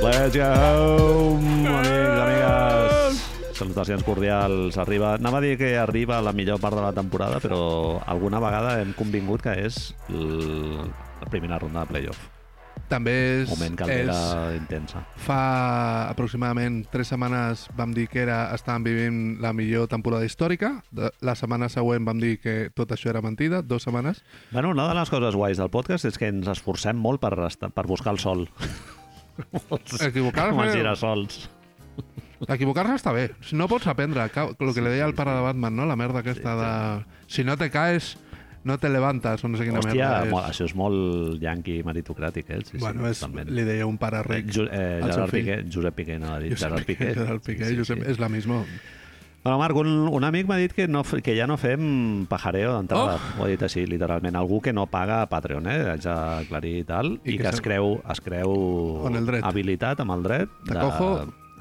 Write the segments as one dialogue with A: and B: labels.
A: Let's go, amics, amigues. Salutacions cordials. Arriba... Anava a dir que arriba la millor part de la temporada, però alguna vegada hem convingut que és l... la primera ronda de playoff.
B: També és...
A: Moment que
B: és
A: era intensa.
B: fa aproximadament tres setmanes vam dir que era, estàvem vivint la millor temporada històrica. De, la setmana següent vam dir que tot això era mentida, dues setmanes.
A: Bueno, una de les coses guais del podcast és que ens esforcem molt per, restar, per buscar el sol. Com els
B: Equivocar-se
A: girasols.
B: equivocar està bé. Si No pots aprendre. El que li deia el pare de Batman, no? La merda aquesta de... Si no te caes, no te levantes, o no sé quina
A: Hòstia, mo-
B: merda és.
A: això és molt yanqui meritocràtic, eh? Sí, sí,
B: Bueno, és,
A: totalment.
B: li deia un pare
A: Eh,
B: ric.
A: Ju eh,
B: al seu
A: Gerard
B: fill.
A: Piqué, Josep Piqué, no ha dit Gerard Piqué.
B: Gerard Piqué, sí, Josep, és la misma.
A: Bueno, Marc, un, un amic m'ha dit que, no, f- que ja no fem pajareo d'entrada.
B: Oh!
A: Ho ha dit així, literalment. Algú que no paga a Patreon, eh? Haig d'aclarir i tal. I, que,
B: que
A: es
B: se-
A: creu, es creu
B: Amb el dret.
A: habilitat amb el dret
B: Te cojo,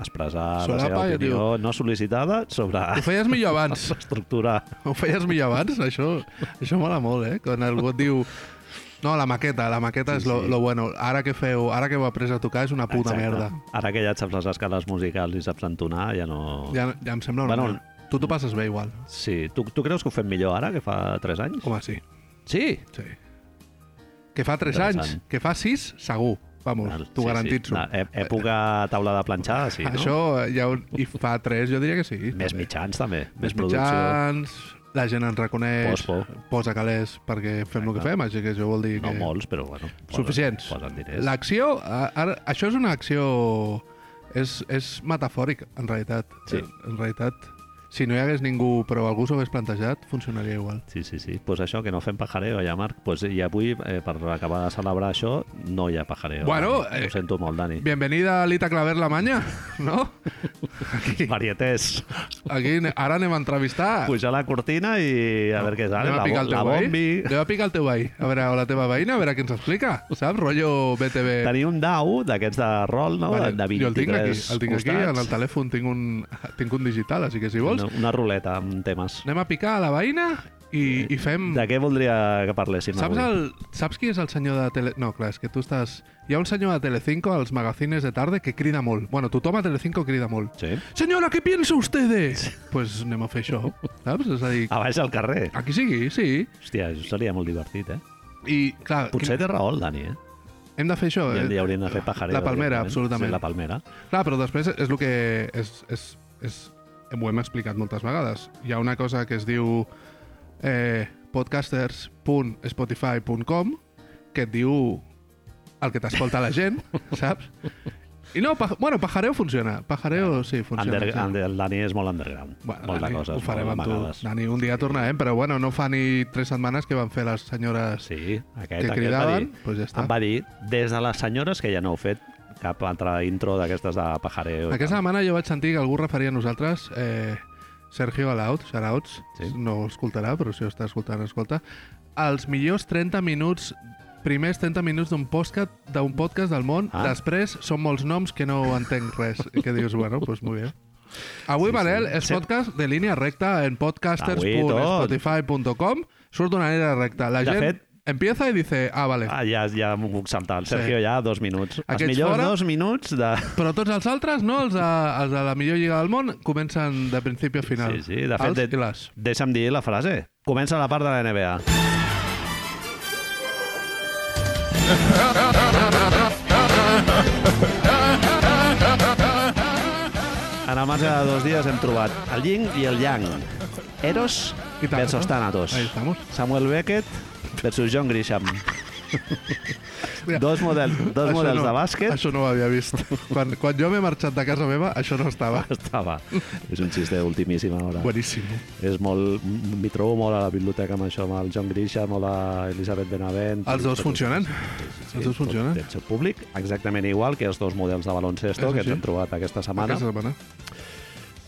A: expressar la seva
B: solapa i et
A: opinió no sol·licitada sobre
B: Ho feies millor abans.
A: l'estructura.
B: Ho feies millor abans? Això, això mola molt, eh? Quan algú et diu... No, la maqueta, la maqueta sí, és lo,
A: sí.
B: lo bueno. Ara que feu, ara que heu après a tocar és una puta
A: Exacte.
B: merda.
A: Ara que ja et saps les escales musicals i saps entonar, ja no...
B: Ja, ja em sembla una...
A: Bueno,
B: Bueno, tu t'ho passes bé igual.
A: Sí, tu, tu creus que ho fem millor ara que fa 3 anys?
B: Home, sí.
A: Sí.
B: sí. Que fa 3 anys,
A: Interessant.
B: que fa 6, segur. Vamos, t'ho
A: sí, Sí.
B: garantitzo.
A: Na, e- època taula de planxar, sí, no?
B: Això ja ho- i fa 3, jo diria que sí.
A: Més
B: també.
A: mitjans, també. Més,
B: Més
A: producció.
B: mitjans, la gent ens reconeix,
A: Pospo.
B: posa calés perquè fem el que fem, així que això vol dir
A: No
B: que...
A: molts, però bueno. Posen,
B: Suficients.
A: Posen diners. La...
B: L'acció, a- ara, això és una acció... És, és metafòric, en realitat.
A: Sí.
B: En realitat, si no hi hagués ningú, però algú s'ho hagués plantejat, funcionaria igual.
A: Sí, sí, sí. Pues això, que no fem pajareo, ja, Marc. Pues, I avui, eh, per acabar de celebrar això, no hi ha pajareo.
B: Bueno,
A: Ho
B: eh,
A: sento molt, Dani.
B: Bienvenida a Lita Claver la Manya, no? Aquí,
A: Varietés.
B: Ah. aquí ne- ara anem a entrevistar...
A: Pujar la cortina i a veure què sale.
B: anem a
A: La, bo-
B: picar el
A: la
B: teu
A: bombi.
B: veí. Anem a picar el teu veí. A veure, o la teva veïna, a veure què ens explica. Saps? Rollo BTV.
A: Tenir un dau d'aquests de rol, no?
B: Vale,
A: de 23
B: jo el tinc aquí, el tinc aquí, en el
A: costats.
B: telèfon tinc un, tinc un digital, així que si vols,
A: Una, una ruleta amb temes.
B: anem a picar a la veïna i, i fem...
A: De què voldria que parléssim
B: Saps,
A: avui?
B: el, saps qui és el senyor de Tele... No, clar, és que tu estàs... Hi ha un senyor de Telecinco als magazines de tarda que crida molt. Bueno, tothom a Telecinco crida molt.
A: Sí.
B: Senyora, què piensa usted? pues anem a fer això, saps? És a dir,
A: A baix al carrer.
B: aquí sigui, sí.
A: Hòstia, això seria molt divertit, eh?
B: Ah, I, clar,
A: Potser té raó el Dani, eh?
B: hem de fer això.
A: I
B: eh?
A: el dia hauríem de fer pajareo.
B: La palmera,
A: directament.
B: absolutament.
A: Sí, la palmera.
B: Clar, però després és el que... És, és, és, ho hem explicat moltes vegades. Hi ha una cosa que es diu eh, podcasters.spotify.com que et diu el que t'escolta la gent, saps? I no, pa, bueno, pajareu funciona. Pajareu sí, funciona.
A: Under,
B: sí.
A: under, el Dani és molt underground.
B: Bueno,
A: molt de
B: Dani,
A: coses,
B: ho farem
A: molt
B: amb tu.
A: amagades.
B: Dani, un dia tornarem, però bueno, no fa ni tres setmanes que van fer les senyores...
A: Sí, aquest,
B: Que
A: aquest va dir,
B: cridaven, doncs ja està.
A: em va dir, des de les senyores, que ja no heu fet cap altra intro d'aquestes de pajareo. i
B: Aquesta
A: tal.
B: setmana jo vaig sentir que algú referia a nosaltres eh, Sergio Alaut, Sarauts,
A: Sí.
B: sí. no ho escoltarà, però si ho està escoltant, escolta, els millors 30 minuts primers 30 minuts d'un podcast d'un podcast del món,
A: Ah.
B: ah. després són molts noms que no entenc res, i que dius, bueno, doncs pues molt bé. Avui, sí, Manel, és
A: Sí.
B: podcast de línia recta en podcasters.spotify.com surt d'una manera recta. La
A: De
B: gent
A: fet-
B: empieza i dice, ah, vale.
A: Ah, ja, ja m'ho puc saltar. El
B: Sí.
A: Sergio ja, dos minuts. Els
B: Aquests
A: millors
B: fora?
A: dos minuts de...
B: Però tots els altres, no? Els de, els de la millor lliga del món comencen de principi a final.
A: Sí, sí, de
B: Els
A: fet,
B: i
A: de,
B: les.
A: deixa'm dir la frase. Comença la part de la NBA. En el marge de dos dies hem trobat el Ying i el Yang. Eros
B: I Thanatos.
A: versus Thanatos.
B: Ahí estamos.
A: Samuel Beckett versus John Grisham.
B: Mira,
A: Dos, model, dos
B: això
A: models
B: no,
A: de bàsquet.
B: Això no ho havia vist. quan, quan jo m'he marxat de casa meva, això no estava.
A: Estava. És un xiste ultimíssima hora.
B: Bueníssim.
A: és molt... m- M'hi trobo molt a la biblioteca amb això, amb el John Grisham o l'Elisabet Benavent.
B: Els dos funcionen. Els dos funcionen.
A: Tot, tot públic, exactament igual que els dos models de baloncesto
B: És
A: que ens
B: així.
A: hem trobat aquesta setmana,
B: Aquesta setmana.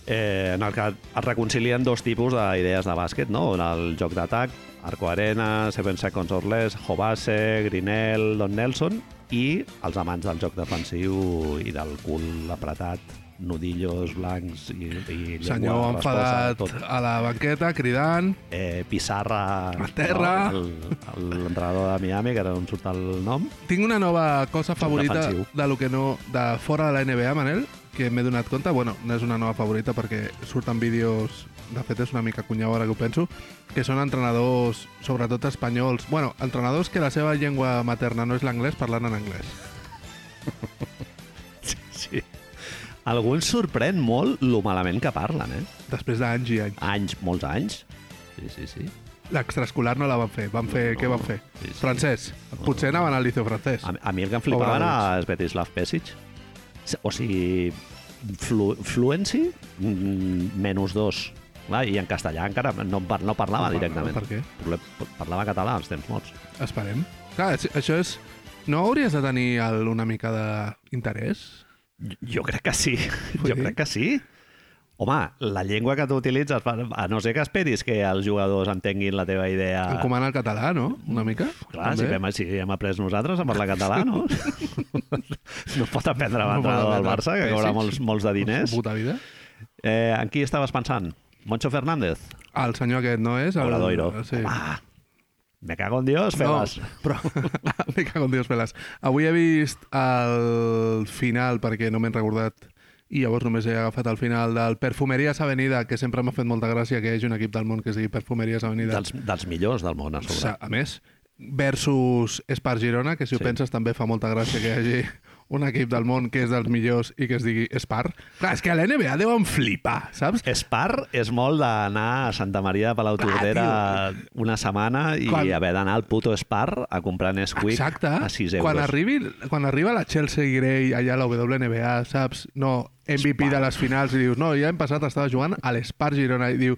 A: eh, en el que es reconcilien dos tipus d'idees de bàsquet, no? En el joc d'atac, Arco Arena, Seven Seconds or Less, Jovase, Grinel, Don Nelson i els amants del joc defensiu i del cul apretat nudillos blancs i, i
B: Senyor
A: llengua rasposa,
B: enfadat a la banqueta, cridant.
A: eh, Pissarra,
B: A terra.
A: no? El- el- l'entrenador de Miami, que ara no em surt el nom.
B: Tinc una nova cosa favorita
A: defensiu.
B: de lo que no... de fora de la NBA, Manel, que m'he donat compte. Bueno, no és una nova favorita perquè surten vídeos... De fet, és una mica cunyau ara que ho penso, que són entrenadors, sobretot espanyols. Bueno, entrenadors que la seva llengua materna no és l'anglès, parlant en anglès.
A: Sí. Alguns sorprèn molt lo malament que parlen, eh?
B: Després d'anys i anys.
A: Anys, molts anys. Sí, sí, sí.
B: L'extraescolar no la van fer. Van fer...
A: No,
B: què van fer?
A: sí, sí.
B: Francès. Potser anaven al liceu francès.
A: A, a mi el que em flipava
B: Obradovic.
A: era Svetislav Pesic. O sigui, flu, fluency, mm, menys dos. Clar, I en castellà encara no, en par- no parlava
B: No parlava,
A: directament.
B: per què?
A: Parla- Parlava català als temps morts.
B: Esperem. Clar, això- això és... No hauries de tenir el, una mica d'interès?
A: Jo- Jo crec que sí.
B: Vull
A: Jo
B: dir-
A: crec que sí. Home, la llengua que tu utilitzes, per- a no ser que esperis que els jugadors entenguin la teva idea...
B: Encomana el català, no? Una mica?
A: Ah. Clar, si,
B: també.
A: hem, si hem après nosaltres a parlar català, no? no pot aprendre
B: No pot
A: l'entrenador del
B: aprendre.
A: Barça, que cobra
B: Pesic.
A: molts, molts de diners.
B: Puta vida.
A: Eh, en qui estaves pensant? Moncho Fernández?
B: El senyor aquest no és... El...
A: Obradoiro.
B: Sí.
A: Ah, me cago en Dios,
B: No,
A: Febas.
B: però... Me cago en Dios, Pelas. Avui he vist el final, perquè no m'he recordat, i llavors només he agafat el final del Perfumeries Avenida, que sempre m'ha fet molta gràcia que hi hagi un equip del món que es digui Perfumeries Avenida.
A: Dels, dels millors del món, a sobre.
B: Sa- A més, versus Espar Girona, que si ho
A: eh? Sí.
B: penses també fa molta gràcia que hi hagi un equip del món que és dels millors i que es digui Espar. Clar, és que a la NBA deuen flipar, saps?
A: Espar és molt d'anar a Santa Maria de Palautordera una setmana i
B: Quan-
A: haver d'anar al puto Spar a comprar Nesquik
B: Exacte.
A: a 6 euros.
B: Quan, arribi, quan arriba la Chelsea Gray allà a la WNBA, saps? No, MVP de les finals i dius, no, ja hem passat, estava jugant a l'Espar Girona i diu,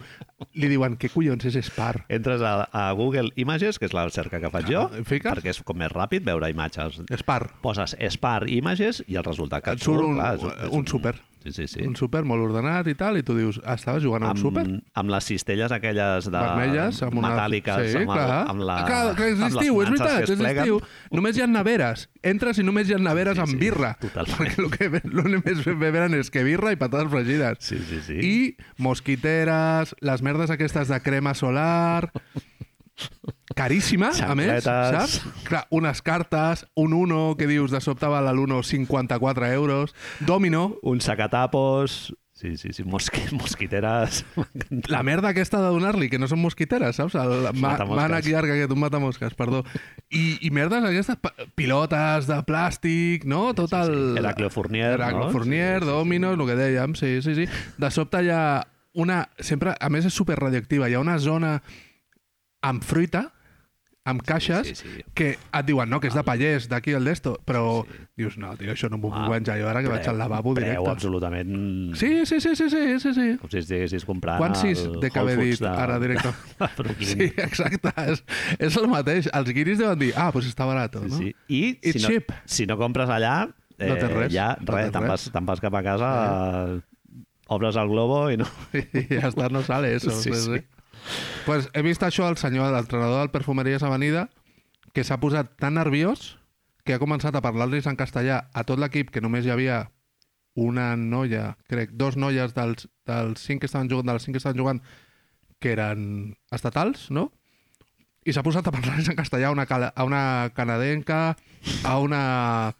B: li diuen, què collons és Espar?
A: Entres a, a Google Images, que és la cerca que faig jo,
B: Ah, fiques?
A: perquè és com més ràpid veure imatges.
B: Espar.
A: Poses Spar Images i el resultat que
B: Et surt un,
A: clar, és és
B: un súper.
A: Sí, sí, sí.
B: Un súper molt ordenat i tal, i tu dius, estava jugant a un súper?
A: amb les cistelles aquelles de...
B: vermelles amb una...
A: metàl·liques,
B: sí,
A: amb, el-
B: clar.
A: amb la...
B: clar, clar, és
A: amb les
B: l'estiu, és
A: nanses que
B: veritat,
A: es
B: és
A: pleguen.
B: l'estiu. Només hi ha neveres. Entres i només hi ha neveres
A: Sí,
B: amb
A: sí,
B: birra.
A: totalment.
B: Perquè el que ve- lo només beveren és que birra i patates fregides.
A: Sí, sí, sí.
B: I mosquiteres, les merdes aquestes de crema solar... Caríssima, a més,
A: Xancletes.
B: saps? Clar, unes cartes, un uno, que dius, de sobte val l'uno 54 euros, domino,
A: Un sacatapos... Sí, sí, sí, mosqui, mosquiteres... M'encanta.
B: la merda aquesta de donar-li, que no són mosquiteres, saps? El ma
A: Matamosques.
B: mànec llarg aquest, un matamosques, perdó. I, i merdes aquestes, pa- pilotes de plàstic, no? Tot el...
A: Heraclio Fournier, no?
B: Heraclio Fournier,
A: Sí, sí, sí.
B: Dominos, el que dèiem, sí, sí, sí. De sobte hi ha una... Sempre, a més és superradioactiva, hi ha una zona amb fruita, amb caixes,
A: sí, Ah. sí.
B: que et diuen, no, que és de pallers, d'aquí el d'esto, però dius, no, tio, això no m'ho puc menjar jo ara que vaig al lavabo
A: Ah. preu
B: directe.
A: absolutament...
B: Sí, sí, sí, sí, sí, sí, sí.
A: Com si estiguessis comprant
B: Quants
A: el
B: de que
A: Whole
B: haver
A: Foods
B: dit
A: de...
B: ara directe?
A: de Brooklyn.
B: Sí, exacte. És, és el mateix. Els guiris deuen dir, ah, doncs està barat, no?
A: Sí. I si
B: It's
A: no,
B: cheap.
A: si no compres allà, eh,
B: No tens res,
A: ja
B: no
A: res,
B: tens
A: te'n vas,
B: res.
A: te'n vas cap a casa, eh, obres el globo i no...
B: I ja està, no sale eso.
A: Sí,
B: Sí,
A: sí.
B: sí. Pues he vist això al senyor, l'entrenador del Perfumeries Avenida, que s'ha posat tan nerviós que ha començat a parlar-los en castellà a tot l'equip, que només hi havia una noia, crec, dos noies dels, dels cinc que estaven jugant, de les cinc que estaven jugant, que eren estatals, no? I s'ha posat a parlar en castellà a una, cala, a una canadenca, a una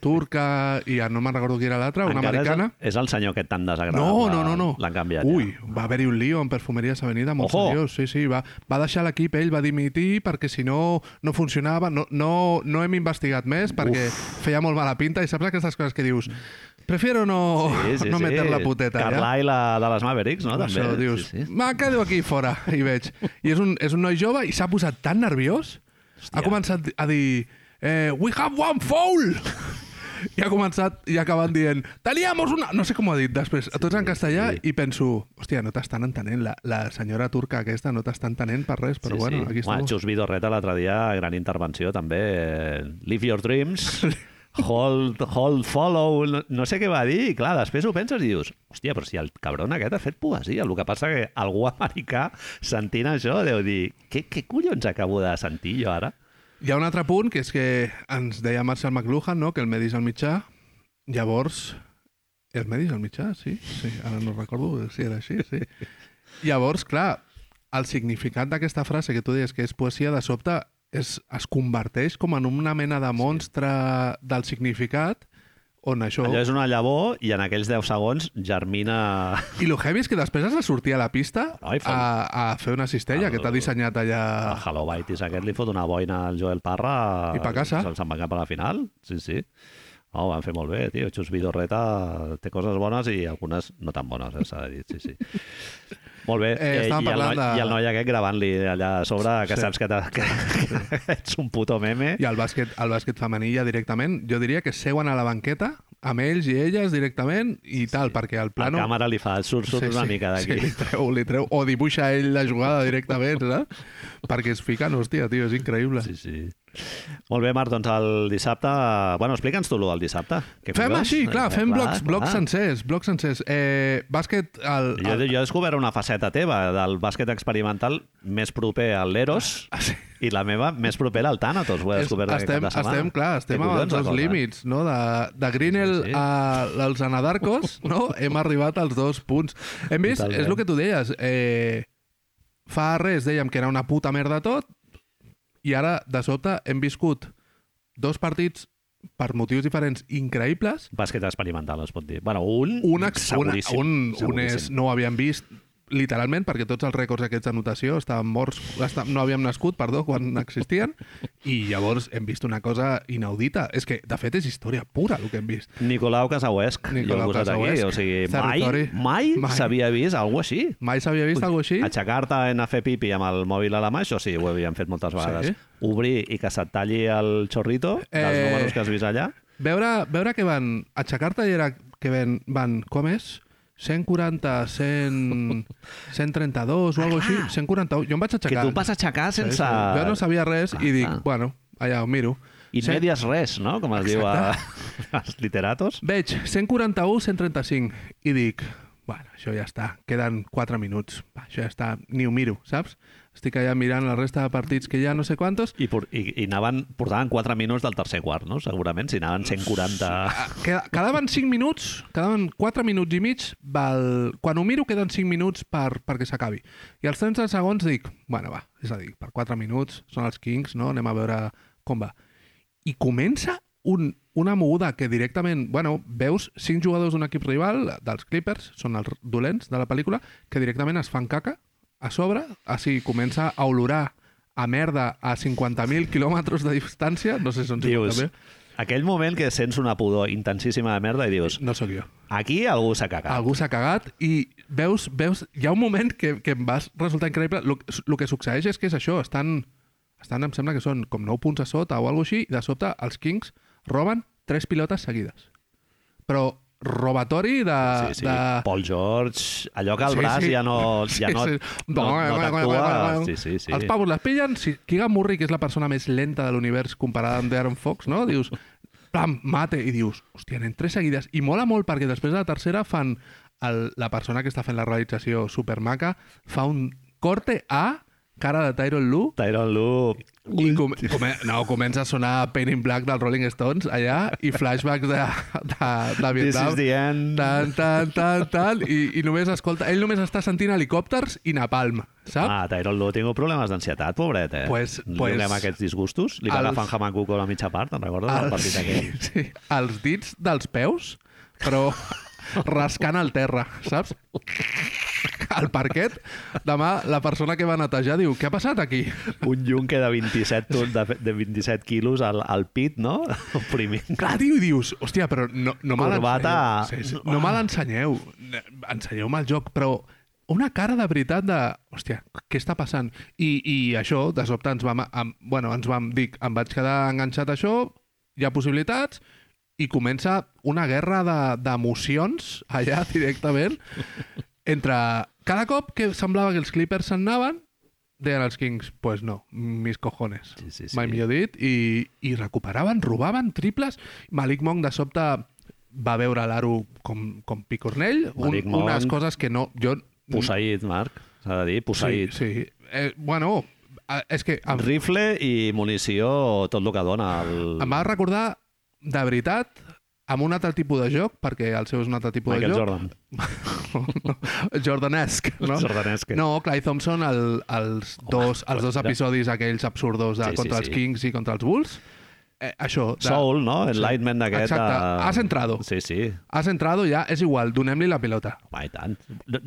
B: turca, i ja no me'n recordo qui era l'altra, Ah, una
A: Encara
B: americana.
A: És, és el senyor aquest tan desagradable.
B: No, no, no, no.
A: L'han canviat.
B: Ui,
A: Ja.
B: va haver-hi un lío en Perfumeries Avenida molt
A: Ojo.
B: seriós. Sí, sí, va, va deixar l'equip, ell va dimitir perquè si no, no funcionava. No, no, no hem investigat més perquè feia molt mala pinta i saps aquestes coses que dius prefiero no, no meter la puteta. ja?"
A: Carlyle la- de les Mavericks, no? També.
B: Això, dius,
A: Sí, sí.
B: me quedo aquí fora, i veig. I és un, és un noi jove i s'ha posat tan nerviós,
A: Hòstia.
B: ha començat a dir, eh, we have one foul! I ha començat i ha acabat dient teníamos una... No sé com ho ha dit després, sí, tots en castellà,
A: sí.
B: i penso, hòstia, no t'estan entenent, la, la senyora turca aquesta no t'està entenent per res, però
A: sí,
B: bueno,
A: sí.
B: aquí
A: Home,
B: estem.
A: Xus Vidorreta l'altre dia, gran intervenció també. eh, Live your dreams, hold, hold follow, no, no sé què va dir. I clar, després ho penses i dius, hòstia, però si el cabron aquest ha fet poesia. El que passa que algú americà sentint això deu dir, què, què collons acabo de sentir jo ara?
B: Hi ha un altre punt, que és que ens deia Marcel McLuhan, no?, que el medis al mitjà. Llavors, El Medis al mitjà, sí, sí. Ara no recordo si era així, sí. Llavors, clar, el significat d'aquesta frase que tu deies que és poesia, de sobte és, es converteix com en una mena de monstre sí. del significat on això...
A: Allò és una llavor i en aquells 10 segons germina...
B: I lo heavy és que després has de sortir a la pista
A: Ai, Ah. fa-
B: a, a fer una cistella
A: El-
B: que t'ha dissenyat allà...
A: El Hello Baitis aquest li fot una boina al Joel Parra...
B: Ah. I pa casa.
A: Se'n se'n va cap a la final, sí, sí. No, ho van fer molt bé, tio. Xus Vidorreta té coses bones i algunes no tan bones, eh, s'ha de dir, sí, sí. Molt bé.
B: Eh, estàvem
A: i, el noi,
B: parlant de-
A: I el noi aquest gravant-li allà a sobre, que
B: Sí.
A: saps que, t'ha- que, que ets un puto meme.
B: I el bàsquet, el bàsquet femení ja directament, jo diria que seuen a la banqueta amb ells i elles directament i tal, sí. perquè el plano...
A: La càmera li fa, surt, surt sí, una mica d'aquí.
B: Sí, li treu, li treu. O dibuixa ell la jugada directament, saps? Perquè es fiquen, hòstia, tio, és increïble.
A: Sí, sí. Molt bé, Marc, doncs el dissabte... Bueno, explica'ns tu lo del dissabte. Què
B: Fem
A: collons?
B: així, clar,
A: Eh,
B: fem blocs, blocs
A: clar.
B: sencers, blocs sencers. Eh, bàsquet, el,
A: Jo,
B: el,
A: jo he descobert una faceta teva del bàsquet experimental més proper al l'Eros
B: Ah, sí.
A: i la meva més propera al Tànatos. Ho he
B: és-
A: descobert aquest
B: estem,
A: cap de setmana.
B: estem, clar, estem
A: Què collons,
B: als els
A: la cosa?
B: límits, no? De, de Greenel
A: Sí, sí.
B: a, als Anadarcos, no? Hem arribat als dos punts. Hem vist,
A: Totalment.
B: és el que tu deies, eh, fa res dèiem que era una puta merda tot i ara, de sobte, hem viscut dos partits per motius diferents increïbles
A: Bàsquet experimental, es pot dir. Bueno, un,
B: un, ex- una,
A: seguríssim.
B: un, un és,
A: seguríssim.
B: no ho havíem vist literalment, perquè tots els rècords aquests d'anotació estaven morts, esta- no havíem nascut, perdó, quan existien, i llavors hem vist una cosa inaudita. És que, de fet, és història pura, el que hem vist.
A: Nicolau Casauesc, Nicolau
B: Nicolau
A: jo Casauesc. aquí,
B: Casauesc,
A: o sigui, mai,
B: territori.
A: mai,
B: Mai.
A: mai. s'havia vist alguna cosa així.
B: Mai s'havia vist alguna cosa així?
A: Aixecar-te en a fer pipi amb el mòbil a la mà, això sí, ho havíem fet moltes vegades.
B: Sí.
A: Sí. Obrir i que se't talli el xorrito dels
B: Eh.
A: números que has vist allà.
B: Veure, veure que van aixecar-te i era que ven, van, com és? 140, 100, 132 o alguna cosa així. 141. Jo em vaig
A: Ah, Que
B: aixecar.
A: tu vas aixecar sense...
B: Jo no sabia res
A: Clar,
B: i dic,
A: clar.
B: bueno, allà ho miro.
A: I
B: Cent-
A: medias res, no? Com es diu a, als literatos.
B: Veig 141, 135 i dic, bueno, això ja està, queden 4 minuts, va, això ja està, ni ho miro, saps? Estic allà mirant la resta de partits que ja no sé quantos.
A: I, por- i, i anaven, portaven 4 minuts del tercer quart, no? Segurament, si anaven 140...
B: Ah, queda- Quedaven 5 minuts, quedaven 4 minuts i mig, val... quan ho miro queden 5 minuts per, perquè s'acabi. I als 30 segons dic, bueno, va, és a dir, per 4 minuts, són els Kings, no? Anem a veure com va. i comença un, una moguda que directament, bueno, veus cinc jugadors d'un equip rival, dels Clippers, són els dolents de la pel·lícula, que directament es fan caca a sobre, així comença a olorar a merda a 50.000 quilòmetres de distància, no sé si són
A: Dius,
B: 50.000,
A: aquell moment que sents una pudor intensíssima de merda i dius,
B: no sóc jo.
A: aquí algú s'ha cagat.
B: Algú s'ha cagat i veus, veus, hi ha un moment que, que em va resultar increïble. El que succeeix és que és això, estan, estan, em sembla que són com 9 punts a sota o alguna així, i de sobte els Kings roben 3 pilotes seguides. Però robatori de...
A: Sí, sí.
B: de...
A: Paul George, allò que el
B: Sí,
A: braç
B: sí.
A: ja no, ja no, no, no t'actua. Sí, sí, sí.
B: Els pavos les pillen, si Kigan Murray, que és la persona més lenta de l'univers comparada amb Darren Fox, no? dius, pam, mate, i dius, hòstia, en tres seguides. I mola molt perquè després de la tercera fan el, la persona que està fent la realització supermaca, fa un corte a cara de Tyron Lu
A: Tyron Lu...
B: i com, com, no, comença a sonar Pain in Black dels Rolling Stones allà i flashbacks de, de, de
A: This
B: Vietnam
A: is the end.
B: tan, tan, tan, tan, i, i només escolta... Ell només està sentint helicòpters i napalm, saps?
A: Ah, Tyrone Lue, tinc dones d'ansietat, pobret, eh?
B: Pues-
A: Li
B: pues-
A: donem aquests disgustos? Li va
B: Els-
A: agafar en Hamaku a la mitja part, te'n recordes? del Ah, partit aquell?
B: sí, sí, els dits dels peus, però rascant el terra, saps? Al parquet, demà la persona que va netejar diu què ha passat aquí?
A: Un yunque de 27, tons, de, de 27 quilos al, al pit, no? Oprimint.
B: Clar, tio, i dius, hòstia, però no, no me
A: Corbata.
B: l'ensenyeu. Sí, sí, no me l'ensenyeu. Ensenyeu-me el joc, però una cara de veritat de, hòstia, què està passant? I, i això, de sobte, ens vam, em, bueno, ens vam dir, em vaig quedar enganxat a això, hi ha possibilitats, i comença una guerra de- d'emocions de, allà directament entre cada cop que semblava que els Clippers se'n anaven, deien els Kings, pues no, mis cojones.
A: Sí, sí, sí.
B: Mai millor dit. I, I recuperaven, robaven triples. Malik Monk de sobte va veure l'Aro com, com picornell. Un,
A: Malik Monk.
B: unes coses que no... Jo,
A: Posseït, Marc. S'ha de dir,
B: sí,
A: posseït. Sí,
B: sí. Eh, bueno, eh, és que em,
A: Rifle i munició, tot el que dona. El...
B: em va recordar, de veritat, amb un altre tipus de joc, perquè el seu és un altre tipus
A: Michael
B: de joc.
A: Jordan.
B: Jordanesc, no?
A: Jordanesque.
B: No, Clay Thompson, el, els, dos, els dos
A: de-
B: episodis aquells absurdos de
A: Sí, sí,
B: contra
A: sí.
B: els Kings i contra els Bulls. Eh, això, de,
A: Soul, no? Enlightenment d'aquest.
B: Exacte.
A: eh,
B: Has entrado.
A: Sí, sí.
B: has entrado ja, és igual, donem-li la pilota.
A: Home, i tant.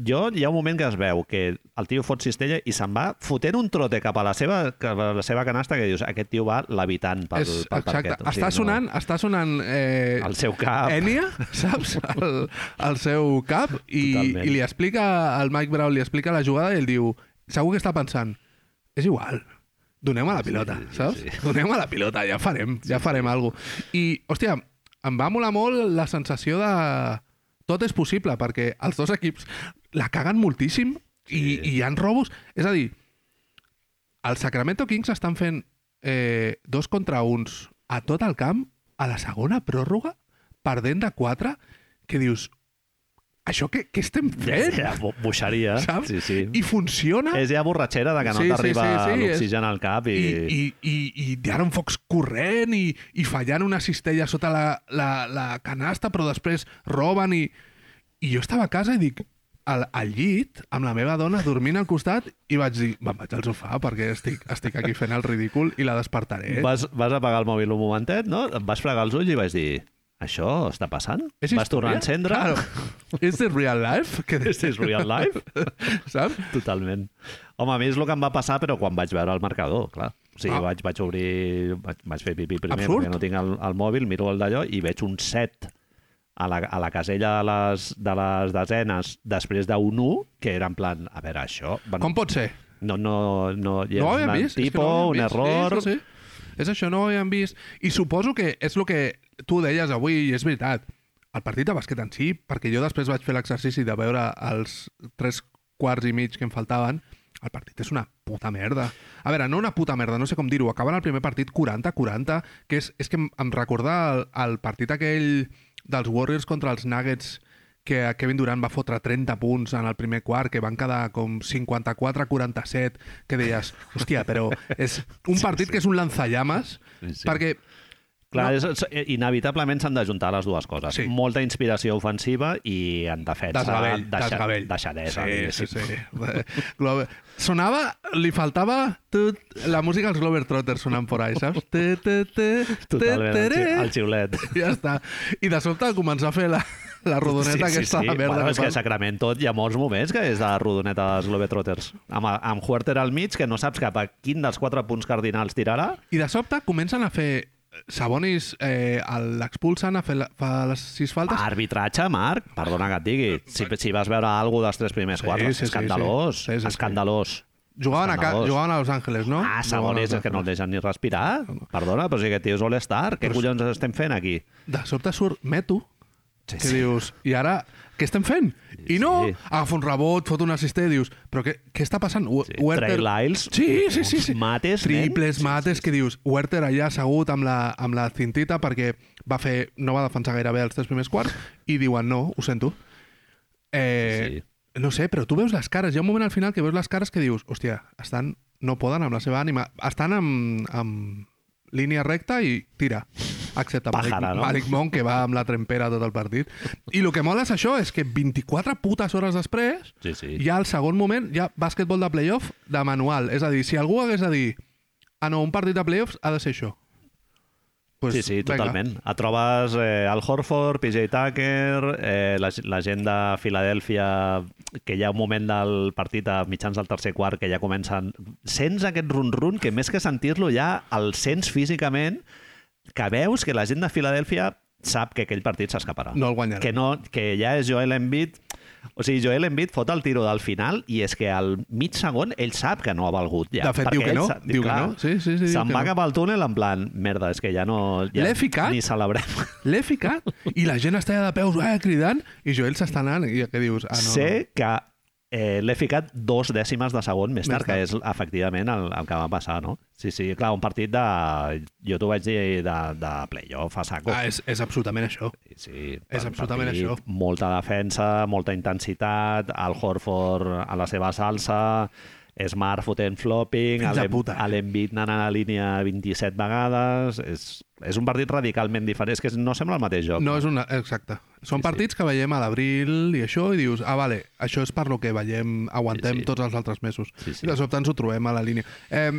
A: Jo, hi ha un moment que es veu que el tio fot cistella i se'n va fotent un trote cap a la seva, cap a la seva canasta que dius, aquest tio va levitant pel,
B: és,
A: pel
B: exacte.
A: parquet. O sigui,
B: està sonant, està sonant eh,
A: No, el seu cap.
B: Enya, saps? El, el seu cap i,
A: Totalment.
B: i li explica el Mike Brown li explica la jugada i ell diu segur que està pensant, és igual donem a la pilota,
A: sí,
B: saps?
A: sí.
B: Donem a la pilota, ja farem, ja farem alguna cosa. I, hòstia, em va molar molt la sensació de tot és possible, perquè els dos equips la caguen moltíssim i,
A: Sí.
B: i hi han robos. És a dir, els Sacramento Kings estan fent eh, dos contra uns a tot el camp, a la segona pròrroga, perdent de quatre, que dius, això què, què estem
A: Ja,
B: fent?
A: ja, bo- boixeria.
B: Saps?
A: Sí, sí.
B: I funciona
A: És ja borratxera de que no
B: Sí, sí,
A: t'arriba
B: sí, sí, és-
A: l'oxigen al cap i...
B: i, i, i, i Darren Fox corrent i, i fallant una cistella sota la, la, la canasta, però després roben i... I jo estava a casa i dic, al, al llit, amb la meva dona, dormint al costat, i vaig dir, me'n vaig al sofà perquè estic, estic aquí fent el ridícul i la despertaré.
A: vas, vas apagar el mòbil un momentet, no? Et vas fregar els ulls i vas dir això està passant?
B: És
A: vas tornar a
B: història?
A: encendre?
B: Claro. Is this real life? Que
A: This is real life?
B: Saps?
A: Totalment. Home, a mi és el que em va passar, però quan vaig veure el marcador, clar. O sigui,
B: Ah.
A: ah. vaig, vaig obrir... Vaig, vaig fer pipí primer,
B: Absurd.
A: perquè no tinc el, el mòbil, miro el d'allò i veig un 7 a la, a la casella de les, de les desenes després d'un 1, que era en plan, a veure, això... Bueno,
B: Com pot ser?
A: No, no, no, hi
B: No ho
A: és
B: havíem
A: un
B: vist. és que
A: tipo,
B: no ho
A: un
B: havíem vist.
A: error...
B: Sí, sí, sí. És això, no ho havíem vist. I suposo que és el que tu deies avui, i és veritat, el partit de bàsquet en si, perquè jo després vaig fer l'exercici de veure els tres quarts i mig que em faltaven, el partit és una puta merda. A veure, no una puta merda, no sé com dir-ho. Acaben el primer partit 40-40, que és, és que em, em recorda el, el partit aquell dels Warriors contra els Nuggets que a Kevin Durant va fotre 30 punts en el primer quart, que van quedar com 54-47, que deies, hòstia, però és un partit que és un lanzallames,
A: Sí, sí.
B: perquè
A: Clar,
B: No.
A: és, és, inevitablement s'han d'ajuntar les dues coses.
B: Sí.
A: Molta inspiració ofensiva i en defensa
B: desgavell,
A: deixa-
B: desgavell.
A: deixadesa.
B: Sí,
A: diguéssim.
B: sí, sí. Glover. Sonava, li faltava tot, la música dels Glover Trotters sonant por ahí, saps? Te, te, te, te,
A: Totalment, el,
B: tere.
A: xiu- el xiulet.
B: Ja està. I de sobte començar a fer la, la rodoneta aquesta de merda.
A: Bueno,
B: que
A: és que
B: fan.
A: a Sacramento hi ha molts moments que és de rodoneta dels Globetrotters. Amb, amb Huerter al mig, que no saps cap a quin dels quatre punts cardinals tirarà.
B: I de sobte comencen a fer... Sabonis eh, el- l'expulsen a fer la, fa les sis
A: Ah,
B: faltes.
A: Arbitratge, Marc, perdona que et digui. Si, si vas veure alguna dels tres primers
B: Sí,
A: quarts,
B: sí, sí,
A: escandalós,
B: sí. Sí, sí, sí.
A: escandalós.
B: jugaven, a, ca-
A: escandalós.
B: jugaven a Los Angeles, no?
A: Ah, Sabonis, és que no el deixen ni respirar. Perdona, però si aquest tio és All-Star, què
B: Però-
A: collons estem fent aquí?
B: De sobte surt Metu,
A: Sí,
B: que dius, i ara què estem fent? I no,
A: sí.
B: agafa un rebot, fot un assistent i dius, però què, què està passant? Hu-
A: Sí,
B: Huerter-
A: Trey Lyles,
B: Sí, sí, sí. sí.
A: uns mates,
B: Triples mates que dius, Werther allà assegut amb la, amb la cintita perquè va fer, no va defensar gaire bé els tres primers quarts i diuen, no, ho sento. Eh,
A: Sí.
B: No sé, però tu veus les cares. Hi ha un moment al final que veus les cares que dius, hòstia, estan, no poden amb la seva ànima. Estan amb, amb línia recta i tira. Excepte
A: Pájara,
B: Malik,
A: no?
B: Malik Monk, que va amb la trempera tot el partit. I el que mola és això, és que 24 putes hores després
A: Sí, sí.
B: ja al segon moment, ja bàsquetbol de playoff de manual. És a dir, si algú hagués de dir ah, no, un partit de playoffs ha de ser això. Pues,
A: Sí, sí, totalment. Et trobes eh, Al Horford, PJ Tucker, eh, la, la gent de Filadèlfia, que hi ha un moment del partit a mitjans del tercer quart que ja comencen... Sents aquest run-run que més que sentir-lo ja el sents físicament que veus que la gent de Filadèlfia sap que aquell partit s'escaparà.
B: No el guanyarà.
A: Que, no, que ja és Joel Embiid... O sigui, Joel Embiid fot el tiro del final i és que al mig segon ell sap que no ha valgut ja.
B: De fet,
A: Perquè
B: diu que
A: ell
B: no,
A: sa-
B: diu que
A: clar,
B: no. Sí, sí, sí, diu
A: Se'n
B: que
A: va
B: no.
A: cap al túnel en plan, merda, és que ja no... Ja
B: L'he ficat? Ah,
A: Ni celebrem.
B: L'he ficat i la gent està allà de peus eh, cridant i Joel s'està anant i ja que dius... Ah, no,
A: sé que eh, l'he ficat dos dècimes de segon més
B: Més
A: tard, que
B: tard.
A: és efectivament el, el que va passar, no? Sí, sí, clar, un partit de... Jo t'ho vaig dir de, de playoff a
B: no.
A: saco.
B: Ah, és, és absolutament això.
A: Sí,
B: És
A: per-
B: absolutament
A: partit,
B: això.
A: Molta defensa, molta intensitat, el Horford a la seva salsa, Smart fotent flopping,
B: Fills de
A: Alem-
B: puta, eh?
A: Alembit anant a la línia 27 vegades... És, és un partit radicalment diferent, és que no sembla el mateix joc.
B: No és una... Exacte.
A: Sí,
B: Són
A: sí.
B: partits que veiem a l'abril i això, i dius, ah, vale, això és per lo que veiem, aguantem
A: Sí, sí.
B: sí, sí. tots els altres mesos.
A: Sí, sí.
B: I de sobte ens ho trobem a la línia. Eh,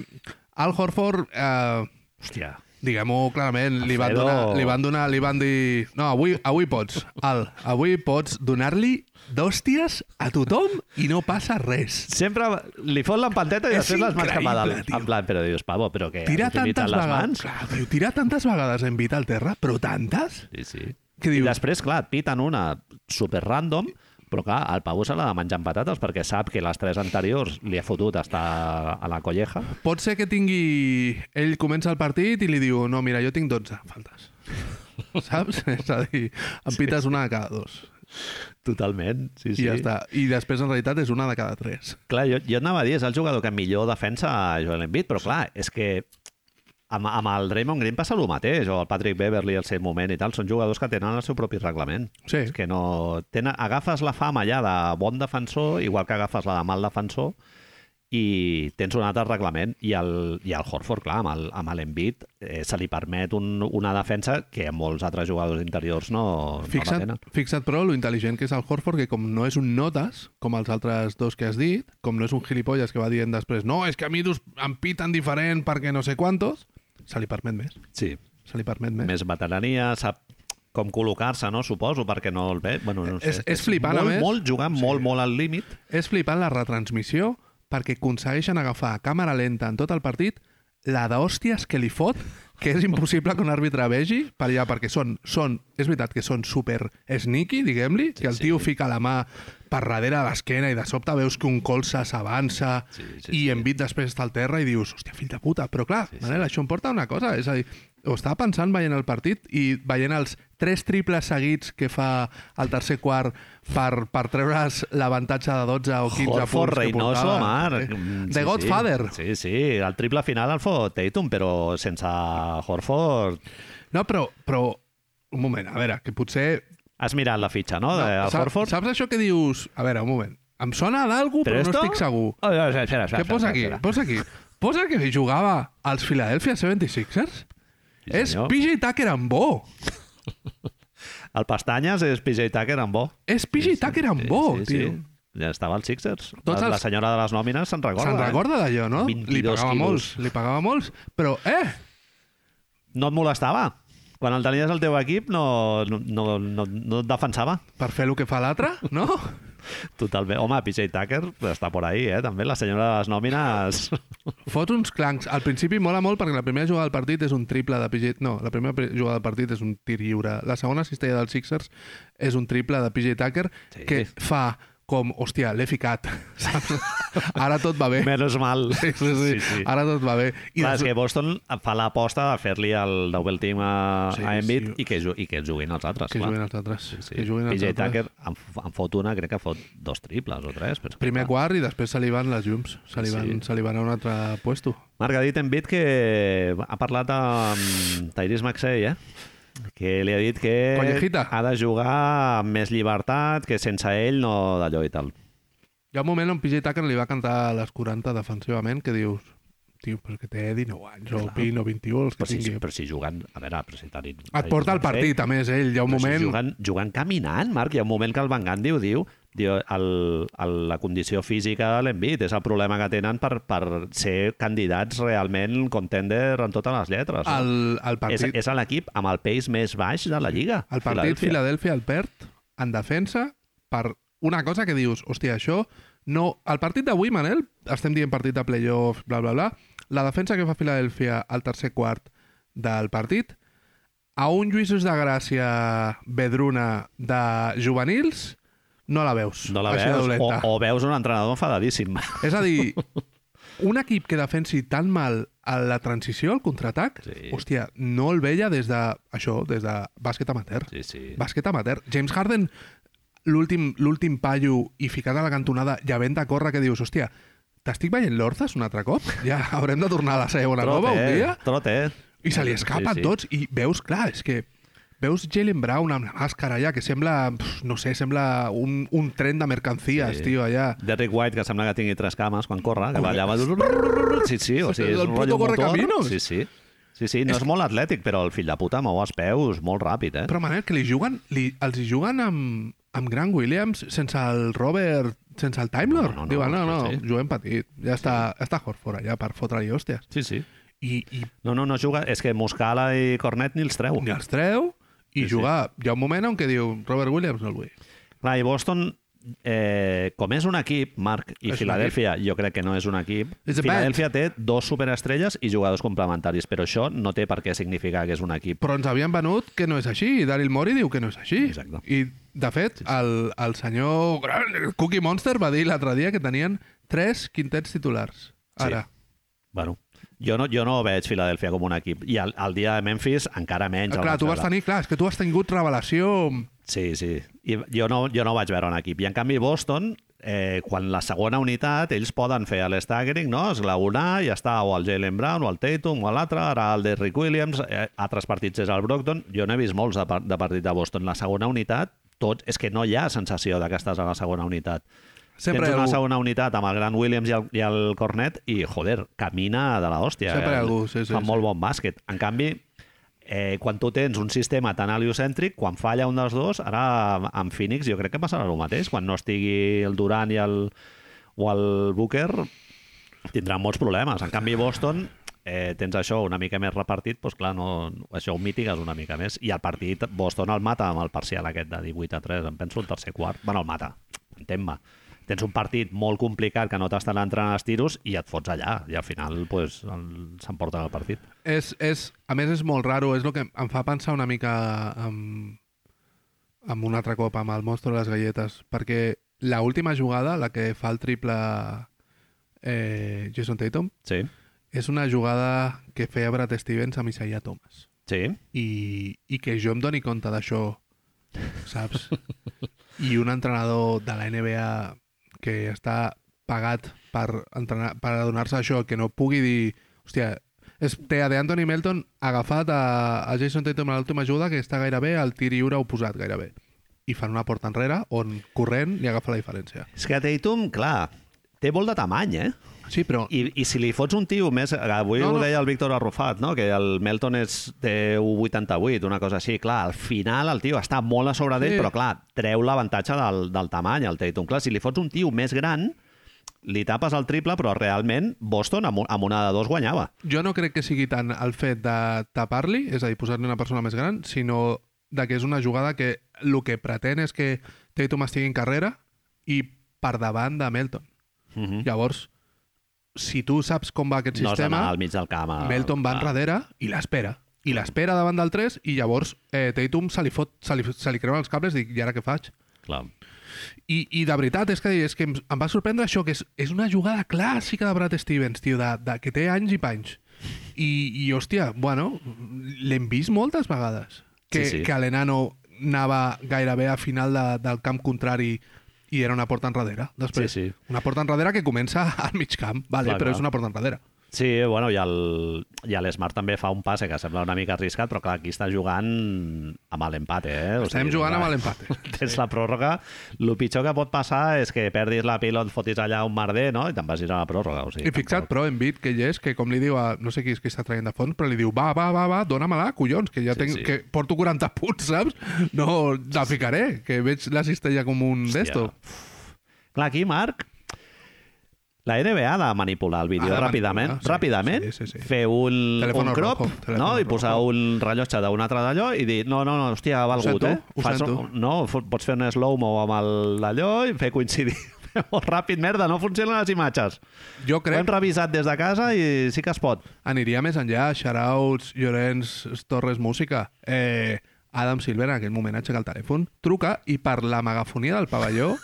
B: Al Horford, eh,
A: Hòstia,
B: diguem-ho clarament, li van,
A: Alfredo.
B: donar, li van donar, li van dir... No, avui, avui pots, Al, avui pots donar-li d'hòsties a tothom i no passa res.
A: sempre li fot l'empanteta i
B: És
A: després les mans cap a
B: increïble,
A: dalt.
B: tio.
A: En plan, però dius, pavo, però què?
B: Tirar
A: has imitat
B: tantes,
A: les
B: vegades,
A: mans?
B: clar, tio, tirar tantes vegades en Vita al terra, però tantes?
A: Sí, sí.
B: Què
A: I
B: dius?
A: després, clar, et piten una super random, però clar, el Pau se l'ha de menjar amb patates perquè sap que les tres anteriors li ha fotut estar a la colleja.
B: Pot ser que tingui... Ell comença el partit i li diu no, mira, jo tinc 12 faltes. Saps? És a dir, em pites una de cada dos.
A: Totalment, sí,
B: I ja està. I després, en realitat, és una de cada tres.
A: Clar, jo, jo anava a dir, és el jugador que millor defensa a Joel Embiid, però clar, és que amb, amb el Draymond Green passa el mateix, o el Patrick Beverly al seu moment i tal, són jugadors que tenen el seu propi reglament.
B: Sí.
A: És que no... Tenen, agafes la fama ja de bon defensor, igual que agafes la de mal defensor, i tens un altre reglament. I el, i el Horford, clar, amb el- amb l'Envit, eh, se li permet un, una defensa que molts altres jugadors interiors no, no la
B: Fixa't,
A: tenen.
B: fixa't, però, lo intel·ligent que és el Horford, que com no és un notes, com els altres dos que has dit, com no és un gilipolles que va dient després no, és que a mi dus- em piten diferent perquè no sé quantos, se li permet més.
A: Sí.
B: Se li permet més.
A: Més veterania, sap com col·locar-se, no? Suposo, perquè no el ve. Bueno, no ho sé.
B: Eh, És- és flipant, a
A: molt,
B: més.
A: Molt, jugant sí. molt, molt al límit.
B: És flipant la retransmissió perquè aconsegueixen agafar a càmera lenta en tot el partit la d'hòsties que li fot, que és impossible que un àrbitre vegi per allà, perquè són, són és veritat que són super sneaky, diguem-li, que el
A: sí.
B: tio fica la mà per darrere de l'esquena i de sobte veus que un colze s'avança
A: Sí, sí,
B: i
A: sí.
B: envit després està al terra i dius, hòstia, fill de puta, però clar, sí, Manel, això em porta a una cosa, és a dir, ho estava pensant veient el partit i veient els tres triples seguits que fa el tercer quart per, per treure's l'avantatge de 12 o 15
A: Horford,
B: punts que
A: Reynoso,
B: portava.
A: Marc.
B: Sí.
A: Mm,
B: The Godfather.
A: Sí, sí, el triple final el fot Tatum, però sense Horford...
B: No, però, però, un moment, a veure, que potser...
A: Has mirat la fitxa, no?,
B: No,
A: de no,
B: sa-
A: Horford?
B: Saps això que dius? A veure, un moment. Em sona d'algú, però, no estic segur.
A: Oh, no, espera, espera, espera,
B: Què posa aquí?
A: espera.
B: Posa aquí. Posa que li jugava als Philadelphia 76ers?
A: Sí,
B: és
A: senyor.
B: PJ Tucker amb bo.
A: El Pestanyes és PJ Tucker amb bo.
B: És PJ Tucker amb bo, tio.
A: Ja estava als Sixers.
B: Tots
A: la,
B: els-
A: la senyora de les nòmines se'n recorda.
B: Se'n
A: eh?
B: recorda d'allò, no? Li
A: 22
B: pagava
A: quilos.
B: molts, li pagava molts, però, eh,
A: No et molestava? Quan el tenies al teu equip no, no, no, no, no et defensava?
B: per fer el que fa l'altre, no?
A: Totalment. Home, PJ Tucker està por ahí, eh? També la senyora de les nòmines...
B: Fot uns clancs. Al principi mola molt perquè la primera jugada del partit és un triple de PJ... No, la primera pri- jugada del partit és un tir lliure. La segona cistella dels Sixers és un triple de PJ Tucker
A: Sí.
B: que fa com, hòstia, l'he ficat. Saps? Ara tot va bé.
A: Menos mal.
B: Sí, sí, sí. Ara tot va bé.
A: I Clar,
B: des-
A: és que Boston fa l'aposta de fer-li el double team a,
B: Sí,
A: sí, a Embiid
B: sí.
A: i, que, ju- i que juguin els altres.
B: que
A: clar.
B: juguen els altres.
A: Sí, sí.
B: Que juguen els
A: PJ
B: altres.
A: Tucker en, f- en fot una, crec que fot dos triples o tres. Però és que,
B: Primer
A: clar.
B: quart i després se li van les llums. Se li van,
A: Ah. Sí.
B: se li van a un altre puesto.
A: Marc ha dit en Bit que ha parlat amb Tyrese Maxey, eh? que li ha dit que
B: Collejita.
A: ha de jugar amb més llibertat, que sense ell no d'allò i tal.
B: Hi ha un moment on PJ Tucker li va cantar a les 40 defensivament que dius tio, però és que té 19 anys o 20 o 21 els que
A: Però si,
B: tingui.
A: però si juguen... A veure, però si Tyrese...
B: Et porta el
A: Maxey-
B: partit, a més, ell. Hi ha un
A: Però
B: moment...
A: Si juguen, juguen caminant, Marc. Hi ha un moment que el Van Gandhi ho diu, diu el, el, la condició física de l'envit és el problema que tenen per, per ser candidats realment contender en totes les lletres.
B: El,
A: No?
B: el
A: és,
B: partit,
A: és l'equip amb el pace més baix de la Lliga.
B: el partit
A: Filadèlfia.
B: Filadèlfia el perd en defensa per una cosa que dius, hòstia, això no... El partit d'avui, Manel, estem dient partit de playoff, bla, bla, bla, la defensa que fa Filadèlfia al tercer quart del partit, a un Lluís de Gràcia Bedruna de juvenils, no la veus.
A: No la
B: Així de
A: veus? Oh, O,
B: dolenta.
A: o veus un entrenador enfadadíssim.
B: És a dir, un equip que defensi tan mal a la transició, al contraatac,
A: Sí.
B: sí. hòstia, no el veia des de, això, des de bàsquet amateur.
A: Sí, sí.
B: Bàsquet amateur. James Harden, l'últim l'últim paio i ficat a la cantonada i havent de córrer que dius, hòstia, t'estic veient l'Orzas un altre cop? Ja haurem de tornar a la segona nova un dia?
A: Trot, eh?
B: I se li escapen
A: Sí, sí.
B: tots i veus, clar, és que Veus Jalen Brown amb la màscara allà, que sembla, pf, no sé, sembla un, un tren de mercancies,
A: Sí.
B: sí. tio, allà.
A: Derrick White, que sembla que tingui tres cames quan corre, que va allà... Va... Sí, sí, o sigui, és
B: El
A: un
B: puto
A: rotllo motor.
B: correcaminos.
A: Sí, sí. Sí, sí, no és molt atlètic, però el fill de puta mou els peus molt ràpid, eh?
B: Però, Manel, que li juguen, li, els hi juguen amb, amb Grant Williams sense el Robert, sense el Time Lord.
A: No, no, no,
B: Diuen, no, no,
A: sí, sí.
B: juguem petit. Ja està, està Horford allà per fotre-li hòsties.
A: Sí, sí.
B: I, i,
A: No, no, no juga... És que Muscala i Cornet ni els treu.
B: i els treu i
A: Sí, sí.
B: sí, jugar. Hi ha un moment en què diu Robert Williams no el vull.
A: Clar, i Boston, eh, com és un equip, Marc, i
B: És un
A: Filadèlfia, jo crec que no és un equip,
B: It's a
A: Filadèlfia té dos superestrelles i jugadors complementaris, però això no té per què significar que és un equip.
B: Però ens havien venut que no és així i Daryl Mori diu que no és així.
A: Exacte.
B: I, de fet, el, el senyor gran, el Cookie Monster va dir l'altre dia que tenien tres quintets titulars. Ara. Sí.
A: Bueno, jo no, jo no veig Filadèlfia com un equip. I el, el dia de Memphis encara menys. el
B: clar,
A: vaig
B: tu vas
A: veure.
B: tenir, clar, és que tu has tingut revelació...
A: Sí, sí. I jo no, jo no vaig veure un equip. I en canvi Boston, eh, quan la segona unitat, ells poden fer l'estaggering, no? Es glaonar, ja està, o el Jalen Brown, o el Tatum, o l'altre, ara el Derrick Williams, eh, altres partits és el Brockton. Jo n'he vist molts de, par- de partit de Boston. La segona unitat, tot, és que no hi ha sensació de que estàs a la segona unitat.
B: Sempre hi
A: Tens
B: ha
A: una
B: algú.
A: segona unitat amb el Gran Williams i el, i el Cornet i, joder, camina de la hòstia.
B: Sempre hi ha
A: El-
B: algú, sí, sí,
A: Fan
B: sí.
A: molt bon bàsquet. En canvi, eh, quan tu tens un sistema tan heliocèntric, quan falla un dels dos, ara amb Phoenix jo crec que passarà el mateix. Quan no estigui el Durant i el, o el Booker, tindran molts problemes. En canvi, Boston eh, tens això una mica més repartit, doncs clar, no, això ho mitigues una mica més. I el partit, Boston el mata amb el parcial aquest de 18 a 3, em penso el tercer quart. Bueno, el mata, entén-me. Tens un partit molt complicat que no t'estan entrant els tiros i et fots allà. I al final pues, el- s'emporten el partit.
B: És, és, a més, és molt raro, és el que em fa pensar una mica amb, amb un altre cop, amb el monstre de les galletes, perquè la última jugada, la que fa el triple eh, Jason Tatum,
A: Sí,
B: és una jugada que feia Brad Stevens amb Isaiah Thomas.
A: sí.
B: I, i que jo em doni compte d'això, saps? I un entrenador de la NBA que està pagat per, entrenar, per adonar-se això, que no pugui dir... Hòstia, és TEA de Anthony Melton agafat a, a Jason Tatum a l'última ajuda que està gairebé al tir lliure oposat, gairebé. I fan una porta enrere on corrent li agafa la diferència.
A: És que Tatum, clar, té molt de tamany, eh?
B: Sí, però...
A: I, I si li fots un tio més... Avui no,
B: No,
A: no. ho
B: no.
A: deia el Víctor Arrufat, no? que el Melton és, té un 88, una cosa així. Clar, al final el tio està molt a sobre d'ell,
B: Sí.
A: però clar, treu l'avantatge del, del tamany, el Tatum. Clar, si li fots un tio més gran, li tapes el triple, però realment Boston amb, un- amb una de dos guanyava.
B: Jo no crec que sigui tant el fet de tapar-li, és a dir, posar-li una persona més gran, sinó de que és una jugada que el que pretén és que Tatum estigui en carrera i per davant de Melton.
A: Uh -huh.
B: Llavors, si tu saps com va aquest
A: No has d'anar
B: sistema,
A: al mig del camp. eh, a-
B: Melton va
A: a-
B: enrere i l'espera. I l'espera davant del 3 i llavors eh, Tatum se li, fot, se li, se li creuen els cables i dic, i ara què faig?
A: Clar.
B: I, i de veritat, és que, és que em, em va sorprendre això, que és, és una jugada clàssica de Brad Stevens, tio, de, de, que té anys i panys. I, i hòstia, bueno, l'hem vist moltes vegades. Que,
A: Sí, sí.
B: que l'enano anava gairebé a final de, del camp contrari i era una porta enrere. Després,
A: Sí, sí.
B: Una porta enrere que comença al mig camp, vale,
A: Clar,
B: però
A: clar.
B: és una porta enrere.
A: Sí, bueno, i el, i el Smart també fa un passe que sembla una mica arriscat, però clar, aquí està jugant amb l'empate, eh? O
B: Estem
A: sigui,
B: jugant
A: clar.
B: amb l'empat.
A: tens la pròrroga, el pitjor que pot passar és que perdis la pila, et fotis allà un merder, no? I te'n vagis a la pròrroga. O sigui,
B: I fixa't, però, en Bit, que ell és, que com li diu a... No sé qui és que està traient de fons, però li diu, va, va, va, va, dóna-me-la, collons, que ja
A: Sí,
B: sí, tenc,
A: sí.
B: sí. que porto 40 punts, saps? No la ficaré, que veig la cistella com un
A: Hòstia.
B: d'esto.
A: Clar, aquí, Marc, la NBA ha de manipular el vídeo
B: Ha de
A: ràpidament,
B: manipular, sí,
A: ràpidament
B: sí, sí, sí.
A: fer un,
B: Teléfono
A: un crop
B: rojo,
A: no?
B: teléfono
A: i posar
B: rojo.
A: un rellotge d'un altre d'allò i dir, no, no, no, hòstia, ha valgut,
B: sento,
A: eh?
B: ho sento.
A: no, fo- pots fer un slow-mo amb el- d'allò i fer coincidir molt ràpid, merda, no funcionen les imatges.
B: Jo
A: Ho hem
B: crec
A: revisat des de casa i sí que es pot.
B: aniria més enllà, Xarauts, Llorenç, Torres Música, eh, Adam Silver en aquell moment aixeca el telèfon, truca i per la megafonia del pavelló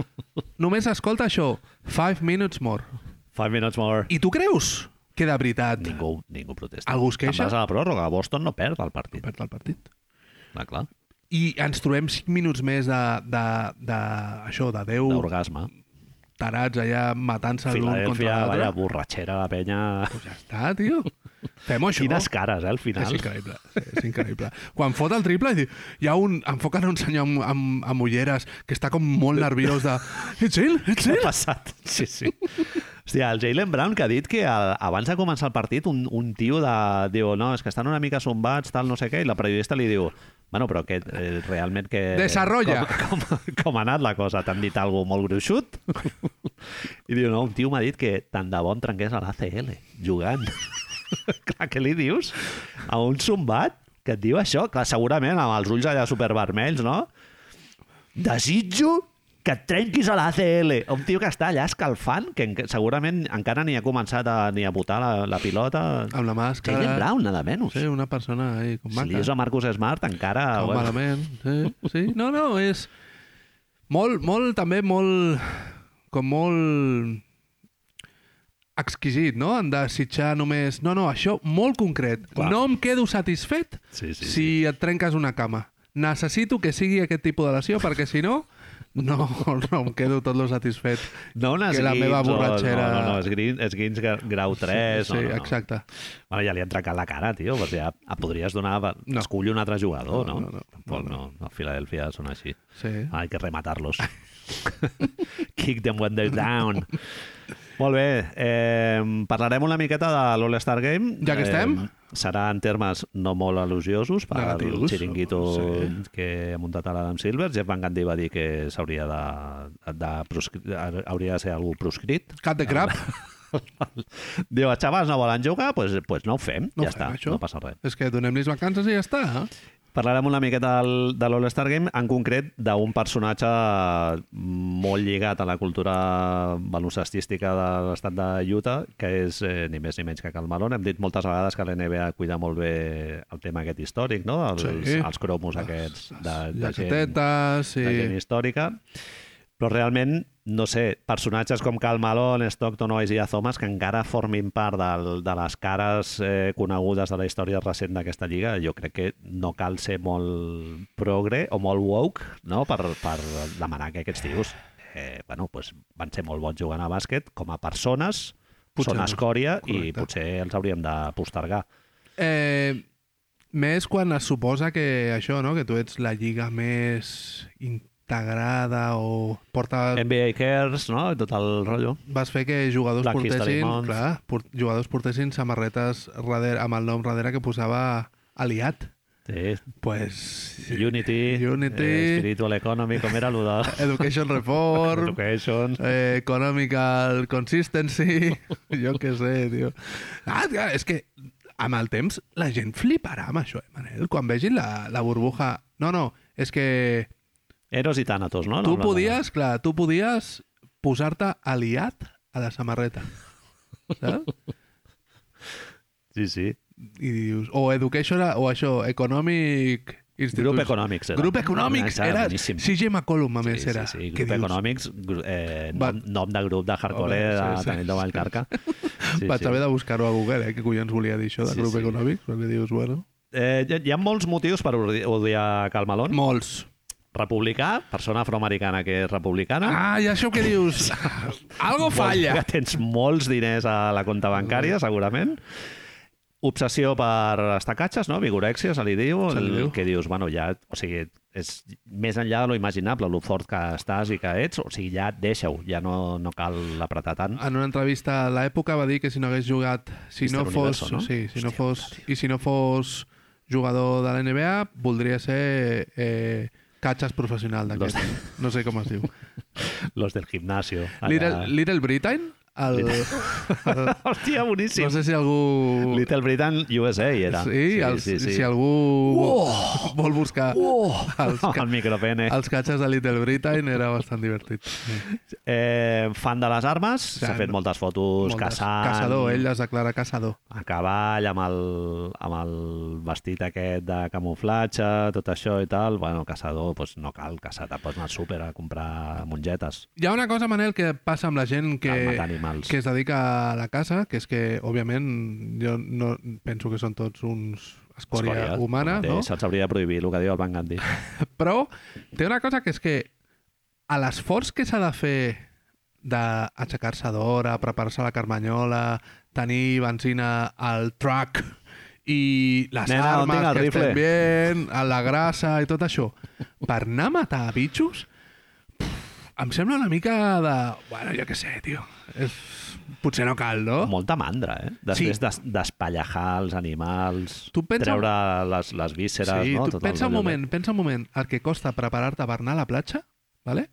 B: només escolta això, 5 minutes more.
A: Five minutes more.
B: I tu creus que de veritat
A: Ningú, ningú protesta.
B: Algú es queixa?
A: Em vas a la pròrroga. Boston no perd el partit.
B: perd el partit?
A: Clar, clar.
B: i ens trobem 5 minuts més de, de, de això, de 10
A: D'orgasme.
B: tarats allà matant-se l'un contra
A: Filadèlfia, vaya
B: l'altre.
A: borratxera la penya.
B: Pues ja està, tio. Fem això.
A: Quines cares, eh, al final.
B: És increïble, és increïble. Quan fot el triple, i diu, hi ha un, enfoquen a un senyor amb, amb, amb ulleres que està com molt nerviós de... Ets ell? Ets
A: Què
B: ell?
A: ha passat? Sí, sí. Hòstia, el Jalen Brown que ha dit que a, abans de començar el partit un, un tio de, diu, no, és que estan una mica sombats, tal, no sé què, i la periodista li diu, bueno, però que eh, realment que...
B: Desarrolla.
A: Com, com, com ha anat la cosa? T'han dit alguna cosa molt gruixut? I diu, no, un tio m'ha dit que tant de bo em trenqués a l'ACL, jugant. Clar, què li dius? A un sombat que et diu això? Clar, segurament amb els ulls allà supervermells, no? desitjo que et trenquis a l'ACL. Un tio que està allà escalfant, que enca- segurament encara ni ha començat a, ni a botar la, la pilota.
B: Amb la màscara.
A: Jalen Brown, nada
B: No
A: menys.
B: sé, una persona ahí, com
A: si li
B: maca.
A: dius a Marcus Smart, encara...
B: Cau malament. Sí, sí. No, no, és... Molt, molt, també molt... Com molt exquisit, no? Han de sitjar només... No, no, això molt concret.
A: Clar.
B: No em quedo satisfet
A: Sí, sí,
B: si et trenques una cama. Necessito que sigui aquest tipus de lesió, perquè si no, no, no em quedo tot lo satisfet.
A: No un
B: Que la
A: esguins,
B: meva
A: o-
B: borratxera-
A: No, no, no, esguins, esguins gra- grau 3.
B: sí,
A: no, no, no.
B: exacte.
A: Bueno, ja li han trencat la cara, tio, perquè ja et podries donar... No.
B: No.
A: Escull un altre jugador, no?
B: No, no, no.
A: Tampoc no. no. A Filadèlfia són així.
B: Sí.
A: Hay que rematarlos. Kick them when they're down. Molt bé, eh, parlarem una miqueta de l'All-Star Game.
B: Ja que estem.
A: Eh, serà en termes no molt elogiosos per Negatius, al
B: Negatius,
A: xiringuito sí.
B: sí.
A: que ha muntat ara Adam Silver. Jeff Van Gundy va dir que s'hauria de, de proscri- hauria de ser algú proscrit.
B: Cat de crap.
A: Ah. Diu, els xavals no volen jugar, doncs pues, pues no ho fem,
B: No
A: ja
B: ho fem,
A: està,
B: això.
A: no passa res.
B: És que donem-los vacances i ja està. eh?
A: Parlarem una miqueta del, de l'All-Star Game, en concret d'un personatge molt lligat a la cultura baloncestística de l'estat de Utah, que és eh, ni més ni menys que Cal Malone. Hem dit moltes vegades que la NBA cuida molt bé el tema aquest històric, no? Els,
B: Sí.
A: els cromos aquests de, de Ah, gent,
B: Jaquetetes i...
A: de gent històrica. Però realment, no sé, personatges com Cal Malone, Stockton o Isaiah Thomas, que encara formin part del, de les cares eh, conegudes de la història recent d'aquesta lliga, jo crec que no cal ser molt progre o molt woke no? per, per demanar que aquests tios eh, bueno, pues, van ser molt bons jugant a bàsquet com a persones,
B: Potser
A: són
B: no.
A: escòria i
B: Correcte.
A: potser els hauríem de postergar.
B: Eh, més quan es suposa que això, no? Que tu ets la lliga més integrada o porta...
A: NBA Cares, no? I Tot el rotllo.
B: Vas fer que jugadors
A: Black History
B: portessin...
A: Month.
B: Clar, port, jugadors portessin samarretes darrere, amb el nom darrere que posava aliat.
A: Sí,
B: Pues...
A: Unity,
B: Unity.
A: eh, Spiritual Economy, com era allò de...
B: Education Reform...
A: Education.
B: Eh, economical consistency, jo què sé, tio. Ah, clar, és que amb el temps la gent fliparà amb això, eh, Manel? Quan vegin la, la burbuja... No, no, és que
A: Eros i Thanatos, no? No,
B: Tu
A: no,
B: podies, clar, tu podies posar-te aliat a la samarreta. Saps?
A: no. Sí, sí.
B: I dius, o education, o això, economic institute.
A: Grup Economics era.
B: Grup econòmics
A: Era
B: era.
A: boníssim.
B: CJ McCollum, a
A: Sí,
B: més,
A: sí,
B: era.
A: sí,
B: Que
A: Grup
B: dius,
A: Econòmics, gru- eh,
B: Va-
A: nom, nom de grup de hardcore eh,
B: Home,
A: de
B: sí, sí,
A: Tanit de
B: sí,
A: Vallcarca. Sí,
B: Vaig
A: sí.
B: haver de buscar-ho a Google, eh? Què collons volia dir això de
A: Sí,
B: grup
A: sí.
B: econòmic? Perquè dius, bueno...
A: Eh, hi ha- hi ha molts motius per odi- odiar Karl Malone.
B: Molts.
A: Republicà, persona afroamericana que és republicana.
B: Ah, i això que dius... Algo falla. Mm.
A: Que tens molts diners a la compta bancària, segurament. Obsessió per estacatges, no? Vigorèxia, se li diu.
B: Se li
A: el
B: diu.
A: Que dius, bueno, ja... O sigui, és més enllà de lo imaginable, lo fort que estàs i que ets. O sigui, ja deixa-ho. Ja no, no cal apretar tant.
B: En una entrevista a l'època va dir que si no hagués jugat... Si
A: Mister
B: no fos...
A: Universo, no?
B: Sí, si no
A: Hòstia
B: fos...
A: puta,
B: I si no fos jugador de la NBA, voldria ser eh, catxes professional d'aquest. No sé com es diu.
A: Los del gimnasio.
B: Little, Little Britain? El, el,
A: Hòstia, boníssim.
B: no sé si algú...
A: Little Britain USA era.
B: Sí, els, sí, sí. si algú
A: Uoh!
B: vol buscar
A: Oh!
B: els, ca-
A: El micropene.
B: els catxes de Little Britain era bastant divertit. Sí.
A: Eh, fan de les armes, s'ha
B: Fan.
A: fet moltes fotos,
B: Molt de-
A: caçant,
B: Caçador, ell es declara caçador.
A: a cavall, amb el, amb el vestit aquest de camuflatge, tot això i tal. Bueno, caçador, doncs no cal caçar, te'n pots anar al súper a comprar mongetes.
B: Hi ha una cosa, Manel, que passa amb la gent que,
A: Cal matar animals.
B: que es dedica a la caça, que és que, òbviament, jo no penso que són tots uns escòria,
A: Escòria,
B: humana,
A: el
B: no?
A: mateix, Se'ls hauria de prohibir el que diu el Van Gandhi.
B: Però té una cosa que és que a l'esforç que s'ha de fer d'aixecar-se d'hora, preparar-se la carmanyola, tenir benzina al truck i les
A: Nena, on
B: armes
A: tinc el
B: que
A: rifle?
B: estem veient, a la grassa i tot això, per anar a matar bitxos, pff, em sembla una mica de... Bueno, jo què sé, tio. És... Potser no cal, no?
A: Molta mandra, eh? Després des- d'espallejar els animals,
B: Tu pensa-
A: treure les, les vísceres,
B: Sí,
A: no?
B: tu
A: Tot el
B: pensa un
A: rotllo
B: moment, pensa un moment el que costa preparar-te per anar a la platja, ¿vale?
A: Ah.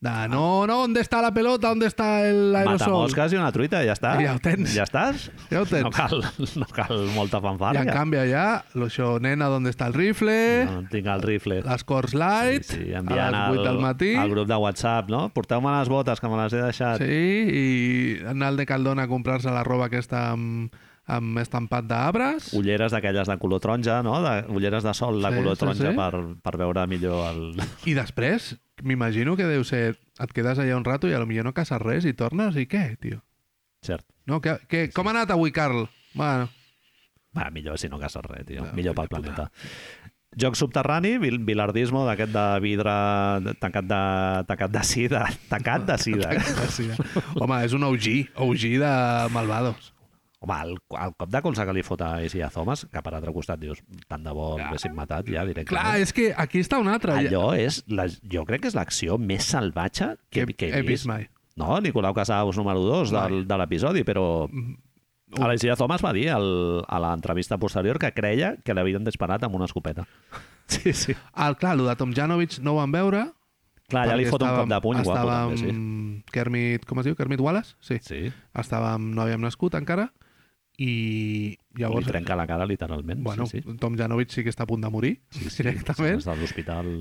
B: De no, no, ¿dónde está la pelota? ¿Dónde está el
A: de-
B: aerosol?
A: Matamosques i una truita, ja està.
B: Ja ho tens.
A: Ja estàs?
B: Ja ho tens.
A: No cal, no cal molta
B: I
A: fanfària.
B: en canvi allà, lo això, nena, ¿dónde está el rifle?
A: No, tinc el rifle.
B: Les Cors Light,
A: sí, sí,
B: a
A: enviant
B: les 8
A: al,
B: del matí.
A: al grup de WhatsApp, no? Porteu-me les botes, que me les he deixat.
B: Sí, i anar al de Caldona a comprar-se la roba aquesta amb, amb estampat d'arbres.
A: Ulleres d'aquelles de color taronja, no? De, ulleres de sol de
B: Sí,
A: color
B: sí,
A: taronja
B: sí.
A: Per, per veure millor el...
B: I després, m'imagino que deu ser... Et quedes allà un rato i a lo millor no caces res i tornes i què, tio?
A: Cert.
B: No, que, que, com ha anat avui, Carl? Bueno,
A: Va, millor si no caces res, tio.
B: No,
A: millor pel
B: puta.
A: planeta. Joc subterrani, vil- bilardismo d'aquest de vidre tancat de, tancat de sida. Tancat de sida. eh?
B: Sí, ja. Home, és un OG, OG de malvados.
A: Home, el, el cop de colze que li fot a Isias Thomas, que per altre costat dius, tant de bo l'haguessin matat ja
B: Ah. Clar,
A: directament.
B: és que aquí està un altre.
A: Allò és, la, jo crec que és l'acció més salvatge que,
B: Que
A: que he,
B: he vist
A: vist.
B: mai.
A: No, Nicolau Casaus número 2 del, de l'episodi, però
B: Mm.
A: a la Isias Thomas va dir al, a l'entrevista posterior que creia que l'havien disparat amb una escopeta. Sí, sí.
B: El, clar, el de Tomjanovic no ho van veure.
A: Clar, ja li
B: perquè
A: fot un cop de puny guapo,
B: estàvem
A: també,
B: Kermit, com es diu? Kermit Wallace? Sí.
A: sí. Sí,
B: Estàvem, no havíem nascut encara. I
A: li
B: llavors...
A: trenca la cara literalment.
B: Bueno,
A: sí, sí.
B: Tom Janovic sí que està a punt de morir, directament.
A: Des de l'hospital...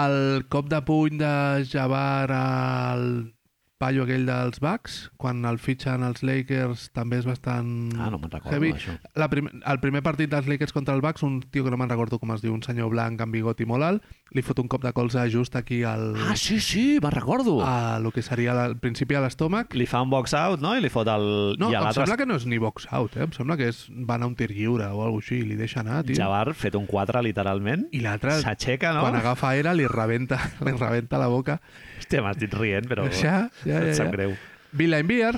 B: El cop de puny de Jabbar al paio aquell dels Bucks, quan el fitxen els Lakers, també és bastant
A: Ah, no me'n recordo,
B: heavy.
A: això.
B: La prim el primer partit dels Lakers contra el Bucks, un tio que no me'n recordo com es diu, un senyor blanc amb bigot i molt alt, li fot un cop de colze just aquí al...
A: Ah, sí, sí, me'n recordo.
B: a lo que seria la- al principi a l'estómac.
A: Ah, Li fa un box out, no? I li fot el...
B: No,
A: I a
B: em
A: l'altre
B: sembla que no és ni box out, eh? em sembla que és, va anar un tir lliure o alguna així, li deixa anar, tio.
A: Javar fet un 4, literalment.
B: I l'altre,
A: S'aixeca, no?
B: quan agafa aire, li rebenta, li rebenta la boca.
A: Hòstia, m'has dit rient, però...
B: Ja, ja, ja,
A: Em
B: ja.
A: sap greu.
B: Vila en Beer,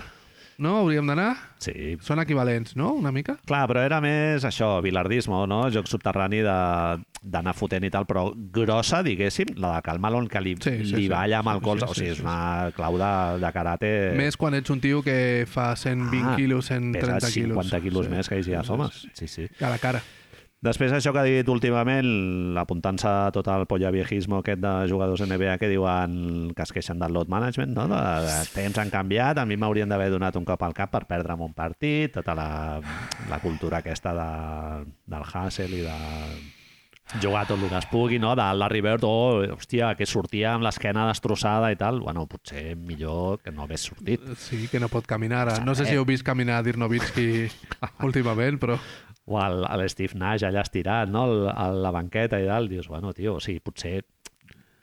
B: no? Hauríem d'anar.
A: Sí.
B: Són equivalents, no? Una mica?
A: Clar, però era més això, bilardismo, no? Joc subterrani de- d'anar fotent i tal, però grossa, diguéssim, la de Cal Malone, que li,
B: Sí, sí,
A: li
B: sí.
A: balla amb el
B: Sí,
A: colze.
B: sí,
A: o sigui,
B: sí,
A: és
B: sí,
A: una clau de, de karate...
B: Més quan ets un tio que fa 120 quilos,
A: Eh. Ah, pesa
B: 130 quilos.
A: 50 quilos sí. més que Isia Thomas. Sí, sí.
B: A la cara.
A: Després això que ha dit últimament, apuntant-se a tot el pollaviegismo aquest de jugadors NBA que diuen que es queixen del load management, no? de, de temps han canviat, a mi m'haurien d'haver donat un cop al cap per perdre'm un partit, tota la, la cultura aquesta de, del hustle i de jugar tot el que es pugui, no? de Larry Bird, oh, hòstia, que sortia amb l'esquena destrossada i tal, bueno, potser millor que no hagués sortit.
B: Sí, que no pot caminar ara. No sé
A: Eh.
B: si heu vist caminar Dirnovitsky últimament, però...
A: o el, el Steve Nash allà estirat, no? El, a la banqueta i tal, dius, bueno, tio, o sigui, potser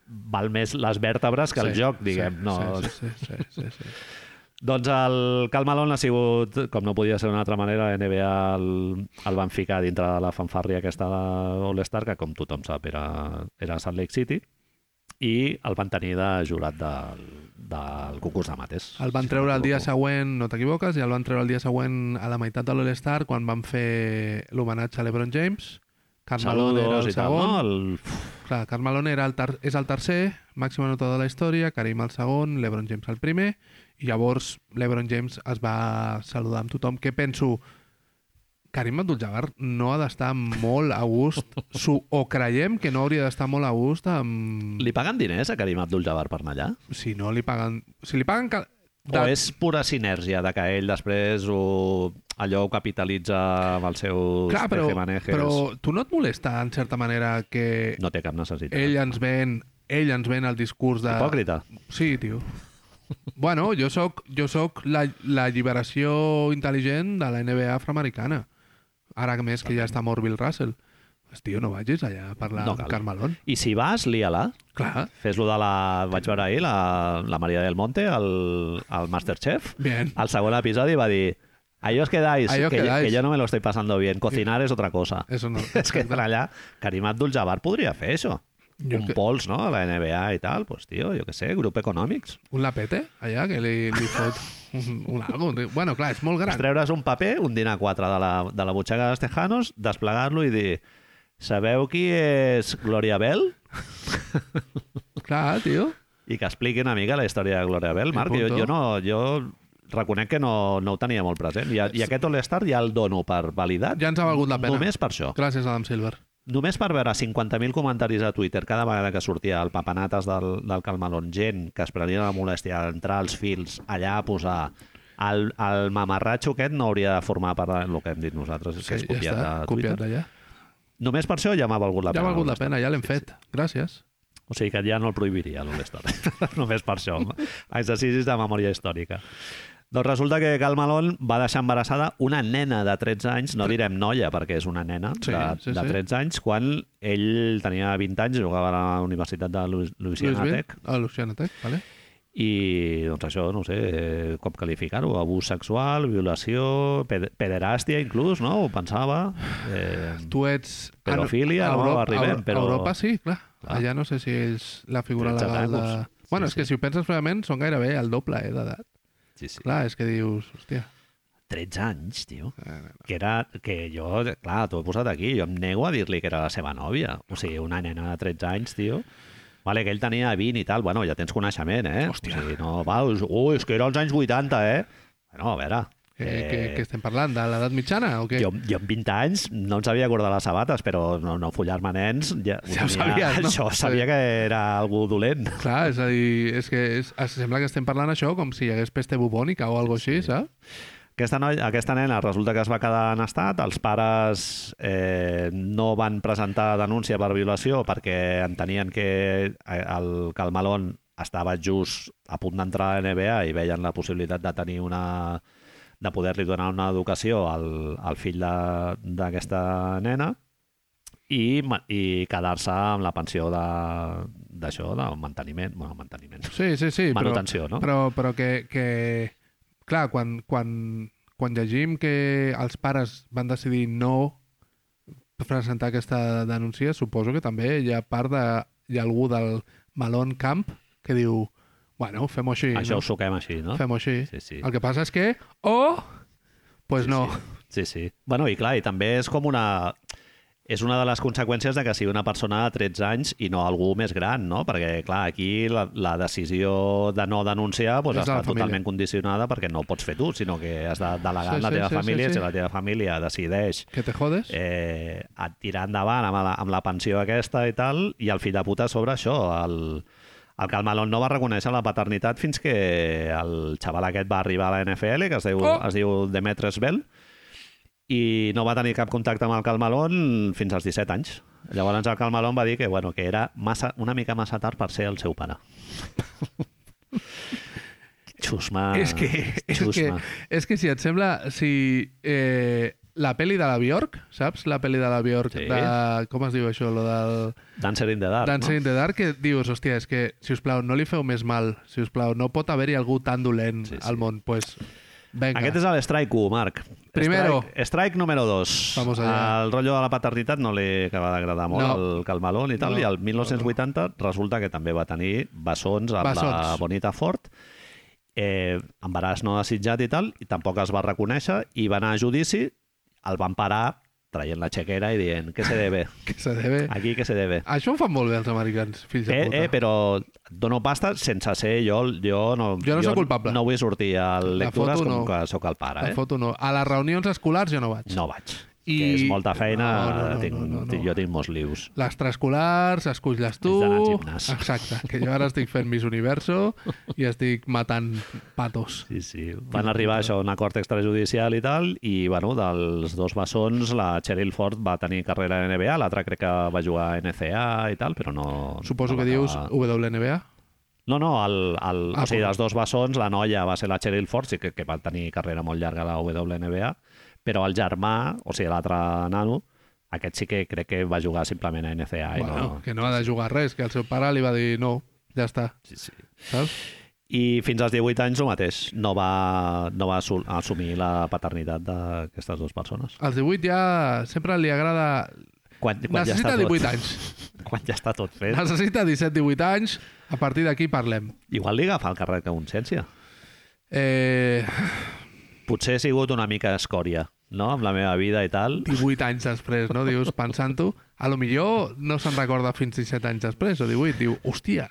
A: val més les vèrtebres que el
B: sí,
A: joc, diguem.
B: sí,
A: no?
B: Sí, sí, sí, sí, sí, sí.
A: Doncs el Cal Malone ha sigut, com no podia ser d'una altra manera, la NBA el, el van ficar dintre de la fanfàrria aquesta de All-Star, que com tothom sap era, era Salt Lake City, i el van tenir de jurat del, del concurs de mates.
B: El
A: si
B: van
A: no
B: treure el dia
A: m'equivoco.
B: següent, no t'equivoques, i el van treure el dia següent a la meitat de l'All-Star quan van fer l'homenatge a l'Ebron James. Carmelo era
A: Saludos
B: el
A: i tal,
B: segon.
A: no? El,
B: Clar, Carmelo era el ter és el tercer, màxima nota de la història, Karim el segon, l'Ebron James el primer, i llavors l'Ebron James es va saludar amb tothom, que penso... Karim Abdul-Jabbar no ha d'estar molt a gust, su, o creiem que no hauria d'estar molt a gust amb...
A: li paguen diners a Karim Abdul-Jabbar per anar allà?
B: Si no li paguen... Si li paguen... Cal...
A: O és pura sinèrgia de que ell després ho, allò ho capitalitza amb els seus
B: Clar, però,
A: tejemanejes?
B: però tu no et molesta, en certa manera, que
A: No té cap necessitat.
B: ell ens ven ell ens ven el discurs de...
A: Hipòcrita.
B: Sí, tio. Bueno, jo sóc, jo sóc la, la lliberació intel·ligent de la NBA afroamericana. Ara més que ja està mort Bill Russell. Pues, tio, no vagis allà a parlar
A: No
B: no amb
A: cal.
B: Carmelón.
A: I si vas, lia-la.
B: Clar.
A: Fes-lo de la... Vaig veure ahir la, la Maria del Monte, el, el Masterchef.
B: Bien.
A: Al segon episodi va dir... Ahí os quedáis,
B: Ahí os
A: que,
B: quedáis.
A: Yo, que yo no me lo estoy pasando bien. Cocinar es otra cosa.
B: Eso no.
A: és que per allà Karim Abdul-Jabbar podria fer això.
B: Jo
A: un
B: que-
A: pols, no?, a la NBA i tal, pues, tio, jo què sé, grup econòmics.
B: Un lapete, allà, que li, li fot un, un algo. Bueno, clar, és molt
A: Gran.
B: gran.
A: Treure's un paper, un dinar 4 de la, de la butxaca dels tejanos, desplegar-lo i dir sabeu qui és Gloria Bell?
B: Clar, tio.
A: I que expliqui una mica la història de Gloria Bell,
B: I
A: Marc. Jo,
B: punto.
A: jo, no, jo reconec que no, no ho tenia molt present. I, a- i aquest All-Star ja el dono per validat.
B: Ja ens ha valgut la pena.
A: Només per això.
B: Gràcies, Adam Silver.
A: Només per veure 50.000 comentaris a Twitter cada vegada que sortia el papanates del, del Calmalón, gent que es prenia la molèstia d'entrar als fils allà a posar... El, el mamarratxo aquest no hauria de formar part del que hem dit nosaltres, que és
B: Sí,
A: copiat
B: està,
A: de Twitter.
B: copiat d'allà.
A: Només per això ja m'ha valgut la
B: Ja
A: pena.
B: ha valgut la
A: l'All-Star.
B: pena, ja l'hem fet. Gràcies.
A: O sigui que ja no el prohibiria, l'All-Star. Només per això. Exercicis de memòria històrica. Doncs resulta que Cal Malone va deixar embarassada una nena de 13 anys, no direm noia perquè és una nena
B: Sí,
A: de,
B: sí,
A: de
B: sí.
A: 13 anys, quan ell tenia 20 anys, jugava a la Universitat de Lu- Louisiana
B: Luis Bill,
A: Tech,
B: A Luciana Tech, vale?
A: i doncs això, no ho sé, eh, com qualificar-ho, abús sexual, violació, ped pederàstia inclús, no? Ho pensava. Eh,
B: Tu ets...
A: Pedofilia, no? Arribem,
B: a-
A: però-
B: A Europa sí, clar.
A: Clar.
B: Allà no sé si ells la figura
A: 13
B: legal de...
A: tacos. Sí,
B: bueno,
A: sí.
B: és que si ho penses fredament són gairebé el doble eh, d'edat.
A: sí, sí.
B: Clar, és que dius, hòstia...
A: 13 anys, tio.
B: eh, no.
A: que era, que jo, clar, t'ho he posat aquí, jo em nego a dir-li que era la seva nòvia. O sigui, una nena de 13 anys, tio. Vale, que ell tenia 20 i tal, bueno, ja tens coneixement, eh?
B: Hòstia.
A: O sigui, no, va, us- ui, és que era als anys 80, eh? Bueno, a veure, eh,
B: Que, Eh, que, que estem parlant de l'edat mitjana o què?
A: jo, jo amb 20 anys no em sabia acordar les sabates, però no, no follar-me nens... Ja,
B: Ja ho sabies, no?
A: Això, sabia que era algú dolent.
B: Clar, és a dir, és que és, es sembla que estem parlant això com si hi hagués peste bubònica o alguna així, saps?
A: Aquesta, noi, aquesta nena resulta que es va quedar en estat, els pares eh, no van presentar denúncia per violació perquè entenien que eh, el Calmalón estava just a punt d'entrar a la NBA i veien la possibilitat de tenir una de poder-li donar una educació al, al fill de- d'aquesta nena i, ma- i quedar-se amb la pensió de- d'això, de, del manteniment, bueno, manteniment,
B: Sí, sí, sí. Però,
A: manutenció, no?
B: però, però que, que... Clar, quan, quan, quan llegim que els pares van decidir no presentar aquesta denúncia, suposo que també hi ha part de... Hi ha algú del Malon Camp que diu bueno, fem-ho així.
A: Això
B: no?
A: ho suquem així, no?
B: Fem-ho així.
A: Sí, sí.
B: El que passa és que... O... Pues no.
A: Sí, sí. Bueno, i clar, i també és com una... És una de les conseqüències de que sigui una persona de 13 anys i no algú més gran, no? Perquè, clar, aquí la, la decisió de no denunciar pues,
B: És de la
A: està
B: família.
A: totalment condicionada perquè no ho pots fer tu, sinó que has de delegar
B: Sí,
A: sí, la
B: sí,
A: teva
B: sí, sí,
A: família
B: sí.
A: i si la teva família decideix
B: Que te jodes.
A: eh, a tirar endavant amb la, amb la pensió aquesta i tal, i el fill de puta a sobre això, el, el Calmalón no va reconèixer la paternitat fins que el xaval aquest va arribar a la NFL, que es diu,
B: Oh!
A: oh. es diu Demetres Bell, i no va tenir cap contacte amb el Calmalón fins als 17 anys. Llavors el Calmalón va dir que, bueno, que era massa, una mica massa tard per ser el seu pare. Xusma.
B: és que, és que,
A: xusma.
B: és que si et sembla, si eh, la peli de la Bjork, saps? La peli de la Bjork
A: Sí.
B: de... Com es diu això? Lo del
A: Dancer in the Dark,
B: Dancing
A: no?
B: in the Dark, que dius, hòstia, és que, si us plau, no li feu més mal, si us plau, no pot haver-hi algú tan dolent
A: Sí, sí.
B: al món. Pues, venga.
A: Aquest és l'Strike 1, Marc.
B: Primero.
A: Strike, strike número 2.
B: Vamos allá.
A: El rotllo de la paternitat no li acaba d'agradar molt
B: No.
A: al Calmalón i tal,
B: No.
A: i el 1980 resulta que també va tenir bessons amb la
B: Bessons.
A: Bonita Ford, eh, embaràs no desitjat i tal, i tampoc es va reconèixer, i va anar a judici, el van parar traient la xequera i dient què se debe,
B: Que se debe...
A: aquí què se debe.
B: Això ho fan molt bé els americans, fills de
A: Eh,
B: puta.
A: eh, però et dono pasta sense ser jo, jo no,
B: Jo no soc culpable.
A: no vull sortir a lectures
B: foto
A: com
B: no.
A: que sóc el pare.
B: La
A: eh?
B: foto no. A les reunions escolars jo no vaig.
A: No vaig. I...
B: I-
A: Que és molta feina,
B: No, no, no,
A: tinc,
B: no, no, no.
A: tinc- jo tinc molts lius.
B: L'extraescolars, esculls-les tu...
A: Has d'anar al gimnàs.
B: Exacte, que jo ara estic fent Miss Universo i estic matant patos.
A: Sí, sí. Van arribar això, a un acord extrajudicial i tal, i bueno, dels dos bessons, la Cheryl Ford va tenir carrera a NBA, l'altra crec que va jugar a NCA i tal, però no...
B: Suposo
A: no va
B: que dius
A: acabar.
B: WNBA.
A: No, no, el, el, ah, o
B: Ah,
A: sigui,
B: perdó.
A: dels dos bessons, la noia va ser la Cheryl Ford, sí que, que va tenir carrera molt llarga a la WNBA, però el germà, o sigui, l'altre nano, aquest sí que crec que va jugar simplement a NCA. i
B: bueno,
A: no...
B: que no ha de jugar res, que el seu pare li va dir no, ja està,
A: Sí, sí.
B: saps?
A: I fins als 18 anys el mateix. No va, no va assu- assumir la paternitat d'aquestes dues persones.
B: Als 18 ja sempre li agrada...
A: Quan, quan ja
B: Necessita
A: està
B: 18
A: tot,
B: anys.
A: Quan ja està tot fet.
B: Necessita 17-18 anys. A partir d'aquí parlem.
A: Igual li agafa el càrrec a Consciència.
B: Eh,
A: Potser he sigut una mica escòria, no?, amb la meva vida i tal.
B: 18 anys després, no? Dius, pensant-ho, a lo millor no se'n recorda fins 17 anys després, o 18. Diu, hòstia,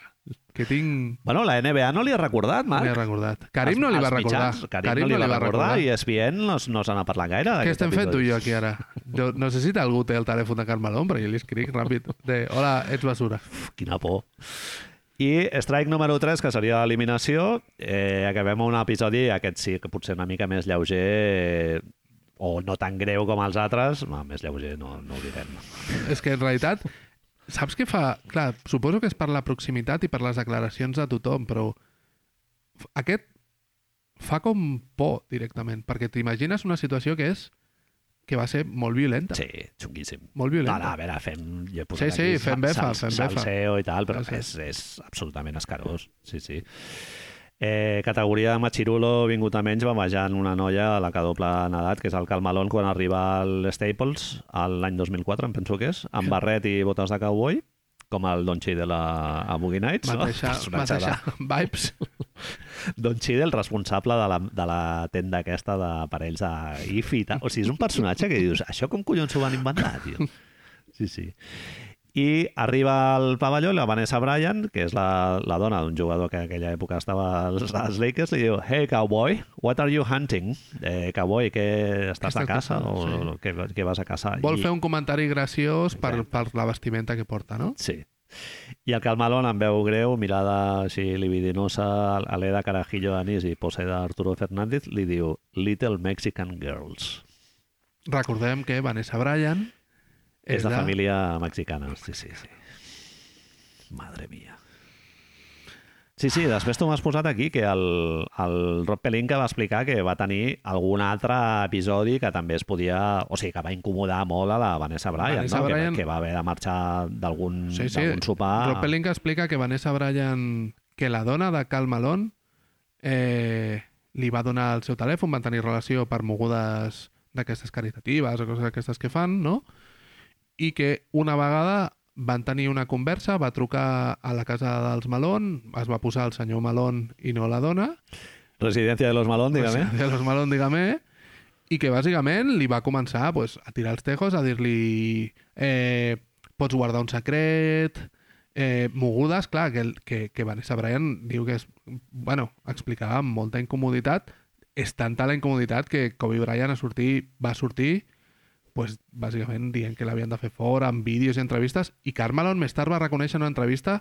B: que tinc...
A: Bueno, la NBA no li ha recordat,
B: No li ha
A: Marc.
B: recordat. Karim no li
A: Els-
B: va
A: els
B: recordar.
A: mitjans, Karim, Karim no li, no li va recordar, i ESPN no, s- no se n'ha parlat gaire.
B: Què
A: d'aquest
B: estem fent tu
A: episodi.
B: i jo aquí ara? Jo, no sé si algú té el telèfon de Carme Lombra, jo li escric ràpid. De, Hola, ets basura.
A: Uf, quina por. I strike número 3, que seria l'eliminació, eh, acabem amb un episodi, aquest sí que potser una mica més lleuger, eh, o no tan greu com els altres, no, més lleuger no, no ho direm.
B: És que en realitat, saps què fa? Clar, suposo que és per la proximitat i per les declaracions de tothom, però f- aquest fa com por directament, perquè t'imagines una situació que és que va ser molt violenta.
A: Sí, xunguíssim.
B: Molt
A: No,
B: violenta.
A: no, a veure, fem... Jo he
B: Sí,
A: posat
B: sí,
A: aquí
B: fem befa,
A: sal-
B: fem befa.
A: Salseo i tal, però
B: Sí, sí.
A: és, és absolutament escarós. Sí, sí. Eh, categoria de Machirulo, vingut a menys, bamejant una noia a la que doble en edat, que és el Calmalón quan arriba al Staples a l'any 2004, em penso que és, amb barret i botes de cowboy, com el Donchi de la a Boogie Nights.
B: Mateixa,
A: no? Personatge
B: mateixa vibes.
A: de- Donchi, el responsable de la, de la tenda aquesta d'aparells de IFI. i tal. O sigui, és un personatge que dius, això com collons s'ho van inventar, tio? Sí, sí. I arriba al pavelló la Vanessa Bryan, que és la, la dona d'un jugador que en aquella època estava als, als Lakers, li diu, hey cowboy, what are you hunting? Eh, cowboy, que estàs a
B: Estàs de
A: casa
B: caça,
A: o,
B: sí.
A: o que, que vas a casa?
B: Vol
A: I-
B: fer un comentari graciós per, per la vestimenta que porta, no?
A: Sí. I el Calmalón em veu greu, mirada així libidinosa, a l'Eda Carajillo d'Anís i pose d'Arturo Fernández, li diu Little Mexican Girls.
B: Recordem que Vanessa Bryan
A: És, de família mexicana, sí, sí, sí. Madre mia. Sí, sí, després tu m'has posat aquí que el, el Rob Pelinka va explicar que va tenir algun altre episodi que també es podia... O sigui, que va incomodar molt a la Vanessa Bryan,
B: Vanessa
A: no?
B: Bryan-
A: Que, que va haver de marxar d'algun
B: Sí, sí.
A: d'algun sopar...
B: Rob Pelinka explica que Vanessa Bryan, que la dona de Cal Malone, eh, li va donar el seu telèfon, van tenir relació per mogudes d'aquestes caritatives o coses d'aquestes que fan, no? I que una vegada van tenir una conversa, va trucar a la casa dels Malone, es va posar el senyor Malone i no la dona,
A: Residència de los Malón, dígame.
B: de los Malone, dígame, i que bàsicament li va començar pues, a tirar els tejos, a dir-li eh, pots guardar un secret, eh, mogudes, clar, que, el- que, que Vanessa Bryan diu que és, bueno, explicava amb molta incomoditat, és tanta la incomoditat que Kobe Bryant a sortir, va sortir pues, bàsicament dient que l'havien de fer fora, amb vídeos i entrevistes, i Carmelon més tard va reconèixer en una entrevista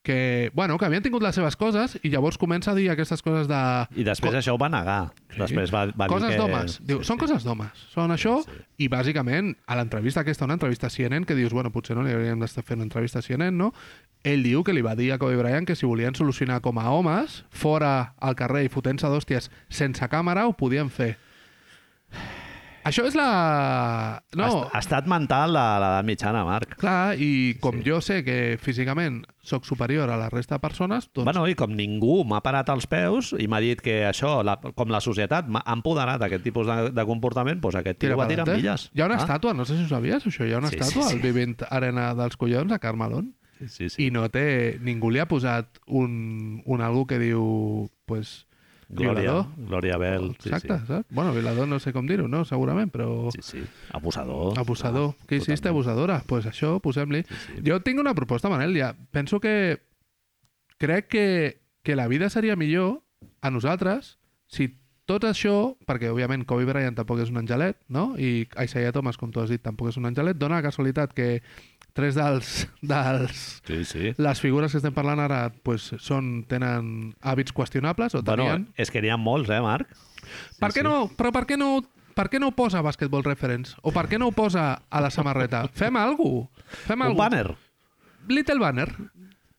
B: que, bueno, que havien tingut les seves coses i llavors comença a dir aquestes coses de...
A: I després
B: Co-
A: això ho va negar. Després va, va
B: coses
A: dir que...
B: d'homes. Diu, són coses d'homes. Són això, i bàsicament, a l'entrevista aquesta, una entrevista a CNN, que dius, bueno, potser no li hauríem d'estar fent una entrevista a CNN, no? Ell diu que li va dir a Kobe Bryant que si volien solucionar com a homes, fora al carrer i fotent-se d'hòsties sense càmera, ho podien fer. Això és la...
A: No.
B: No,
A: Ha, ha estat mental a l'edat mitjana, Marc.
B: clar, i com jo sé que físicament sóc superior a la resta de persones, doncs
A: Bueno, i com ningú m'ha parat als peus i m'ha dit que això, la, com la societat m'ha empoderat aquest tipus de, de comportament, doncs aquest tio va
B: per
A: tirar
B: endavant.
A: milles.
B: Hi ha una
A: Ah,
B: estàtua, no sé si ho sabies, això. Hi ha una
A: Sí, sí,
B: estàtua
A: sí.
B: al Vivint Arena dels Collons, a Carmelón,
A: Sí, sí.
B: i no té... Ningú li ha posat un, un algú que diu... Pues,
A: Glòria,
B: violador.
A: Glòria Bel. Sí,
B: Exacte, sí. saps? Bueno, violador no sé com dir-ho, no? Segurament, però...
A: Sí, sí. sí. Abusador.
B: Abusador. Ah, Què hiciste, abusadora? Doncs pues això, posem-li. Sí, sí. Jo tinc una proposta, Manel, ja. Penso que... Crec que, que la vida seria millor a nosaltres si tot això, perquè òbviament Kobe Bryant tampoc és un angelet, no? I Isaiah Thomas, com tu has dit, tampoc és un angelet, dona la casualitat que tres dels, dels
A: Sí, sí.
B: les figures que estem parlant ara pues, són, tenen hàbits qüestionables o
A: Bueno,
B: tenien...
A: és que n'hi ha molts, eh, Marc?
B: Bueno, per què no? Però per què no, per què no ho posa Basketball Reference? O per què no ho posa a la samarreta? Fem alguna cosa. Fem
A: Un
B: algú.
A: banner.
B: Little banner.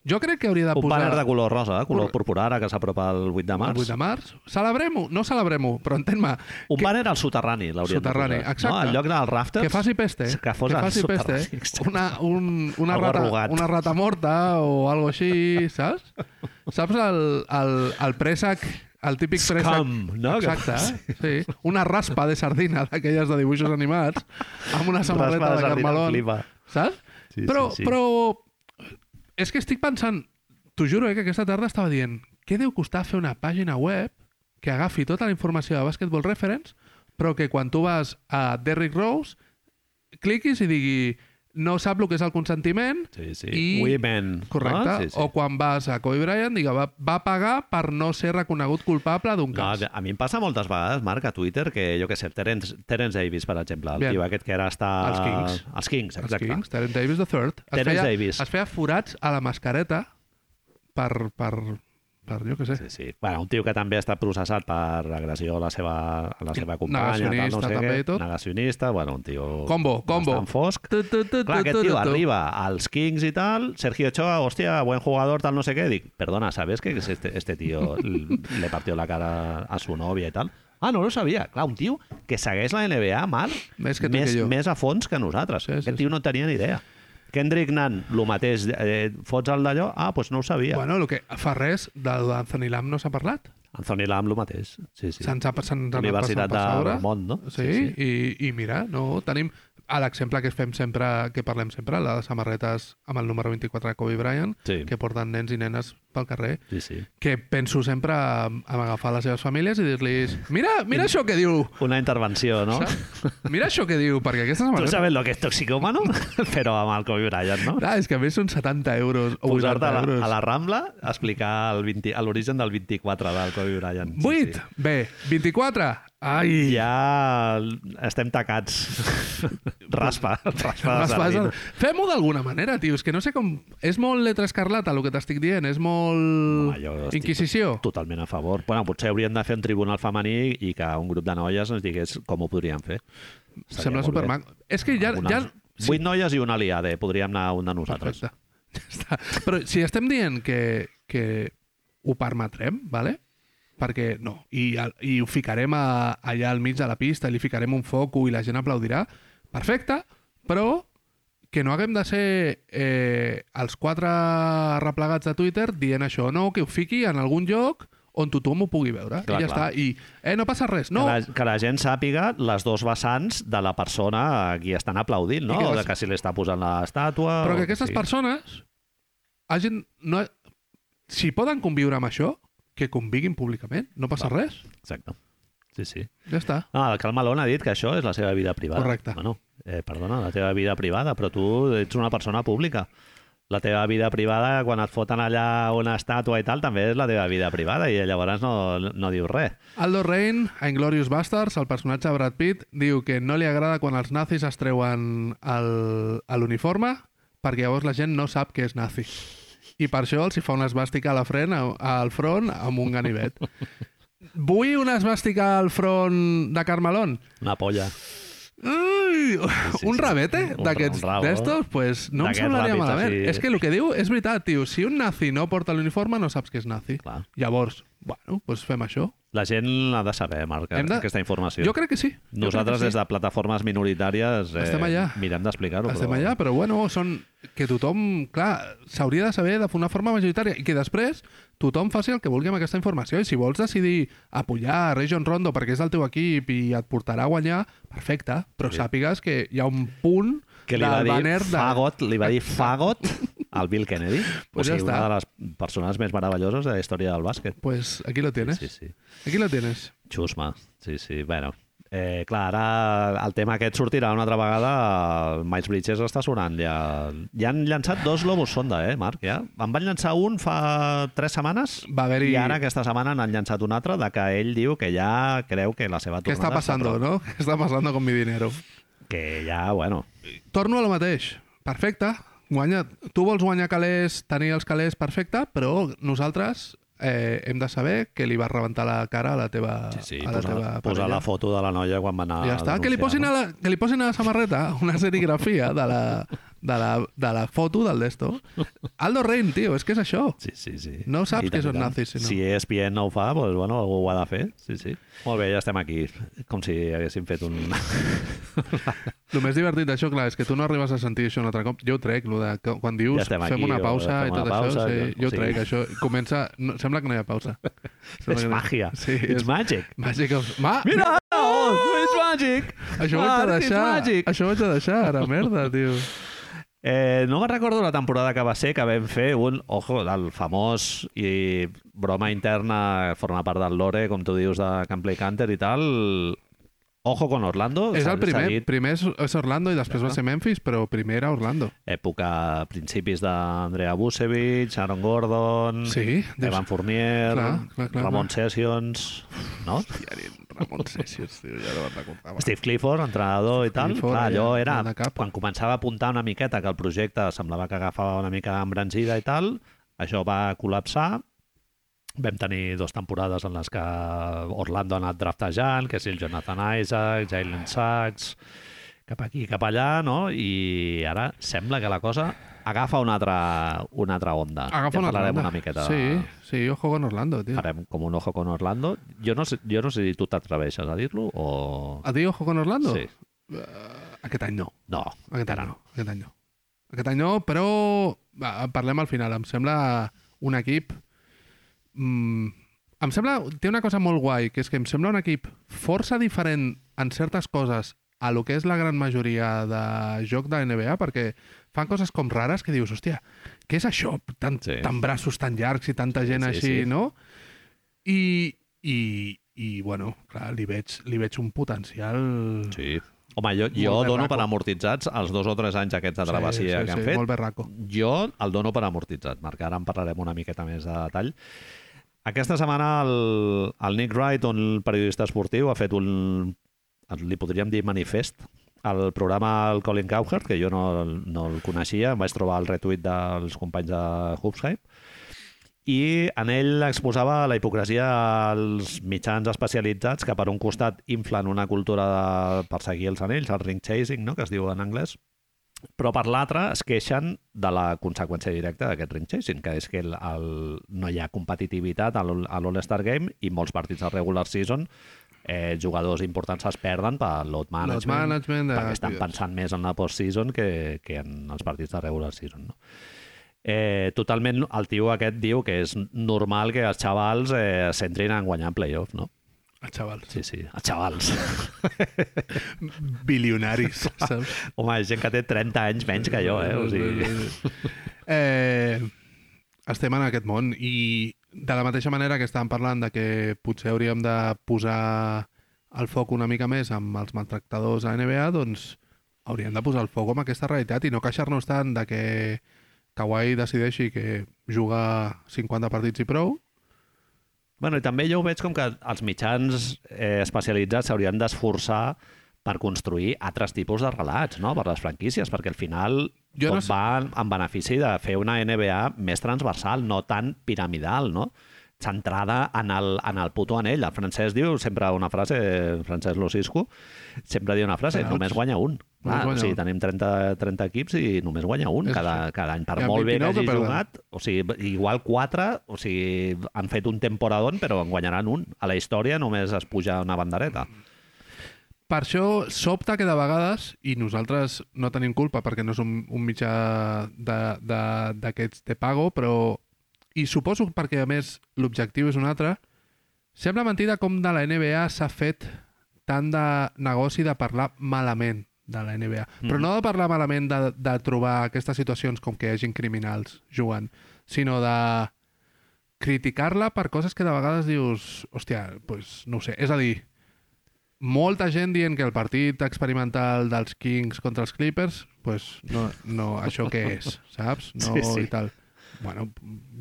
B: Jo crec que hauria de
A: Un
B: posar...
A: banner de color rosa, de color
B: Cor-
A: purpurà, ara que s'apropa el 8 de
B: El
A: març.
B: 8 de març. Celebrem-ho? No celebrem-ho, però entén-me.
A: Un
B: que-
A: banner al soterrani, l'hauríem de
B: Soterrani,
A: posar.
B: exacte.
A: No, al lloc dels rafters.
B: Que faci peste.
A: Que fos
B: que
A: al
B: faci
A: soterrani,
B: peste. eh?
A: exacte.
B: Una, un, una,
A: Algo
B: rata,
A: arrugat.
B: una rata morta o algo així, saps? Saps el, el, el préssec el típic
A: Scum, no? Que-
B: Exacte, eh? sí. Una raspa de sardina d'aquelles de dibuixos animats amb una samarreta
A: Raspa
B: de,
A: de sardina,
B: carmelón.
A: flipa.
B: Saps?
A: Sí,
B: però,
A: sí, sí.
B: però és que estic pensant, t'ho juro, eh, que aquesta tarda estava dient què deu costar fer una pàgina web que agafi tota la informació de Basketball Reference però que quan tu vas a Derrick Rose cliquis i digui no sap el que és el consentiment
A: Sí, sí.
B: I-
A: Women.
B: Correcte.
A: No? Ah, Sí, sí.
B: O quan vas a Kobe Bryant, digue, va, va pagar per no ser reconegut culpable d'un
A: No,
B: cas.
A: a mi em passa moltes vegades, Marc, a Twitter, que jo que sé, Terence, Terence Davis, per exemple, el
B: Bien.
A: tio aquest que ara està...
B: Als Kings.
A: Als Kings,
B: Els
A: exacte.
B: Kings, Terence Davis III. Es
A: Terence
B: feia,
A: Davis.
B: Es feia forats a la mascareta per, per, per jo què sé.
A: Sí, sí. Bueno, un tio que també està processat per agressió a la seva, a la seva companya, tal, no
B: Negacionista,
A: sé
B: també, i
A: què.
B: tot.
A: Negacionista, bueno, un tio...
B: Combo, combo.
A: Bastant fosc.
B: Tu, tu,
A: Clar,
B: tu, tu,
A: aquest
B: tu,
A: tio
B: tu, tu.
A: arriba als Kings i tal, Sergio Ochoa, hòstia, buen jugador, tal, no sé què. Dic, perdona, ¿sabes que este, este tío le partió la cara a su novia i tal? Ah, no lo sabia. Clar, un tio que segueix la NBA, Marc,
B: Més que tu
A: més,
B: que jo.
A: més a fons que nosaltres.
B: Sí,
A: Sí,
B: sí,
A: sí, Aquest tio no tenia ni idea. Kendrick Nunn, lo mateix, eh, fots el d'allò? Ah, doncs pues no ho sabia. Bueno.
B: Bueno, el que fa res de d'Anthony Lam no s'ha parlat.
A: Anthony Lam, lo mateix. Sí, sí.
B: Se'ns ha passat se
A: Universitat
B: per
A: de
B: sobre.
A: Vermont, no?
B: Sí, sí,
A: Sí,
B: sí. I, i mira, no, tenim a l'exemple que fem sempre, que parlem sempre, la de samarretes amb el número 24 de Kobe Bryant,
A: Sí.
B: que porten nens i nenes pel carrer,
A: Sí, sí.
B: que penso sempre en en agafar les seves famílies i dir-los mira, mira això que diu,
A: Una intervenció, no? Doncs
B: saps? mira això que diu, perquè aquestes
A: Tu
B: samarretes...
A: sabes lo que és toxicómano? Però amb el Kobe Bryant, no?
B: Clar, Ah, és que a més són 70 euros o
A: posar-te
B: 80
A: a, la-
B: euros.
A: a la Rambla a explicar el 20 a l'origen del 24 del Kobe Bryant.
B: 8, bé, 24, ai...
A: Ja estem tacats. raspa, raspa de
B: Vas
A: sardina.
B: passant. Fem-ho d'alguna manera, tio. És que no sé com... És molt letra escarlata, el que t'estic dient. És molt...
A: Home, jo estic-
B: Inquisició.
A: Totalment a favor. Bueno, potser hauríem de fer un tribunal femení i que un grup de noies ens digués com ho podríem fer. Estaria
B: Sembla
A: molt bé.
B: supermac. És que ja...
A: Alguna-
B: ja... Sí,
A: Vuit noies i una aliada. eh? Podríem anar un de nosaltres.
B: perfecte. Ja està. Però si estem dient que, que ho permetrem, vale? perquè no, i, al- i ho ficarem a, allà al mig de la pista, i li ficarem un foco i la gent aplaudirà, perfecte, però que no haguem de ser eh, els quatre replegats de Twitter dient això, no, que ho fiqui en algun lloc on tothom ho pugui veure.
A: Clar,
B: I
A: clar.
B: ja està. I eh, no passa res. No,
A: Que, la, que la gent sàpiga les dos vessants de la persona a qui estan aplaudint, no?
B: I que
A: Que,
B: les-
A: que si li està posant l'estàtua...
B: Però
A: o
B: que aquestes
A: sigui.
B: persones hagin, no, si poden conviure amb això, que conviguin públicament. No passa res.
A: Exacte. Sí, sí.
B: Ja està.
A: No, Ah, el Karl Malone ha dit que això és la seva vida privada.
B: Correcte.
A: Bueno, eh, perdona, la teva vida privada, però tu ets una persona pública. La teva vida privada, quan et foten allà una estàtua i tal, també és la teva vida privada i llavors no, no dius res.
B: Aldo Rain, a Inglorious Bastards, el personatge de Brad Pitt, diu que no li agrada quan els nazis es treuen el- a l'uniforme perquè llavors la gent no sap què és nazi. I per això els hi fa una esbàstica a la fren, a- al front amb un ganivet. Vull una esbàstica al front de Carmelón?
A: Una polla.
B: Ui,
A: sí,
B: un
A: sí.
B: rabete
A: Un
B: d'aquests
A: ra- un rabo.
B: d'estos, pues no em
A: D'aquests
B: semblaria
A: ràpids,
B: malament.
A: així.
B: És que el que diu és veritat, tio. Si un nazi no porta l'uniforme, no saps que és nazi.
A: Clar.
B: Llavors, bueno, pues fem això.
A: La gent ha de saber, Marc,
B: Hem de-
A: de... aquesta informació.
B: Jo crec que sí. Jo
A: Nosaltres,
B: crec que
A: des de plataformes minoritàries, eh,
B: Estem allà.
A: mirem d'explicar-ho.
B: Estem allà, però bueno, són... Que tothom, clar, s'hauria de saber de una forma majoritària i que després tothom faci el que vulgui amb aquesta informació i si vols decidir apoyar a Region Rondo perquè és el teu equip i et portarà a guanyar, perfecte, però
A: Sí.
B: sàpigues que hi ha un punt
A: que li
B: del
A: va dir
B: banner de...
A: Fagot, li va dir Fagot al Bill Kennedy.
B: Pues
A: o
B: ja
A: sigui, una
B: està.
A: de les persones més meravelloses de la història del bàsquet.
B: Pues aquí lo tienes.
A: Sí, sí.
B: Aquí lo tienes.
A: Xusma, sí, sí. Bueno, eh, clar, ara el tema aquest sortirà una altra vegada. El Miles Bridges està sonant ja. Ja han llançat dos globus sonda, eh, Marc? Ja. En van llançar un fa tres setmanes
B: Va haver-hi-
A: i ara aquesta setmana n'han llançat un altre de que ell diu que ja creu que la seva
B: ¿Qué
A: tornada...
B: está pasando,
A: a prop.
B: no? ¿Qué está pasando con mi dinero?
A: Que ja, bueno...
B: Torno a lo mateix. Perfecte. Guanya... Tu vols guanyar calés, tenir els calés, perfecte, però nosaltres eh, hem de saber que li vas rebentar la cara a la teva,
A: Sí, sí,
B: a la
A: posar,
B: teva
A: posar la foto de la noia quan va anar
B: ja està,
A: a
B: que li, posin
A: denunciar,
B: a la, que li posin a la samarreta una serigrafia de la, de la, de la foto del desto. Aldo Rein, tio, és que és això.
A: Sí, sí, sí.
B: No saps
A: I tant,
B: que són
A: i tant.
B: nazis, si no.
A: Si E ESPN no ho fa, doncs, bueno, algú ho ha de fer. Sí, sí. Molt bé, ja estem aquí. Com si haguéssim fet un...
B: El més divertit d'això, clar, és que tu no arribes a sentir això un altre cop. Jo ho trec, lo de, que quan
A: Ja
B: dius
A: estem
B: fem
A: aquí,
B: una
A: o
B: pausa
A: fem
B: i
A: una
B: tot
A: pausa, jo-
B: això, sí, jo ho
A: sí.
B: trec, això. Comença... No, sembla que no hi ha pausa.
A: És
B: Sembla que no hi ha-
A: màgia.
B: Sí,
A: It's
B: és
A: magic.
B: màgic. el- Ma,
A: Mira! Oh, it's magic!
B: Això ho haig de
A: Marc, it's
B: deixar.
A: magic!
B: Això ho haig de deixar, ara, merda, tio.
A: Eh, no me'n recordo la temporada que va ser que vam fer un, ojo, el famós i broma interna forma part del lore, com tu dius, de Can Play Canter i tal. Ojo con Orlando.
B: és
A: s'ha-
B: el
A: s'ha
B: primer.
A: dit
B: Primer és, és Orlando i després va ser Memphis, però primer era Orlando.
A: Època, principis d'Andrea Busevich, Aaron Gordon,
B: Sí, Déu-
A: Evan Fournier,
B: Clar, clar, clar,
A: Ramon Sessions, no?
B: Diari Ramon Sessions, tio, ja no me'n recordava.
A: Steve Clifford, entrenador i tal.
B: Clifford,
A: Clar, allò
B: eh,
A: era,
B: de cap.
A: quan començava a apuntar una miqueta que el projecte semblava que agafava una mica embranzida i tal, això va col·lapsar. Vam tenir dues temporades en les que Orlando ha anat draftejant, que és el Jonathan Isaac, Jalen Sachs, cap aquí, cap allà, no? I ara sembla que la cosa agafa una altra, una altra onda.
B: Agafa
A: ja
B: una
A: parlarem
B: ronda.
A: una miqueta
B: Sí, sí, ojo con Orlando, tio.
A: Farem com un ojo con Orlando. Jo no sé, jo no sé si tu t'atreveixes a dir-lo o...
B: A dir ojo con Orlando? Eh,
A: Sí.
B: Aquest any no.
A: No,
B: Aquest any
A: Ara.
B: no. Aquest any no. Aquest any no, però va, en parlem al final. Em sembla un equip... Mm, em sembla... Té una cosa molt guai, que és que em sembla un equip força diferent en certes coses a lo que és la gran majoria de joc de NBA, perquè fan coses com rares que dius, hòstia, què és això? Tant,
A: Sí.
B: tant braços tan llargs i tanta gent
A: sí,
B: així,
A: sí.
B: no? I, i, i bueno, clar, li veig, li veig un potencial...
A: Sí. Mm. Home, jo, jo
B: Molt
A: dono
B: berraco.
A: per amortitzats els dos o tres anys aquests de travessia sí, sí, que han fet.
B: Molt berraco.
A: Jo el dono per amortitzat, Marc. Ara en parlarem una miqueta més de detall. Aquesta setmana el, el Nick Wright, un periodista esportiu, ha fet un... li podríem dir manifest al programa el Colin Cowherd, que jo no, no el coneixia, em vaig trobar el retuit dels companys de Hoops Hype, i en ell exposava la hipocresia als mitjans especialitzats que per un costat inflen una cultura de perseguir els anells, el ring chasing, no? que es diu en anglès, però per l'altre es queixen de la conseqüència directa d'aquest ring chasing, que és que el, el, no hi ha competitivitat a l'All- a l'All-Star Game i molts partits de regular season eh, jugadors importants es perden per load management,
B: management de-
A: perquè estan pensant més en la post-season que, que en els partits de regular season. No? Eh, totalment, el tio aquest diu que és normal que els xavals eh, s'entrin en guanyar en playoff, no?
B: Els xavals.
A: Sí, sí, els xavals.
B: Bilionaris, saps?
A: Home, és gent que té 30 anys menys que jo, eh? O sigui...
B: eh, estem en aquest món i de la mateixa manera que estàvem parlant de que potser hauríem de posar el foc una mica més amb els maltractadors a NBA, doncs hauríem de posar el foc amb aquesta realitat i no queixar-nos tant de que Kawhi decideixi que jugar 50 partits i prou,
A: Bueno, i també jo ho veig com que els mitjans eh, especialitzats s'haurien d'esforçar per construir altres tipus de relats, no?, per les franquícies, perquè al final
B: Jo
A: jo
B: no
A: tot
B: sé-
A: no va en- en benefici de fer una NBA més transversal, no tan piramidal, no?, centrada en el, en el puto anell. El francès diu sempre una frase, eh, Francesc Lucisco, sempre diu una frase,
B: Penals.
A: només guanya un. Clar, o
B: guanya
A: sigui,
B: un.
A: tenim 30, 30 equips i només guanya un
B: És
A: cada,
B: així.
A: cada any. Per
B: Hi ha
A: molt bé que
B: 29 que
A: hagi
B: perden.
A: jugat, o sigui, igual quatre, o sigui, han fet un temporadón, però en guanyaran un. A la història només es puja una bandereta.
B: Per això sobta que de vegades, i nosaltres no tenim culpa perquè no és un, un mitjà de- de- d'aquests de, pago, però... I suposo perquè, a més, l'objectiu és un altre. Sembla mentida com de la NBA s'ha fet tant de negoci de parlar malament de la NBA. Però no de parlar malament de, de trobar aquestes situacions com que hi hagin criminals jugant, sinó de criticar-la per coses que de vegades dius, hòstia, pues, no ho sé. És a dir, molta gent dient que el partit experimental dels Kings contra els Clippers, pues, no, no, això què és, saps? No,
A: Sí, sí.
B: I tal. Bueno,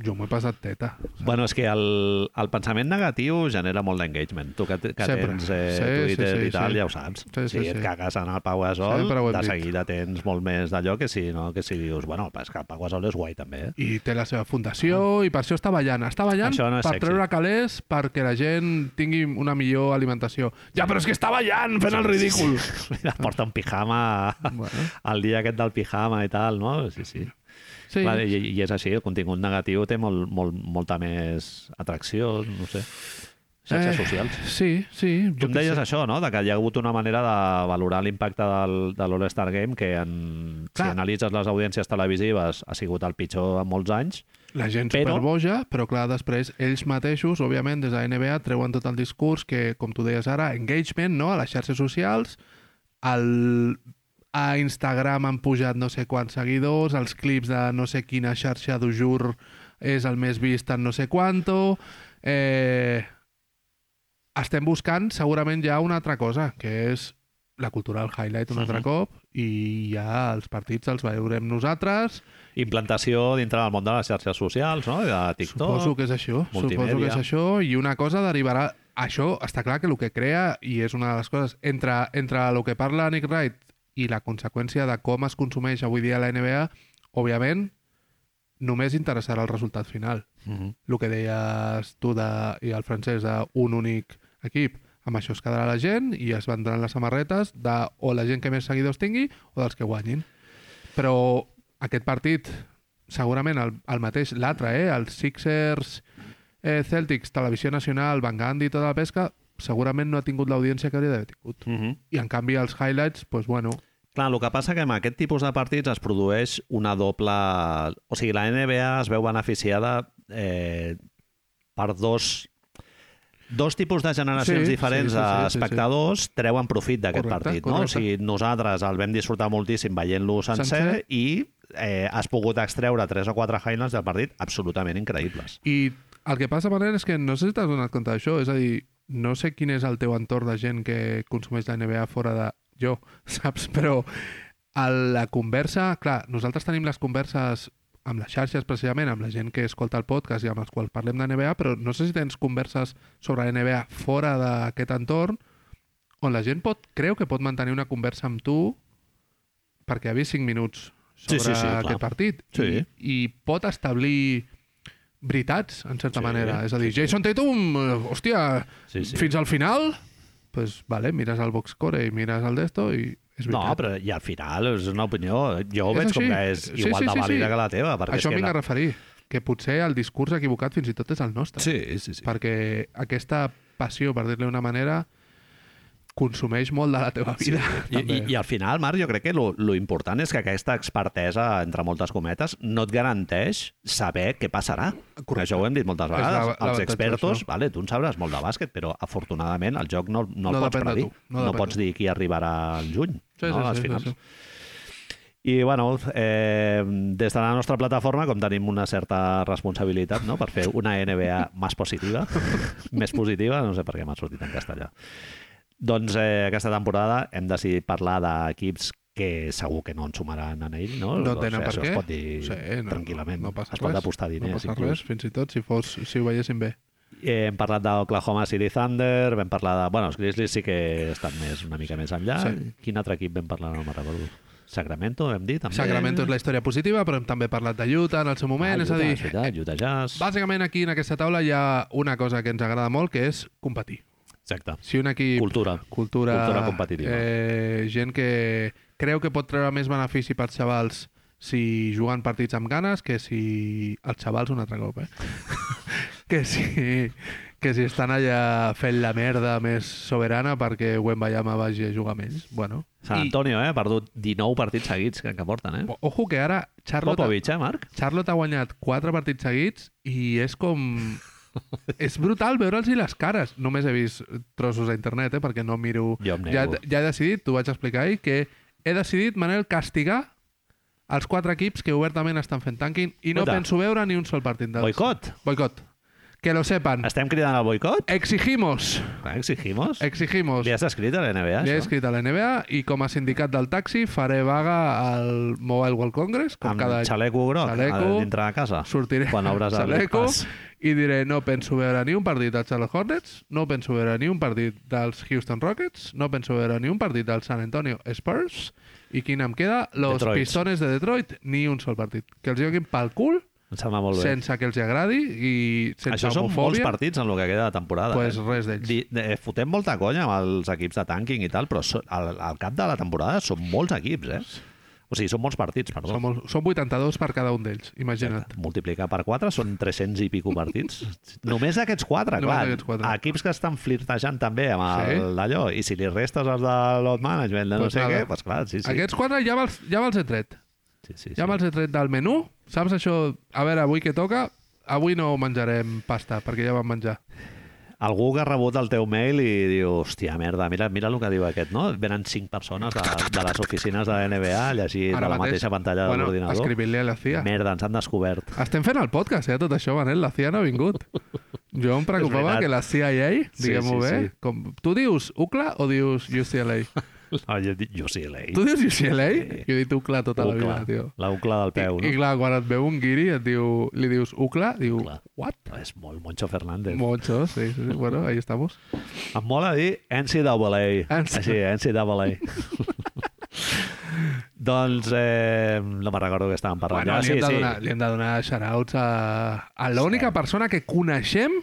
B: jo m'ho he passat teta. saps?
A: Bueno, és que el, el pensament negatiu genera molt d'engagement. Tu que, que
B: Sempre.
A: tens eh,
B: Sí, sí,
A: sí, Twitter
B: sí,
A: i tal,
B: sí.
A: ja ho saps.
B: Sí, sí,
A: si et
B: sí.
A: cagues en el Pau Gasol,
B: Sempre ho hem
A: de
B: dit.
A: seguida tens molt més d'allò que si, no? que si dius, bueno, és que el Pau Gasol és guai també, eh?
B: i té la seva fundació i per això està ballant. Està ballant
A: Això no és
B: per
A: sexy.
B: treure calés perquè la gent tingui una millor alimentació. Ja, però és que està ballant fent el ridícul.
A: Mira, porta un pijama
B: Bueno.
A: el dia aquest del pijama i tal, no? Sí, sí.
B: Sí,
A: Clar, i, i és així, el contingut negatiu té molt, molt, molta més atracció, no sé. xarxes socials.
B: Eh, Sí, sí.
A: Tu
B: Jo
A: em
B: què
A: deies
B: sé.
A: això, no?, de que hi ha hagut una manera de valorar l'impacte del, de l'All-Star Game que, en, si
B: Clar.
A: analitzes les audiències televisives, ha sigut el pitjor en molts anys.
B: La gent
A: Però-
B: però... superboja, però clar, després ells mateixos, òbviament, des de la NBA treuen tot el discurs que, com tu deies ara, engagement, no?, a les xarxes socials, el... a Instagram han pujat no sé quants seguidors, els clips de no sé quina xarxa d'ujur és el més vist en no sé quanto... Eh... Estem buscant, segurament, ja una altra cosa, que és la cultura del highlight un altre
A: Mhm.
B: cop i ja els partits els veurem nosaltres
A: Implantació dintre del món de les xarxes socials, no?, i de TikTok.
B: Suposo que és això.
A: multimèdia.
B: Suposo que és això. I una cosa derivarà... Això està clar que el que crea, i és una de les coses, entre, entre el que parla Nick Wright i la conseqüència de com es consumeix avui dia la NBA, òbviament, només interessarà el resultat final.
A: Mhm.
B: El que deies tu de, i el francès d'un únic equip. Amb això es quedarà la gent i es vendran les samarretes de o la gent que més seguidors tingui o dels que guanyin. Però aquest partit, segurament el, el mateix, l'altre, eh? els Sixers, eh, Celtics, Televisió Nacional, Van Gandhi, tota la pesca, segurament no ha tingut l'audiència que hauria d'haver tingut.
A: Mhm.
B: I en canvi els highlights, doncs bueno,
A: Clar, el que passa que amb aquest tipus de partits es produeix una doble... O sigui, la NBA es veu beneficiada eh, per dos dos tipus de generacions
B: Sí,
A: diferents
B: sí, sí, sí, sí, sí.
A: d'espectadors treuen profit d'aquest
B: Correcte,
A: partit. No? O
B: correcte.
A: sigui, nosaltres el vam disfrutar moltíssim veient-lo sencer, sencer
B: Sencer.
A: i eh, has pogut extreure tres o quatre highlights del partit absolutament increïbles.
B: I el que passa, Manel, és que no sé si t'has donat compte d'això. És a dir, no sé quin és el teu entorn de gent que consumeix la NBA fora de jo, saps? Però a la conversa... Clar, nosaltres tenim les converses amb les xarxes, precisament, amb la gent que escolta el podcast i amb els quals parlem de NBA, però no sé si tens converses sobre la NBA fora d'aquest entorn on la gent pot, creu que pot mantenir una conversa amb tu perquè ha vist 5 minuts
A: Sí,
B: sobre
A: sí, sí, clar.
B: aquest partit
A: Sí.
B: i, i pot establir veritats, en certa
A: Sí,
B: sí, manera. És a dir, Jason Tatum, eh, hòstia,
A: Sí, sí.
B: fins al final, pues, vale, mires el box core i mires el d'esto i és
A: No,
B: veritat.
A: però i al final és una opinió, jo ho
B: És
A: veig com
B: així.
A: que és
B: Sí,
A: igual
B: sí,
A: de
B: sí,
A: vàlida
B: sí.
A: que la teva. perquè
B: Això
A: és
B: em
A: que
B: vinc
A: la...
B: a referir, que potser el discurs equivocat fins i tot és el nostre.
A: Sí, sí, sí.
B: Perquè aquesta passió, per dir-li una manera, consumeix molt de la teva vida.
A: I,
B: també.
A: i, I al final, Marc, jo crec que lo, lo important és que aquesta expertesa, entre moltes cometes, no et garanteix saber què passarà.
B: Correcte.
A: Això ho hem dit moltes
B: És la-
A: vegades. La, Els
B: l'avantatge
A: expertos,
B: d'això.
A: vale, tu en sabràs molt de bàsquet, però afortunadament el joc no, no,
B: No
A: el pots
B: depèn de
A: predir.
B: tu, no depèn
A: pots
B: de
A: dir qui arribarà al juny,
B: Sí,
A: no,
B: sí,
A: a les
B: sí, sí,
A: finals.
B: sí.
A: I, bueno, eh, des de la nostra plataforma, com tenim una certa responsabilitat no? per fer una NBA més positiva, més positiva, no sé per què m'ha sortit en castellà. Doncs eh, aquesta temporada hem decidit parlar d'equips que segur que no en sumaran en ell, no?
B: No
A: Doncs,
B: tenen
A: eh,
B: per
A: això
B: què.
A: es pot dir tranquil·lament.
B: No, no passa
A: es pot
B: res.
A: apostar
B: no
A: diners,
B: passa
A: inclús.
B: res, fins i tot, si, fos, si ho veiéssim bé.
A: Eh, hem parlat d'Oklahoma City Thunder, vam parlar de... Bueno, els Grizzlies sí que estan més, una mica més enllà.
B: Sí.
A: Quin altre equip vam parlar? No me'n recordo. Sacramento, hem dit, també.
B: Sacramento és la història positiva, però hem també parlat de Utah en el seu moment,
A: Ah,
B: és a dir, eh,
A: Utah, Utah, Utah Jazz.
B: bàsicament aquí en aquesta taula hi ha una cosa que ens agrada molt, que és competir.
A: Exacte.
B: Si un equip...
A: Cultura.
B: Cultura,
A: Cultura competitiva.
B: Eh, gent que creu que pot treure més benefici pels xavals si juguen partits amb ganes que si els xavals un altre cop, eh? que, si, que si estan allà fent la merda més soberana perquè Wembayama vagi a jugar amb ells. Bueno,
A: San Antonio, eh? Ha perdut 19 partits seguits que, que porten, eh?
B: o- ojo que ara Charlotte...
A: Popovic, eh, Marc?
B: Charlotte ha guanyat quatre partits seguits i és com... és brutal veure'ls i les cares. Només he vist trossos a internet, eh, perquè no miro...
A: Jo em
B: Ja,
A: nego.
B: ja he decidit, t'ho vaig explicar ahir, que he decidit, Manel, castigar els quatre equips que obertament estan fent tanking i no
A: Escolta.
B: penso veure ni un sol partit dels...
A: Boicot.
B: Boicot. Que lo sepan.
A: Estem cridant al boicot?
B: Exigimos.
A: Clar, Exigimos?
B: Exigimos.
A: Li has escrit a la NBA,
B: Li he
A: això?
B: escrit a la NBA i com a sindicat del taxi faré vaga al Mobile World Congress, com
A: Amb
B: cada any.
A: xaleco groc
B: Xaleco.
A: a dintre de casa.
B: sortiré
A: Ah, Quan obres el
B: Saleco
A: pas.
B: i diré no penso veure ni un partit dels Charlotte Hornets, no penso veure ni un partit dels Houston Rockets, no penso veure ni un partit dels San Antonio Spurs i quin em queda? Los
A: Detroit.
B: Pistones de Detroit, ni un sol partit. Que els joguin pel cul,
A: Em sembla molt bé.
B: sense que els agradi i sense
A: Això són molts
B: homofòbia.
A: partits en el que queda de temporada.
B: Pues
A: eh?
B: res d'ells.
A: Di- eh, Fotem molta conya amb els equips de tanking i tal, però so- al, al cap de la temporada són molts equips, eh? O O sigui, són molts partits, perdó.
B: Són, molt, són 82 per cada un d'ells, imagina't.
A: Multiplicar per 4 són 300 i pico partits. Només aquests 4,
B: Només
A: clar.
B: aquests quatre.
A: Equips que estan flirtejant també amb
B: Sí.
A: el- d'allò. I si li restes els de lot management, de no
B: Doncs
A: sé
B: nada.
A: què, doncs clar, sí, sí.
B: Aquests quatre ja me'ls ja me'ls he tret.
A: Sí, sí, sí.
B: Ja me'ls he tret del menú. Saps això? A veure, avui què toca? Avui no menjarem pasta, perquè ja vam menjar.
A: Algú que ha rebut el teu mail i diu, hòstia, merda, mira, mira el que diu aquest, no? Venen cinc persones de, de les oficines de la NBA a llegir de la mateixa pantalla de
B: bueno,
A: l'ordinador.
B: Escrivint-li a la CIA.
A: Merda, ens han descobert.
B: Estem fent el podcast, eh? Tot això, Manel, la CIA no ha vingut. Jo em preocupava
A: veritat.
B: que la CIA,
A: Sí, sí,
B: diguem-ho bé,
A: sí.
B: com... tu dius UCLA o dius UCLA?
A: No, jo, dic, jo sí, l'ei.
B: Tu dius UCLA?
A: Sí.
B: Jo he dit UCLA tota la vida, tio.
A: La ucla del peu, no?
B: I clar, quan et veu un guiri et diu, li dius UCLA, diu,
A: Ucla.
B: what?
A: És molt Moncho Fernández.
B: Mucho, sí, sí, sí. Bueno, ahí estamos.
A: Em mola dir NCAA.
B: NCAA.
A: Així, NCAA. doncs eh, no me'n recordo que estàvem parlant.
B: Bueno,
A: Ah,
B: li, hem de donar, li hem de donar shoutouts a, a l'única persona que coneixem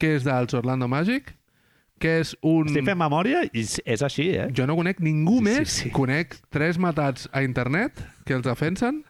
B: que és dels Orlando Magic, que és un...
A: Estic fent memòria i és- és així, eh?
B: Jo no conec
A: Sí,
B: ningú
A: sí,
B: més.
A: sí.
B: Conec tres matats a internet que els defensen.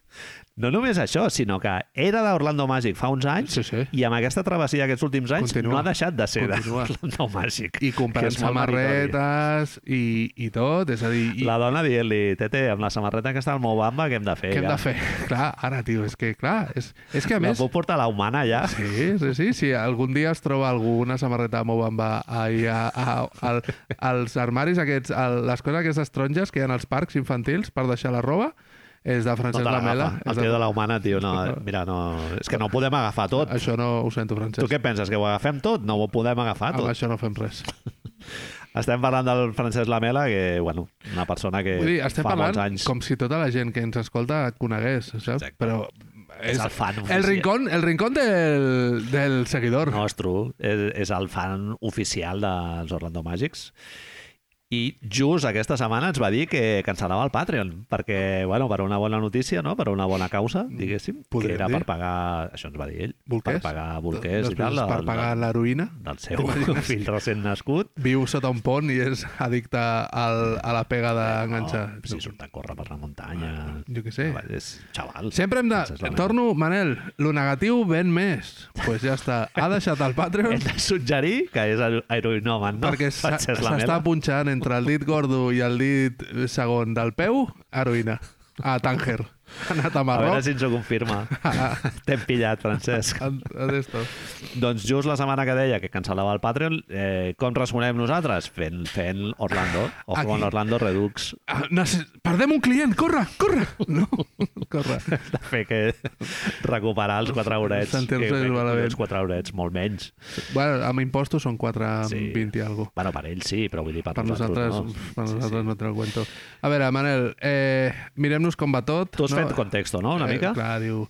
A: No només això, sinó que era d'Orlando Magic fa uns anys
B: Sí, sí.
A: i amb aquesta travessia aquests últims anys
B: Continua.
A: no ha deixat de ser
B: Continua.
A: d'Orlando Magic.
B: I
A: que
B: comprant
A: és molt meritori.
B: samarretes i, i tot. És a dir, i
A: La dona dient-li, Tete, amb la samarreta que està al meu bamba, què hem de fer?
B: què hem
A: ja?"
B: de fer? Clar, ara, tio, és que, clar, és, és que a
A: La
B: més...
A: puc portar a la humana, ja?
B: Sí, sí, sí. Si algun dia es troba alguna samarreta de Mobamba ahí a, a, al, als armaris aquests, a les coses aquestes taronges que hi ha als parcs infantils per deixar la roba, és de
A: No te
B: Francesc Lamela.
A: l'agafa. El
B: És
A: tio de Tota la humana, tio, no. Mira, no... És que no podem agafar tot.
B: Això no ho sento,
A: Tu
B: Francesc.
A: què penses, que ho agafem tot? No ho podem agafar
B: Amb
A: tot.
B: això no fem res.
A: Estem parlant del Francesc Lamela, que, bueno, una persona que
B: Vull dir, estem
A: Eh, fa molts
B: parlant
A: anys...
B: com si tota la gent que ens escolta et conegués, saps?
A: Exacte.
B: Però
A: És el fan
B: el
A: oficial.
B: rincón, el rincón del, del seguidor.
A: No, és true. És, és el fan oficial dels Orlando Magics. I just aquesta setmana ens va dir que cancel·lava el Patreon, perquè, bueno, per una bona notícia, no? per una bona causa, diguéssim,
B: Podríem
A: que era
B: Mm, dir.
A: per pagar, això ens va dir ell,
B: Bolquers.
A: per pagar bolquers i
B: Després
A: tal,
B: és per
A: del-
B: pagar l'heroïna.
A: del seu fill recent nascut.
B: Viu sota un pont i és addicte al, a la pega d'enganxar.
A: Eh, No, Oh, si surt a córrer per la muntanya...
B: Ah,
A: Ah,
B: Jo què sé.
A: És xaval.
B: Sempre hem
A: Francesc
B: de...
A: Lamela.
B: Torno, Manel, lo negatiu ven més. Doncs pues ja està. Ha deixat el Patreon
A: Hem de suggerir que és aer- aeroinòman, no?
B: perquè s'ha-
A: Francesc
B: s'està
A: Lamela.
B: punxant entre el dit gordo i el dit segon del peu, heroïna. A Tànger. Ha anat a
A: A veure
B: Marroc.
A: si ens ho confirma. T'hem pillat, Francesc.
B: A, a d'esto.
A: Doncs just la setmana que deia que cancel·lava el Patreon, eh, com responem nosaltres? Fent, fent Orlando, o
B: Aquí.
A: com Orlando Redux,
B: Ah, necess- Perdem un client, corre, corre! No, corre.
A: de fer que recuperar els quatre horets.
B: Sentir-se
A: que-
B: malament.
A: Els quatre horets, molt menys.
B: Bueno, amb impostos són 4,20
A: Sí.
B: sí. i alguna
A: Bueno, per ells sí, però vull dir per,
B: Per nosaltres,
A: no.
B: uf, per nosaltres no te el cuento. A veure, Manel, eh, mirem-nos com va tot.
A: Tu has
B: no?
A: fet contexto, no?, una mica?
B: Eh, clar, diu...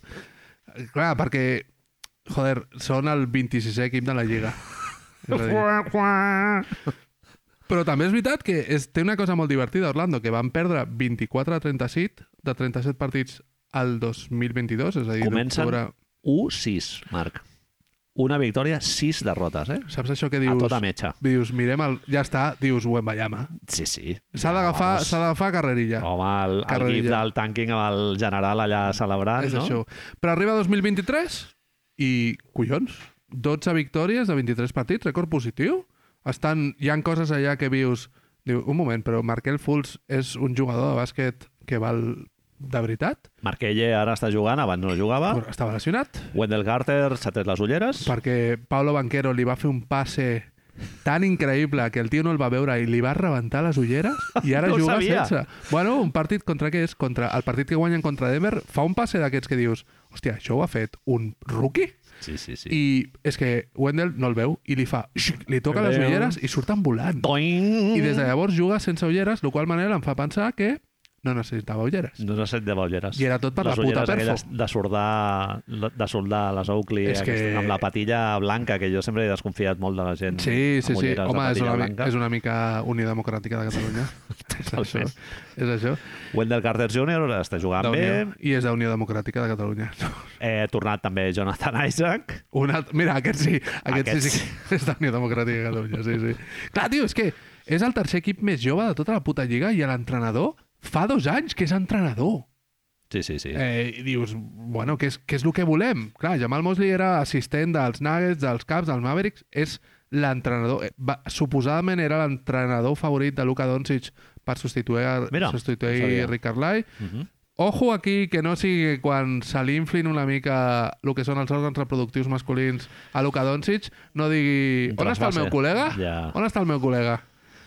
B: eh, Clar, perquè, joder, són el 26è equip de la Lliga. És a dir, Però també és veritat que és, té una cosa molt divertida, Orlando, que van perdre 24 a 37, de 37 partits al 2022, és a dir,
A: Comencen
B: d'octubre-
A: 1-6, Marc. Una victòria, 6 derrotes, eh?
B: Saps això que
A: A
B: dius?
A: tota metxa.
B: Dius, mirem el... Ja està, dius, Wembayama.
A: Sí, sí.
B: S'ha d'agafar s'ha d'agafar carrerilla.
A: Home, el, el
B: Carrerilla.
A: gif del tanking amb el general allà celebrant,
B: És
A: no?
B: això. Però arriba 2023 i, collons, 12 victòries de 23 partits, rècord positiu. Estan, hi han coses allà que vius... Diu, un moment, però Markel Fultz és un jugador de bàsquet que val de veritat?
A: Marquelle ara està jugant, abans no jugava.
B: Però estava lesionat?
A: Wendell Carter s'ha tret les ulleres.
B: Perquè Paolo Banquero li va fer un passe tan increïble que el tio no el va veure i li va rebentar les ulleres i ara
A: No ho
B: juga
A: sabia.
B: sense. Bueno, un partit contra què és? Contra el partit que guanyen contra Denver fa un passe d'aquests que dius hòstia, això ho ha fet un rookie?
A: Sí, sí, sí.
B: I és que Wendell no el veu i li fa... xic, Li toca les
A: Adéu.
B: ulleres i surten volant.
A: Toing!
B: I des de llavors juga sense ulleres, el qual Manel em fa pensar que no necessitava ulleres.
A: No sé de ulleres.
B: I era tot per
A: les
B: la puta
A: ulleres
B: perfo.
A: aquelles De soldar, de soldar les Oakley
B: És que-
A: aquestes, amb la patilla blanca, que jo sempre he desconfiat molt de la gent
B: Sí,
A: amb
B: sí, sí.
A: ulleres
B: Home,
A: de
B: és
A: patilla
B: una, mi-
A: blanca.
B: és una mica unidemocràtica de Catalunya. és això.
A: Totalment.
B: És això.
A: Wendell Carter Jr. està jugant
B: D'Unió.
A: bé.
B: I és d'Unió Democràtica de Catalunya.
A: Eh, ha tornat també Jonathan Isaac.
B: Un alt... Mira, aquest sí. Aquest,
A: Aquest
B: aquest sí, sí. que és d'Unió Democràtica de Catalunya, sí, sí. Clar, tio, és que és el tercer equip més jove de tota la puta lliga i l'entrenador fa dos anys que és entrenador.
A: Sí, sí, sí.
B: Eh, I dius, bueno, què és, què és el que volem? Clar, Jamal Mosley era assistent dels Nuggets, dels Caps, dels Mavericks, és l'entrenador, eh, va, suposadament era l'entrenador favorit de Luka Doncic per substituir, a-
A: Mira,
B: substituir
A: no sabia.
B: Rick Carlisle.
A: Mhm.
B: Ojo aquí que no sigui que quan se li inflin una mica el que són els òrgans reproductius masculins a Luka Doncic, no digui, on està el
A: Trasbase.
B: meu col·lega?
A: Ja.
B: On està el meu col·lega?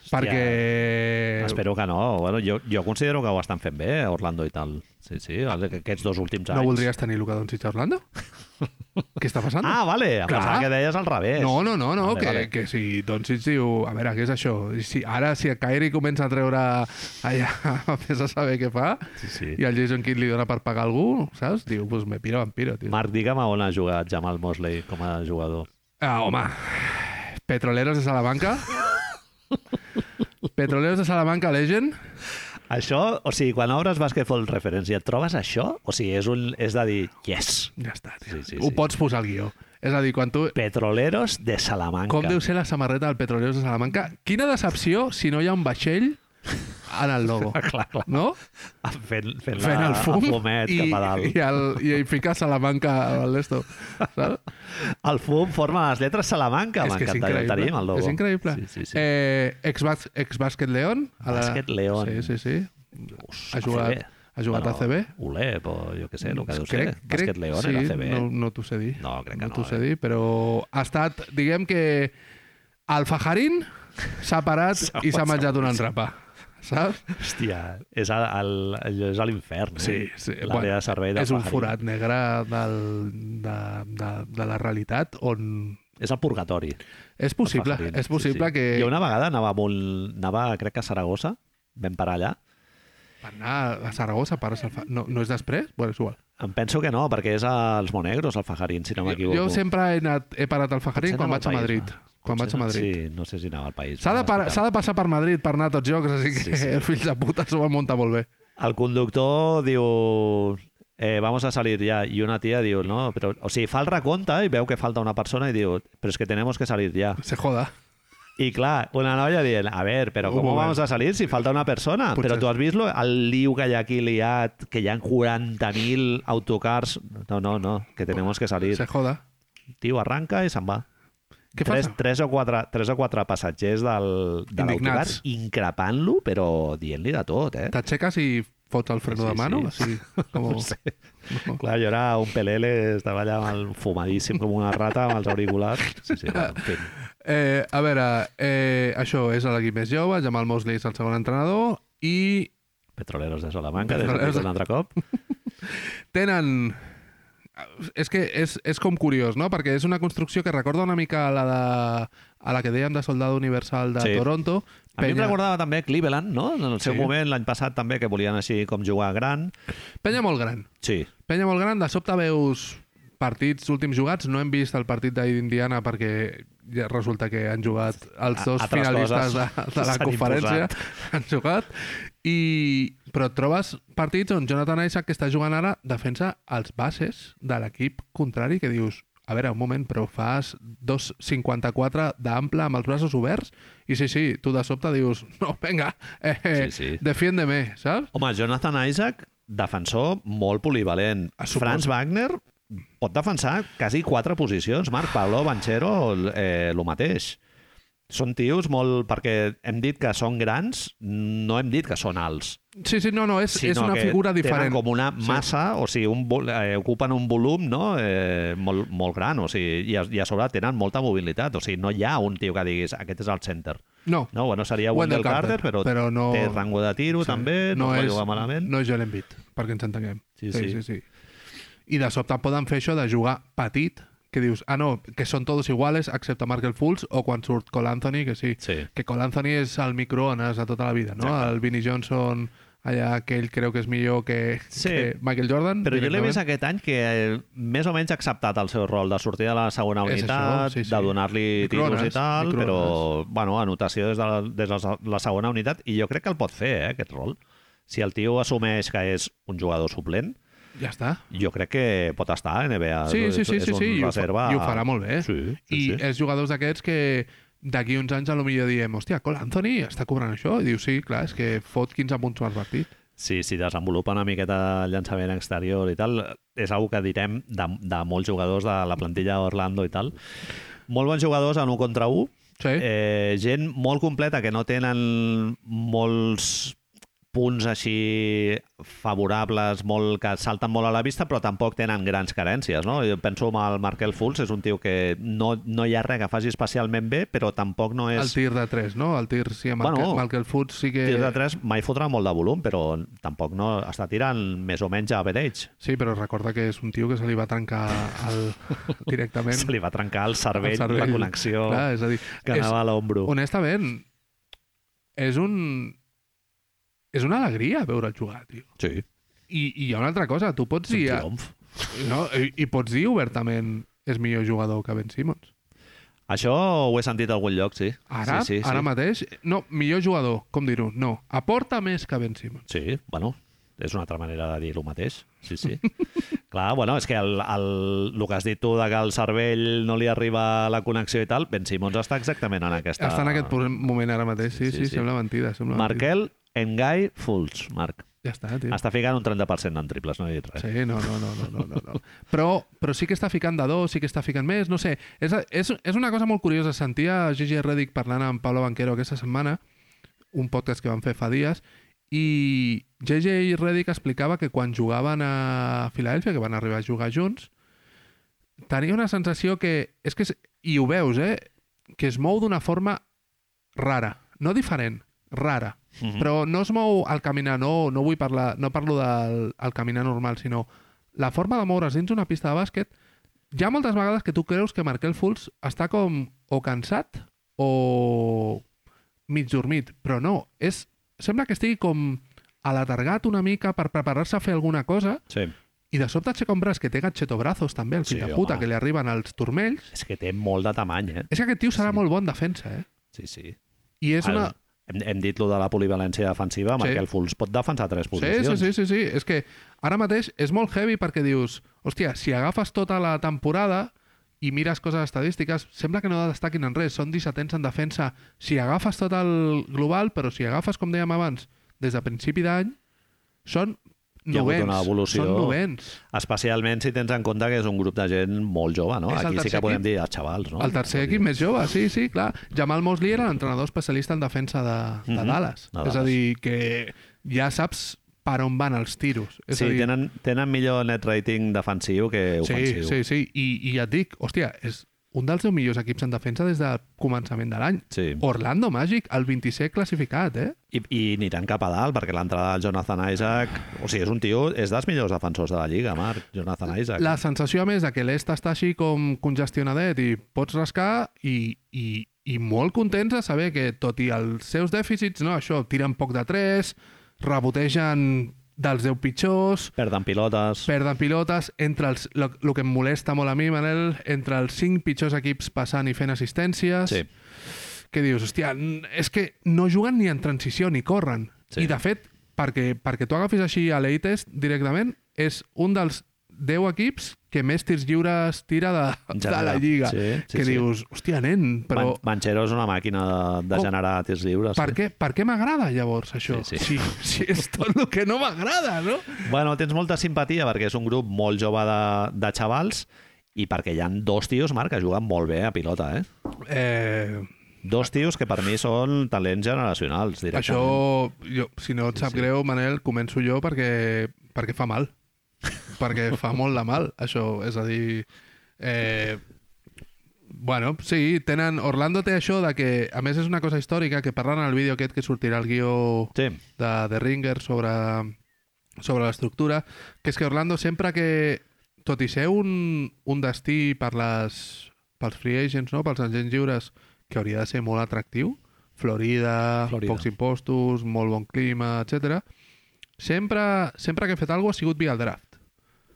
B: Perquè...
A: Espero que no. Bueno, jo, jo considero que ho estan fent bé, a Orlando i tal. Sí, sí, aquests dos últims anys.
B: No voldries tenir Luka Doncic a Orlando? Què està passant?
A: Ah, vale. Em
B: Clar.
A: pensava que deies al revés.
B: No, no, no, no
A: Vale,
B: que,
A: vale.
B: que si Doncic diu... A veure, què és això? I Si, ara, si el Kyrie comença a treure... Allà, vés a saber què fa,
A: Sí, sí.
B: i el Jason Kidd li dona per pagar algú, saps? Diu, pues me piro, em piro, tio.
A: Marc, digue'm a on ha jugat Jamal Mosley com a jugador.
B: Ah, home, Petroleros de Salamanca... Petroleros de Salamanca Legend...
A: Això, o sigui, quan obres Basketball Reference i et trobes això, o sigui, és, un, és de dir, yes,
B: Ja està, tio.
A: Sí, sí,
B: Ho
A: sí.
B: pots posar al guió. És a dir, quan tu...
A: Petroleros de Salamanca.
B: Com deu ser la samarreta del Petroleros de Salamanca? Quina decepció si no hi ha un vaixell en el logo,
A: Clar, clar.
B: no?
A: Fent, fent,
B: Fent
A: la,
B: el fum
A: fumet
B: i,
A: cap a dalt.
B: i, el, i, i ficar Salamanca al lesto, saps?
A: El fum forma les lletres Salamanca.
B: és que és
A: M'encantaria, el tenim, el
B: increïble.
A: logo.
B: És increïble.
A: Sí, sí, sí.
B: Eh, ex-bas- Ex-Bàsquet León. a
A: Bàsquet León.
B: Sí, sí, sí.
A: Us,
B: ha jugat-
A: ACB.
B: ha jugat
A: bueno,
B: ACB?
A: Ulep o jo què sé, el que deu ser.
B: Mm, Crec- crec-
A: Bàsquet León,
B: sí,
A: era ACB.
B: No, no t'ho sé dir.
A: No, crec que
B: No t'ho
A: no,
B: sé
A: eh?
B: dir, però ha estat, diguem que el Fajarín s'ha parat
A: S'ha
B: i s'ha
A: passat.
B: menjat una entrapa, saps?
A: Hòstia, és a, al, allò és a l'infern. eh? L'àrea
B: bueno,
A: de servei de
B: és un
A: Pajarín.
B: forat negre del, de, de, de la realitat on
A: És el purgatori.
B: és possible,
A: Pajarín,
B: és possible
A: sí, sí.
B: que
A: Jo una vegada anava, molt, anava crec que a Saragossa, vam parar allà.
B: per anar a Saragossa pares al fa... no, no és després? Bueno, és igual.
A: Em penso que no, perquè és als Monegros, al Fajarín, si no
B: Jo,
A: m'equivoco.
B: jo sempre he, anat, he parat al Fajarín
A: Potser
B: quan
A: anava
B: vaig a
A: al País
B: Madrid.
A: Basc.
B: Quan vaig a
A: Potser no-
B: Madrid.
A: Sí, no sé si anava al País
B: S'ha de,
A: Basc,
B: par-
A: tal.
B: s'ha de passar per Madrid per anar a tots jocs, així que
A: Sí, sí.
B: el fill de puta s'ho va muntar molt bé.
A: El conductor diu... Eh, vamos a salir ya. Y una tía diu, no, però... O sigui, fa el recompte i veu que falta una persona i diu, però és que tenemos que salir ya.
B: Se joda.
A: I clar, una noia dient, a ver, però
B: Un
A: com
B: moment.
A: vamos a salir si falta una persona?
B: Potser-
A: Potser... Però tu has vist lo, el liu que hi ha aquí liat, que hi ha 40.000 autocars... No, no, no, que tenemos que salir.
B: Se joda.
A: Tio, arranca i se'n va.
B: Què
A: tres,
B: passa?
A: tres, o quatre, tres o quatre passatgers del, de l'autocar
B: Indignats.
A: increpant-lo, però dient-li de tot, eh?
B: T'aixeques i fots el freno
A: Sí,
B: de mano?
A: sí.
B: Així, com...
A: No sé. Clar, jo era un pelele, estava allà amb el fumadíssim com una rata amb els auriculars. Sí, sí, bueno, en fi.
B: Eh, a veure, eh, això és a l'equip més jove, Jamal Mosley és el segon entrenador i
A: Petroleros de Salamanca,
B: Petroleros
A: Petroleros...
B: de-
A: un altre cop.
B: tenen... És que és, és com curiós, no? Perquè és una construcció que recorda una mica a la, de, a la que dèiem de Soldado Universal de
A: Sí.
B: Toronto.
A: A mi em recordava també Cleveland, no? En el seu
B: Sí.
A: sí. moment, l'any passat també, que volien així com jugar gran.
B: penya molt gran.
A: Sí,
B: Penya molt gran, de sobte veus partits últims jugats, no hem vist el partit d'Indiana perquè ja resulta que han jugat
A: A-
B: els dos
A: altres
B: finalistes de,
A: coses
B: de la
A: s'han
B: conferència
A: imposat.
B: han jugat i, però et trobes partits on Jonathan Isaac que està jugant ara defensa els bases de l'equip contrari que dius, a veure, un moment, però fas 2,54 d'ample amb els braços oberts i sí, sí, tu de sobte dius, no, venga, eh, eh,
A: sí, sí.
B: defiéndeme, saps?
A: Home, Jonathan Isaac, defensor molt polivalent.
B: Ah, suposo.
A: Franz Wagner pot defensar quasi quatre posicions. Marc Pablo, Banchero, el eh, lo mateix. Són tios molt... Perquè hem dit que són grans, no hem dit que són alts.
B: Sí, sí, no, no, és, és
A: sinó
B: una
A: que
B: figura diferent.
A: Tenen com una massa, sí. o sigui, un, vol- eh, ocupen un volum no? eh, molt, molt gran, o sigui, i a, i a sobre tenen molta mobilitat. O sigui, no hi ha un tio que diguis, aquest és el center.
B: No,
A: No, bueno, seria Wendell, Carter, però,
B: però no-
A: té rango de tiro
B: Sí.
A: també, no, no és, jugar malament.
B: No és Joel Embiid, perquè ens entenguem.
A: Sí, sí.
B: sí, sí. I de sobte poden fer això de jugar petit, que dius, ah, no, que són tots iguales, excepte Markel Fultz, o quan surt Cole Anthony, que sí.
A: Sí.
B: Que Cole Anthony és el microones de tota la vida, no? El Vinnie Johnson, allà, que ell creu que és millor que,
A: Sí.
B: que Michael Jordan.
A: Però jo l'he vist
B: directament.
A: aquest any que eh, més o menys ha acceptat el seu rol de sortir de la segona
B: És
A: unitat,
B: això, sí, sí.
A: de donar-li títols
B: Microones,
A: i tal,
B: microones.
A: però, bueno, anotació des de, la, des de la- la segona unitat, i jo crec que el pot fer, eh, aquest rol. Si el tio assumeix que és un jugador suplent,
B: Ja està.
A: jo crec que pot estar a NBA.
B: Sí,
A: Ah, doncs
B: sí, sí,
A: és
B: sí,
A: un
B: sí, i ho fa-
A: reserva...
B: i ho farà molt bé. eh?
A: Sí, sí,
B: I
A: sí.
B: és jugadors d'aquests que d'aquí uns anys a lo millor diem, hòstia, Cole Anthony està cobrant això? I diu, sí, clar, és que fot 15 punts per partit.
A: si, si desenvolupa una miqueta el llançament exterior i tal, és una que direm de, de molts jugadors de la plantilla Orlando i tal. Molt bons jugadors en un contra un,
B: Sí.
A: eh, gent molt completa que no tenen molts punts així favorables, molt, que salten molt a la vista, però tampoc tenen grans carències. No? Jo penso en el Markel Fultz, és un tio que no, no hi ha res que faci especialment bé, però tampoc no és...
B: El tir de 3, no? El tir, sí, amb
A: Bueno,
B: el, que, amb el que el fut sí que...
A: Tirs de 3 mai fotrà molt de volum, però tampoc no està tirant més o menys a average.
B: Sí, però recorda que és un tio que se li va trencar el... directament.
A: Se li va trencar el cervell,
B: el cervell.
A: la connexió
B: Clar, és a dir,
A: que anava a l'ombro.
B: honestament, és un... És una alegria veure'l jugar, tio.
A: Sí,
B: I, I hi ha una altra cosa, tu pots
A: és un
B: dir...
A: triomf.
B: No? I, I pots dir obertament és millor jugador que Ben Simmons.
A: Això ho he sentit a algun lloc, sí.
B: Ara,
A: sí, sí,
B: ara
A: sí.
B: mateix, no, millor jugador, com dir-ho, no, aporta més que Ben Simmons.
A: Sí, bueno, és una altra manera de dir-ho mateix. Sí, sí. Clar, bueno, és que el, el, el que has dit tu de que el cervell no li arriba la connexió i tal, Ben Simons està exactament en aquesta...
B: Està en aquest po- moment ara mateix, sí, sí, sí, sí, sí. sembla mentida. Sembla
A: Markel Engai Fultz, Marc.
B: mentida. Ja està, tio.
A: Està ficant un 30% en triples, no he dit res.
B: Sí, no, no, no, no, no, no, no. Però, però sí que està ficant de dos, sí que està ficant més, no sé. És, és, és una cosa molt curiosa. Sentia Gigi Redick parlant amb Pablo Banquero aquesta setmana, un podcast que van fer fa dies, i JJ Redick explicava que quan jugaven a Filadèlfia, que van arribar a jugar junts, tenia una sensació que... És que és, I ho veus, eh? Que es mou d'una forma rara. No diferent, rara. Mm
A: Mm-hmm.
B: -hmm. Però no es mou al caminar, no, no vull parlar, no parlo del al caminar normal, sinó la forma de moure's dins una pista de bàsquet. Hi ha moltes vegades que tu creus que Markel Fultz està com o cansat o mig dormit, però no, és, sembla que estigui com alatargat una mica per preparar-se a fer alguna cosa
A: Sí.
B: i de sobte aixeca un braç que té gachetobrazos també, el
A: Sí,
B: fill de
A: home.
B: puta, que li arriben als turmells.
A: És que té molt de tamany, eh?
B: És que aquest tio serà molt bon defensa, eh?
A: Sí, sí.
B: I és una...
A: Hem, hem dit lo de la polivalència defensiva,
B: Sí.
A: sí. Markel Fultz pot defensar tres
B: Sí, sí,
A: posicions.
B: sí, sí, sí. És que ara mateix és molt heavy perquè dius, hòstia, si agafes tota la temporada i mires coses estadístiques, sembla que no destaquin en res, són 17 en defensa. Si agafes tot el global, però si agafes, com dèiem abans, des de principi d'any, són
A: Hi ha hagut
B: novens.
A: una evolució.
B: Són novens.
A: Especialment si tens en compte que és un grup de gent molt jove, no?
B: És el
A: Aquí sí
B: tercer
A: que podem
B: equip.
A: dir els xavals, no?
B: El tercer equip més jove, sí, sí, clar. Jamal Mosley era l'entrenador especialista en defensa de, de
A: Mhm.
B: Dallas.
A: De
B: És a
A: Dallas.
B: dir, que ja saps per on van els tiros. És
A: Sí,
B: a dir,
A: tenen, tenen millor net rating defensiu que
B: Sí,
A: ofensiu.
B: sí, sí. I, I ja et dic, hòstia, és un dels seus millors equips en defensa des del començament de l'any.
A: sí.
B: Orlando Magic, el 26 classificat, eh?
A: I, I aniran cap a dalt, perquè l'entrada del Jonathan Isaac... O sigui, és un tio... És dels millors defensors de la Lliga, Marc, Jonathan Isaac.
B: La sensació, a més, de que l'est està així com congestionadet i pots rascar i, i, i molt contents de saber que, tot i els seus dèficits, no, això, tiren poc de 3, rebotegen dels 10 pitjors,
A: Perden pilotes.
B: perden pilotes, entre els... El que em molesta molt a mi, Manel, entre els 5 pitjors equips passant i fent assistències...
A: Sí.
B: que dius, hòstia, n- és que no juguen ni en transició ni corren.
A: Sí.
B: Sí. I de fet, perquè, perquè tu agafis així a l'Eitest directament, és un dels 10 equips que més tirs lliures tira de,
A: En
B: de la
A: general.
B: Lliga.
A: Sí, sí,
B: que
A: sí.
B: dius, hòstia, nen, però...
A: Man Manchero és una màquina de, de
B: Com-
A: generar tirs lliures.
B: Per
A: sí.
B: què, per què m'agrada, llavors, això?
A: Sí,
B: sí. Si, si és tot el que no m'agrada, no?
A: Bueno, tens molta simpatia perquè és un grup molt jove de, de xavals i perquè hi han dos tios, Marc, que juguen molt bé a pilota, eh?
B: Eh,
A: Dos tios que per mi són talents generacionals,
B: això,
A: directament.
B: jo, si no et sap sí, sí. greu, Manel, començo jo perquè, perquè fa mal. perquè fa molt de mal, això. És a dir... Eh, bueno, sí, tenen... Orlando té això de que, a més, és una cosa històrica que parlen en el vídeo aquest que sortirà el guió
A: Sí,
B: de The Ringer sobre, sobre l'estructura, que és que Orlando sempre que, tot i ser un, un destí per les, pels free agents, no? pels agents lliures, que hauria de ser molt atractiu, Florida,
A: Florida.
B: Florida. pocs impostos, molt bon clima, etc. Sempre, sempre que he fet alguna cosa ha sigut via el draft.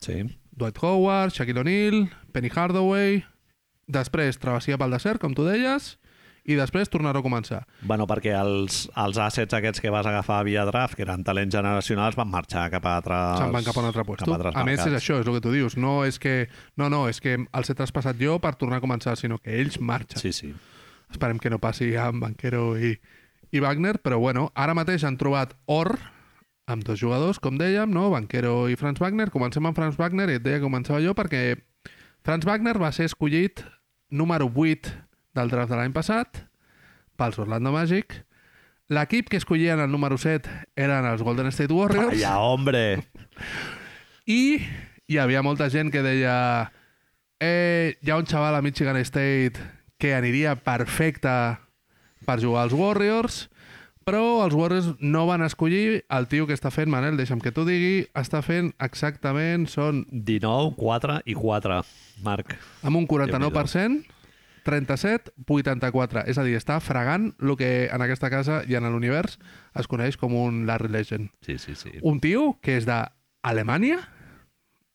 A: sí.
B: Dwight Howard, Shaquille O'Neal, Penny Hardaway, després travessia pel desert, com tu deies, i després tornar a començar.
A: Bueno, perquè els, els assets aquests que vas agafar via draft, que eren talents generacionals, van marxar cap a altres...
B: Se'n van cap a un altre puesto.
A: Cap a, altres
B: a més, és
A: mercats.
B: això, és el que tu dius. No és que... No, no, és que els he traspassat jo per tornar a començar, sinó que ells marxen. Sí.
A: Sí, sí.
B: Esperem que no passi amb Banquero i, i Wagner, però bueno, ara mateix han trobat or amb dos jugadors, com dèiem, no? Banquero i Franz Wagner. Comencem amb Franz Wagner, i et deia que començava jo, perquè Franz Wagner va ser escollit número 8 del draft de l'any passat pels Orlando Magic. L'equip que escollien el número 7 eren els Golden State Warriors.
A: Calla, hombre!
B: I hi havia molta gent que deia eh, hi ha un xaval a Michigan State que aniria perfecte per jugar als Warriors, però els Warriors no van escollir el tio que està fent, Manel, deixa'm que t'ho digui, està fent exactament, són
A: 19, 4 i 4, Marc.
B: amb un 49%, 37, 84. És a dir, està fregant el que en aquesta casa i en l'univers es coneix com un Larry Legend.
A: Sí, sí, sí.
B: Un tio que és d'Alemanya,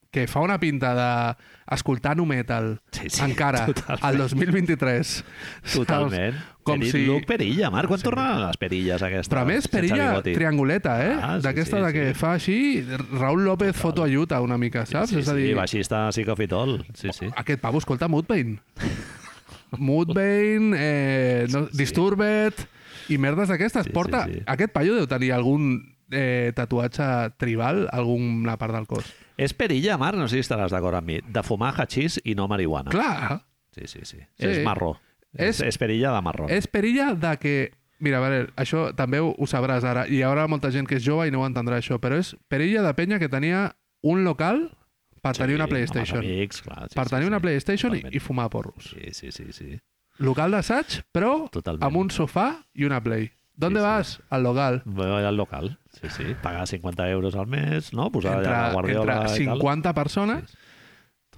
B: que fa una pinta d'escoltar nu metal
A: Sí, sí,
B: encara
A: totalment.
B: al 2023.
A: Totalment.
B: Saps? Com
A: Edit
B: si...
A: Look perilla, Marc. Quan tornen les perilles aquestes?
B: Però a més,
A: sense
B: perilla
A: bigoti?
B: trianguleta, eh?
A: Ah, sí,
B: D'aquesta
A: sí,
B: de que
A: sí.
B: fa així, Raül López foto a Utah una mica, saps?
A: Sí,
B: és a dir,
A: sí, baixista psicofitol. Sí, sí.
B: Aquest pavo escolta Mudbane. Mudbane, eh, no, Disturbed i merdes d'aquestes.
A: Sí, sí,
B: Porta...
A: sí.
B: Aquest paio deu tenir algun eh, tatuatge tribal a alguna part del cos.
A: És perilla, Marc, no sé si estaràs d'acord amb mi, de fumar hachís i no marihuana.
B: Clar,
A: Sí, sí, sí.
B: Sí.
A: És marró.
B: És-
A: És, és perilla de marró.
B: és perilla de que... Mira, a veure, això també ho, ho sabràs ara, i hi haurà molta gent que és jove i no ho entendrà això, però és perilla de penya que tenia un local per tenir una PlayStation.
A: Amb els amics, clar. Sí,
B: per
A: sí,
B: tenir
A: sí.
B: una PlayStation i,
A: Totalment.
B: i fumar porros.
A: Sí, sí, sí, sí.
B: Local d'assaig, però
A: Totalment.
B: amb un sofà i una Play. ¿Dónde
A: Sí, sí.
B: vas? Al local.
A: Bueno, al local, sí, sí. Pagar 50 euros al mes, no? Posar
B: Entre,
A: allà la guardiola
B: entre
A: i tal.
B: 50 persones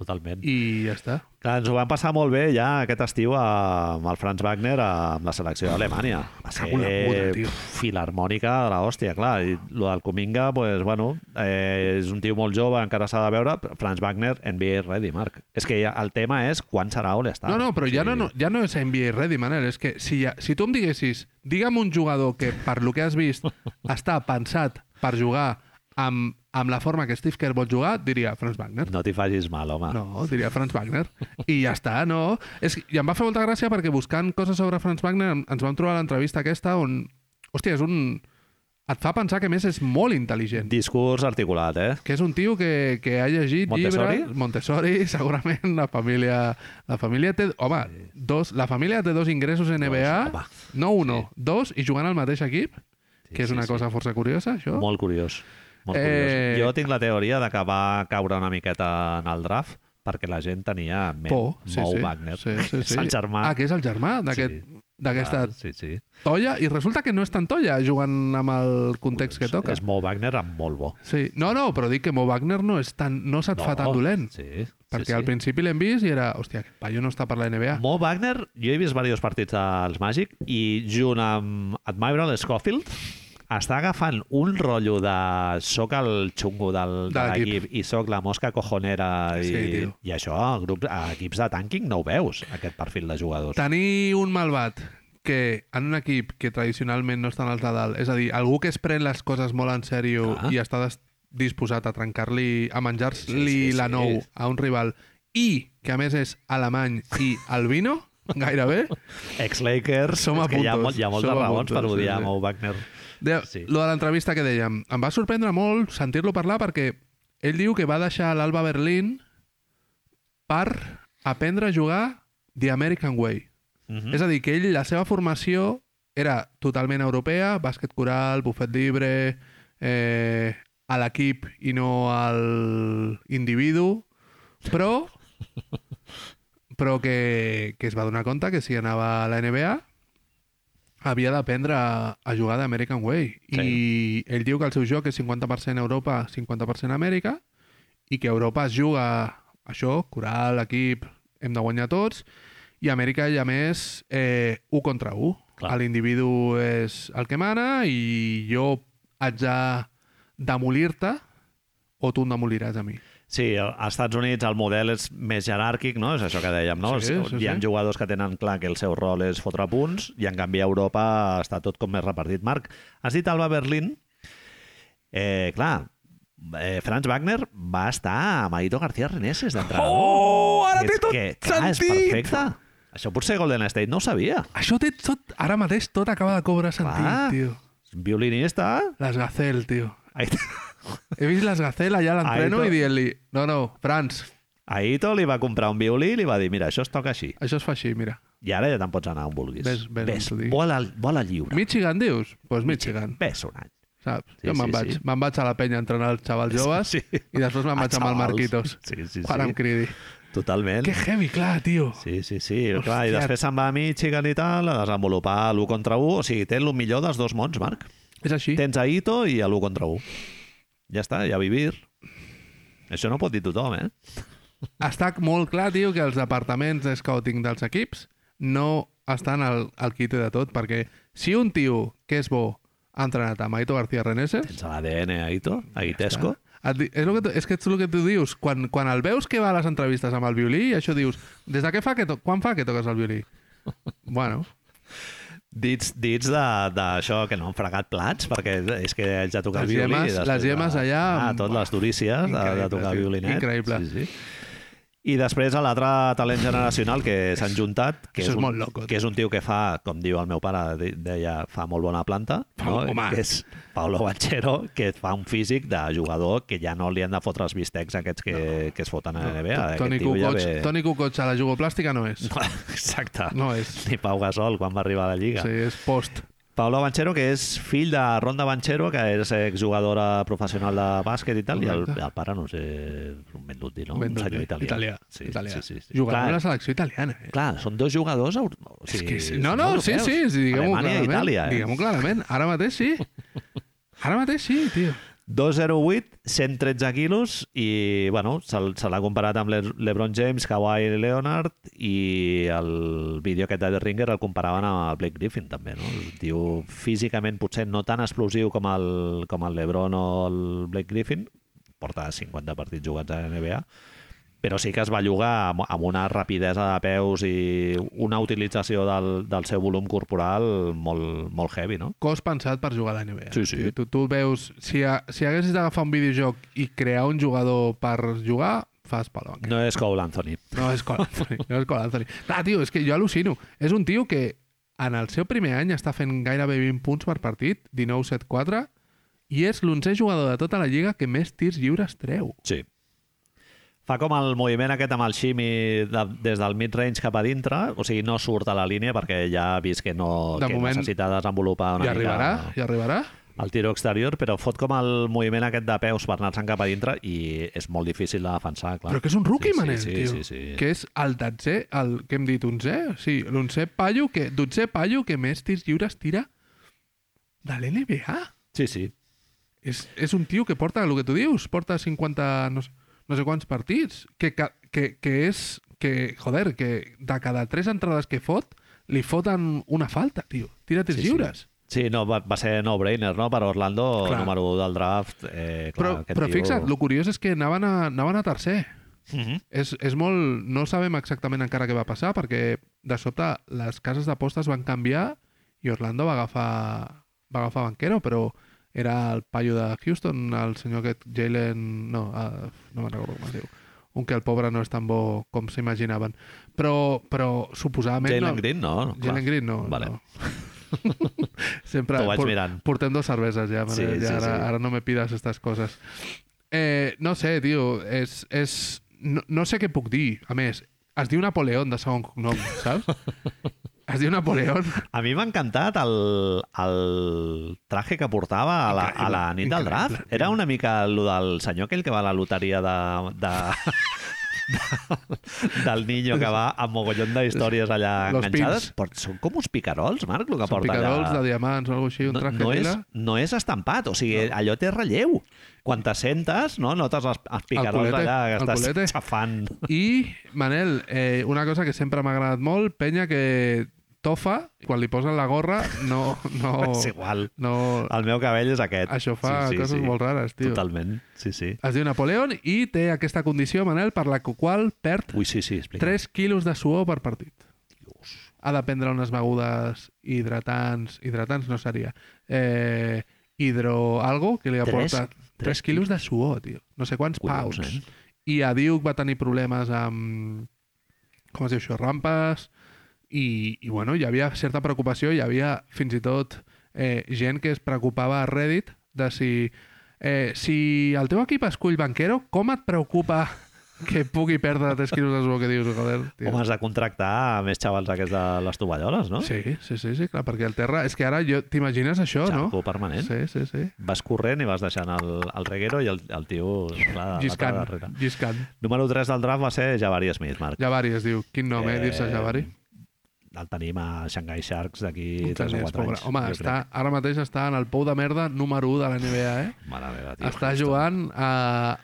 A: Totalment. I...
B: i ja està.
A: Clar, ens ho vam passar molt bé ja aquest estiu a- amb el Franz Wagner a- amb la selecció d'Alemanya. Va
B: ser una puta, tio.
A: pf, filarmònica de l'hòstia, clar. I lo del Cominga, pues, bueno, eh, és un tio molt jove, encara s'ha de veure. però Franz Wagner, NBA ready, Marc. És que ja, el tema és quan serà All-Star.
B: No, no, però ja no, no, ja no és NBA ready, Manel. És que si, ja, si tu em diguessis, digue'm un jugador que, per lo que has vist, està pensat per jugar amb, amb la forma que Steve Kerr vol jugar, diria Franz Wagner.
A: No t'hi facis mal, home.
B: No, diria Franz Wagner. I ja està, no? És, que- I em va fer molta gràcia perquè buscant coses sobre Franz Wagner em- ens vam trobar l'entrevista aquesta on... Hòstia, és un... Et fa pensar que a més és molt intel·ligent.
A: Discurs articulat, eh?
B: Que és un tio que, que ha llegit
A: Montessori?
B: llibres... Montessori? segurament, la família... La família té... Home, dos, la família té dos ingressos en NBA,
A: home.
B: no uno, dos, i jugant al mateix equip, que és
A: sí,
B: una
A: sí.
B: cosa força curiosa, això.
A: Molt curiós. Molt
B: Eh,
A: curiós. Jo tinc la teoria de que va caure una miqueta en el draft perquè la gent tenia men,
B: Por, sí,
A: Mo
B: sí.
A: Wagner.
B: Sí, sí, sí.
A: És el germà.
B: Ah, que és el germà d'aquest- d'aquesta
A: Ah, sí, sí.
B: tolla i resulta que no és tan tolla jugant amb el context que toca.
A: Doncs És Mo Wagner amb molt bo.
B: Sí. No, no, però dic que Mo Wagner no, és tan, no se't fa tan dolent.
A: Sí,
B: Perquè
A: sí, sí.
B: al principi l'hem vist i era, hòstia, aquest paio no està per la NBA.
A: Mo Wagner, jo he vist diversos partits dels Magic i junt amb Admiral Schofield està agafant un rotllo de soc el xungo del, de
B: De l'equip.
A: l'equip i soc la mosca cojonera i,
B: Sí, tio.
A: i això a, grups, a equips de tanking no ho veus, aquest perfil de jugadors.
B: Tenir un malvat que en un equip que tradicionalment no està en els de dalt, és a dir, algú que es pren les coses molt en sèrio
A: Clar.
B: i està des- disposat a trencar-li, a menjar-li
A: Ah. Sí, sí,
B: la
A: sí.
B: nou a un rival i que a més és alemany i albino, gairebé,
A: Ex-Lakers,
B: Som a
A: és que hi ha,
B: puntos,
A: molt, hi ha molts
B: som a
A: raons per
B: puntos, sí,
A: odiar
B: sí.
A: sí, Mo Wagner.
B: De, sí.
A: Sí.
B: Lo de l'entrevista que dèiem, em va sorprendre molt sentir-lo parlar perquè ell diu que va deixar l'Alba Berlín per aprendre a jugar The American Way. Mm.
A: Mhm.
B: És a dir, que ell, la seva formació era totalment europea, bàsquet coral, bufet llibre, eh, a l'equip i no al individu, però però que, que es va donar compte que si anava a la NBA havia d'aprendre a, a jugar d'American Way. Sí. I ell diu que el seu joc és 50% Europa, 50% Amèrica, i que Europa es juga això, coral, equip, hem de guanyar tots, i Amèrica, i a més, eh, un contra un.
A: Clar.
B: L'individu és el que mana i jo haig de demolir-te o tu em demoliràs a mi.
A: Sí, als Estats Units el model és més jeràrquic, no? És això que dèiem, no?
B: Sí,
A: És-
B: sí,
A: hi ha
B: sí.
A: jugadors que tenen clar que el seu rol és fotre punts i en canvi a Europa està tot com més repartit. Marc, has dit Alba Berlín. Eh, clar, eh, Franz Wagner va estar amb Aito García Reneses d'entrenador.
B: Oh, ara
A: És
B: té tot
A: que, clar, és
B: sentit!
A: perfecte. Això potser Golden State no ho sabia.
B: Això té tot, ara mateix tot acaba de cobrar sentit,
A: Clar.
B: tio.
A: Violinista,
B: Les Gacel, tio.
A: Ahir,
B: He vist les Gacela ja a l'entreno
A: Aito.
B: i dient-li no, no, Franz,
A: Aito li va comprar un violí i li va dir, mira, això es toca així.
B: això es fa així, mira.
A: I ara ja te'n pots anar on vulguis.
B: Ves- ves on t'ho digui.
A: vola, vola lliure.
B: Michigan, dius? Doncs pues Michigan,
A: Ves un any.
B: saps?
A: Sí,
B: jo me'n
A: sí,
B: vaig.
A: sí.
B: Me'n vaig a la penya a entrenar els xavals joves
A: Sí.
B: i després me'n
A: A
B: vaig amb el
A: xavals.
B: Marquitos.
A: Sí, sí,
B: Quan
A: sí.
B: em cridi.
A: Totalment.
B: Que heavy, clar, tio.
A: Sí, sí, sí.
B: Hòstia.
A: Clar, I després se'n va a Michigan i tal a desenvolupar l'1 contra 1. O sigui, té el millor dels dos mons, Marc.
B: És així.
A: Tens a Ito i a l'1 contra 1. Ja està, ja vivir. Això no ho pot dir tothom, eh?
B: Està molt clar, tio, que els departaments de scouting dels equips no estan al, al quite de tot, perquè si un tio que és bo ha entrenat amb Aito García Reneses...
A: Tens a l'ADN a Ito, a Itesco.
B: Et, di- és, lo que tu, és que és el que tu dius. Quan, quan el veus que va a les entrevistes amb el violí, això dius, des de què fa que to quan fa que toques el violí? Bueno,
A: Dits, dits de- d'això que no han fregat plats, perquè és que haig de tocar
B: Les
A: el violí.
B: gemmes-
A: i després
B: les gemmes
A: de-
B: allà,
A: Ah, tot les durícies de, de
B: increïble,
A: tocar
B: tio,
A: violinet.
B: increïble.
A: Sí, sí. I després a l'altre talent generacional que s'han juntat, que
B: Això és
A: un,
B: molt loco, tio.
A: que és un tio que fa, com diu el meu pare, de- deia, fa molt bona planta,
B: Fa-
A: no?
B: home.
A: que és Paolo Banchero, que fa un físic de jugador que ja no li han de fotre els bistecs aquests que, que es foten a la NBA. Aquest
B: Toni
A: tio ja
B: Kukoc,
A: ve-
B: Toni Kukoc a la jugoplàstica no és.
A: No, exacte.
B: No és.
A: Ni Pau Gasol quan va arribar a la Lliga.
B: Sí, és post.
A: Paula Banchero, que és fill de Ronda Banchero, que és exjugadora professional de bàsquet i tal, i el,
B: Correcte.
A: el pare, no sé, un Benduti, no?
B: Ben
A: un senyor
B: dut,
A: italià.
B: Italià.
A: Sí,
B: italià.
A: sí, sí. sí.
B: Jugador de
A: Clar,
B: la selecció italiana, eh?
A: clar, són dos jugadors... eur- O
B: És
A: sigui,
B: que sí.
A: són
B: No, no, sí,
A: europeus.
B: sí, sí diguem-ho
A: Alemanya
B: clarament.
A: i Itàlia, eh?
B: Diguem-ho clarament. Ara mateix sí. Ara mateix sí, tio.
A: 208, 113 quilos i, bueno, se, l- se l'ha comparat amb Le LeBron James, Kawhi Leonard i el vídeo aquest de The Ringer el comparaven amb el Blake Griffin també, no? Diu, físicament potser no tan explosiu com el, com el LeBron o el Blake Griffin, porta 50 partits jugats a la NBA, però sí que es va llogar amb, amb una rapidesa de peus i una utilització del, del seu volum corporal molt, molt heavy, no?
B: Cos pensat per jugar a la NBA.
A: Sí, sí.
B: Tio, Tu, tu veus... Si, ha, si haguessis d'agafar un videojoc i crear un jugador per jugar, fas pel banc.
A: No és Cole Anthony.
B: No és Cole Anthony, no és Cole Anthony. Clar, tio, és que jo al·lucino. És un tio que en el seu primer any està fent gairebé 20 punts per partit, 19-7-4, i és l'onzè jugador de tota la lliga que més tirs lliures treu.
A: Sí. Fa com el moviment aquest amb el Ximi de, des del mid-range cap a dintre, o sigui, no surt a la línia perquè ja ha vist que no
B: De
A: que
B: moment,
A: necessita desenvolupar
B: I
A: una
B: arribarà,
A: mica
B: i arribarà.
A: el tiro exterior, però fot com el moviment aquest de peus per anar-se'n cap a dintre i és molt difícil de defensar, clar.
B: Però que és un rookie,
A: Ah, sí,
B: Manel,
A: sí,
B: tio.
A: Sí, sí, sí.
B: Que és el dotzè, el que hem dit onzè, sí, l'onzè paio, que, dotzè paio que més tirs lliures tira de l'NBA.
A: sí, sí.
B: És, és un tio que porta, el que tu dius, porta 50, no sé, no sé quants partits, que, ca- que, que és, que, joder, que de cada tres entrades que fot, li foten una falta, tio. Tira tirs
A: Sí, sí.
B: lliures.
A: Sí, no, va, va ser no-brainer, no? Per Orlando,
B: Clar.
A: número 1 del draft. Eh,
B: Però,
A: clar, aquest
B: però
A: tio...
B: fixa't, el curiós és que anaven a, anaven a tercer.
A: Mhm.
B: És, és molt... No sabem exactament encara què va passar, perquè de sobte les cases d'apostes van canviar i Orlando va agafar, va agafar banquero, però era el paio de Houston, el senyor aquest Jalen... No, uh, no me'n recordo com es diu. Un que el pobre no és tan bo com s'imaginaven. Però, però suposadament...
A: Jalen
B: no,
A: Green, no? no clar.
B: Jalen Green no.
A: Vale.
B: no. Sempre
A: T'ho vaig mirant.
B: portem dos cerveses ja,
A: Sí,
B: Manel, ja
A: sí,
B: ara,
A: sí.
B: ara no me pidas estas coses. Eh, no sé, tio, és, és... No, no sé què puc dir. A més, es diu Napoleón de segon cognom, saps? Es diu Napoleón.
A: A mi m'ha encantat el, el traje que portava a la, a la nit del draft. Era una mica el del senyor aquell que va a la loteria de... de... de- del niño que va amb mogollon de històries allà
B: Los
A: enganxades.
B: pins.
A: Però són com uns picarols, Marc, el que
B: Són
A: porta
B: picarols
A: allà.
B: de diamants o alguna cosa així, un
A: No,
B: traje
A: no, és,
B: lila.
A: no és estampat, o sigui, no. allò té relleu. Quan te sentes, no? notes els, els picarols
B: colete,
A: allà que
B: el
A: estàs
B: colete.
A: xafant.
B: I, Manel, eh, una cosa que sempre m'ha agradat molt, penya que tofa, quan li posen la gorra, no... no
A: És igual.
B: no,
A: El meu cabell és aquest.
B: Oh. Això fa coses molt rares, tio.
A: Totalment, sí, sí.
B: Es diu Napoleón i té aquesta condició, Manel, per la qual perd
A: Ui, sí, sí, explica.
B: 3 quilos de suor per partit. Ha de prendre unes begudes hidratants... Hidratants no seria. Eh, hidroalgo, que li
A: Tres-
B: aporta 3,
A: tres
B: quilos de suor, tio. No sé quants
A: Collons, eh?
B: pounds.
A: nen.
B: I a Duke va tenir problemes amb... Com es diu això? Rampes. I, i bueno, hi havia certa preocupació, hi havia fins i tot eh, gent que es preocupava a Reddit de si Eh, si el teu equip escull banquero, com et preocupa que pugui perdre 3 quilos de suor que dius, joder, tio?
A: Home, has de contractar més xavals aquests de les tovalloles, no?
B: Sí, sí, sí, sí, clar, perquè el terra... És que ara jo... T'imagines això,
A: Xarco
B: no?
A: permanent.
B: Sí, sí, sí.
A: Vas corrent i vas deixant el, el reguero i el, el tio... Ah, La,
B: Giscant, Giscant.
A: Número 3 del draft va ser Javari Smith, Marc.
B: Javari es diu. Quin nom, eh,
A: Eh,
B: dir-se Javari?
A: El tenim a Shanghai Sharks d'aquí 3 o
B: Italians,
A: 4
B: pobre.
A: anys.
B: Home,
A: jo
B: està, ara mateix està en el pou de merda número 1 de la NBA, eh?
A: Crec. Mare meva, tio.
B: està jugant a,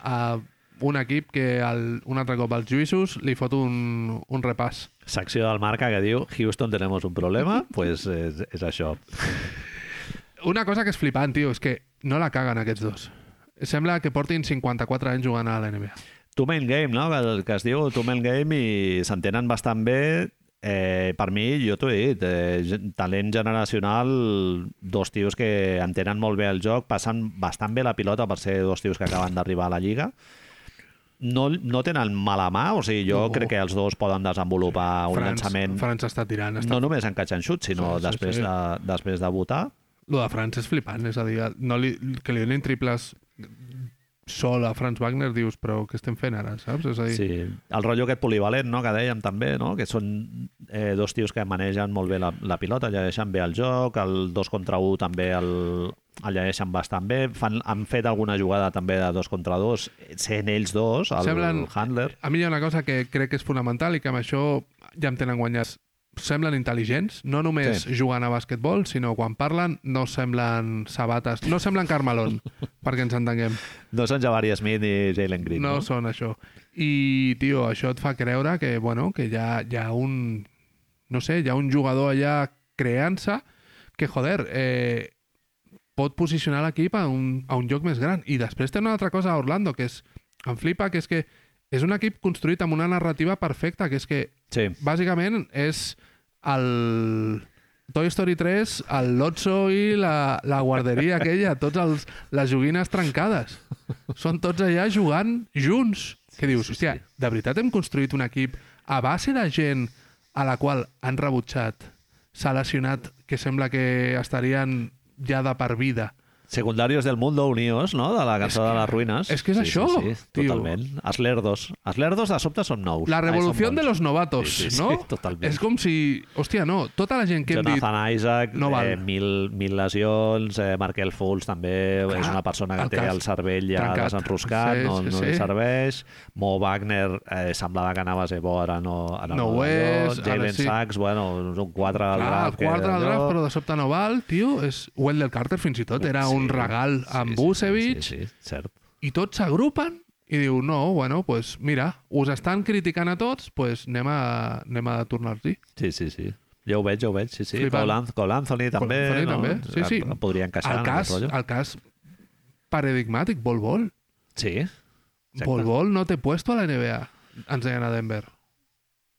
B: a un equip que el, un altre cop als Lluïssos li fot un, un repàs.
A: Secció del Marca que diu Houston tenemos un problema, pues eh, és, és això.
B: Una cosa que és flipant, tio, és que no la caguen aquests dos. Sembla que portin 54 anys jugant a la NBA.
A: Two Man Game, no? Que, el- que es diu Two Man Game i s'entenen bastant bé. Eh, per mi, jo t'ho he dit, eh, ge- talent generacional, dos tios que entenen molt bé el joc, passen bastant bé la pilota per ser dos tios que acaben d'arribar a la Lliga. No, no tenen mala mà, o sigui, jo
B: No.
A: no. crec que els dos poden desenvolupar un llançament
B: França està tirant. Està...
A: no només en catch and shoot, sinó
B: Sí,
A: sí,
B: sí,
A: després,
B: sí.
A: De, després de votar.
B: Lo de França és flipant, és a dir, no li, que li donin triples sol a Franz Wagner, dius, però què estem fent ara, saps? És a dir,
A: Sí. El rotllo aquest polivalent, no?, que dèiem també, no?, que són eh, dos tios que manegen molt bé la, la pilota, llegeixen bé el joc, el 2 contra 1 també el, el llegeixen bastant bé, fan, han fet alguna jugada també de 2 contra 2, sent ells dos, el
B: Semblen-
A: handler.
B: Eh, A mi hi ha una cosa que crec que és fonamental i que amb això ja em tenen guanyats. Semblen intel·ligents, no només sí. jugant a basquetbol, sinó quan parlen no semblen sabates, no semblen Carmelón, perquè ens entenguem.
A: No són Jabari Smith ni Jalen Green,
B: No
A: no?
B: són això. I, tio, això et fa creure que, bueno, que hi ha, hi ha un... No sé, hi ha un jugador allà creant-se que, joder, eh, pot posicionar l'equip a, un, a un lloc més gran. I després té una altra cosa a Orlando, que és... Em flipa, que és que és un equip construït amb una narrativa perfecta, que és que
A: Sí.
B: bàsicament és el Toy Story 3, el Lotso i la, la guarderia aquella, tots els, les joguines trencades. Són tots allà jugant junts. Que dius, hòstia, de veritat hem construït un equip a base de gent a la qual han rebutjat, s'ha lesionat, que sembla que estarien ja de per vida.
A: Secundarios del Mundo Unidos, no?, de la cançó de les ruïnes.
B: és que és
A: sí,
B: això,
A: Sí, sí,
B: tio.
A: totalment. Els lerdos. Els lerdos de sobte són nous. Ai,
B: La
A: Ah, són
B: revolució de
A: bons.
B: los novatos,
A: Sí, sí, sí,
B: no?
A: totalment.
B: És com si... Hòstia, no, tota la gent que hem dit...
A: Jonathan Isaac,
B: no
A: no
B: val.
A: eh, mil, mil lesions, eh, Markel Fultz també Clar, és una persona que
B: el
A: el té
B: cas
A: el cervell ja
B: trencat.
A: desenroscat,
B: Sí,
A: sí, no,
B: sí,
A: no li
B: sí.
A: serveix. Mo Wagner eh, semblava que anava a ser bo, ara no, ara
B: No ho
A: allò.
B: és, ara
A: Jalen
B: sí.
A: Sachs, bueno, és un 4 al
B: Clar,
A: draft.
B: el quart
A: que
B: del
A: allò.
B: draft, però de sobte no val, tio, és Wendell Carter fins i tot, era
A: Sí,
B: un regal amb
A: sí,
B: Vucevic,
A: Sí, sí, sí, cert.
B: i tots s'agrupen i diu, no, bueno, pues mira, us estan criticant a tots, pues anem a, anem a tornar-los-hi.
A: Sí, sí, sí. Jo ho veig, jo ho veig, sí, sí.
B: Flipant.
A: Cole, Anth- Cole Anthony també,
B: Anthony
A: no?
B: també, sí, sí.
A: Em Podria encaixar
B: El
A: en
B: cas,
A: aquest rotllo.
B: el cas paradigmàtic, Bol Bol.
A: Sí, Exacte.
B: Bol Bol no té puesto a la NBA, ens deien a Denver.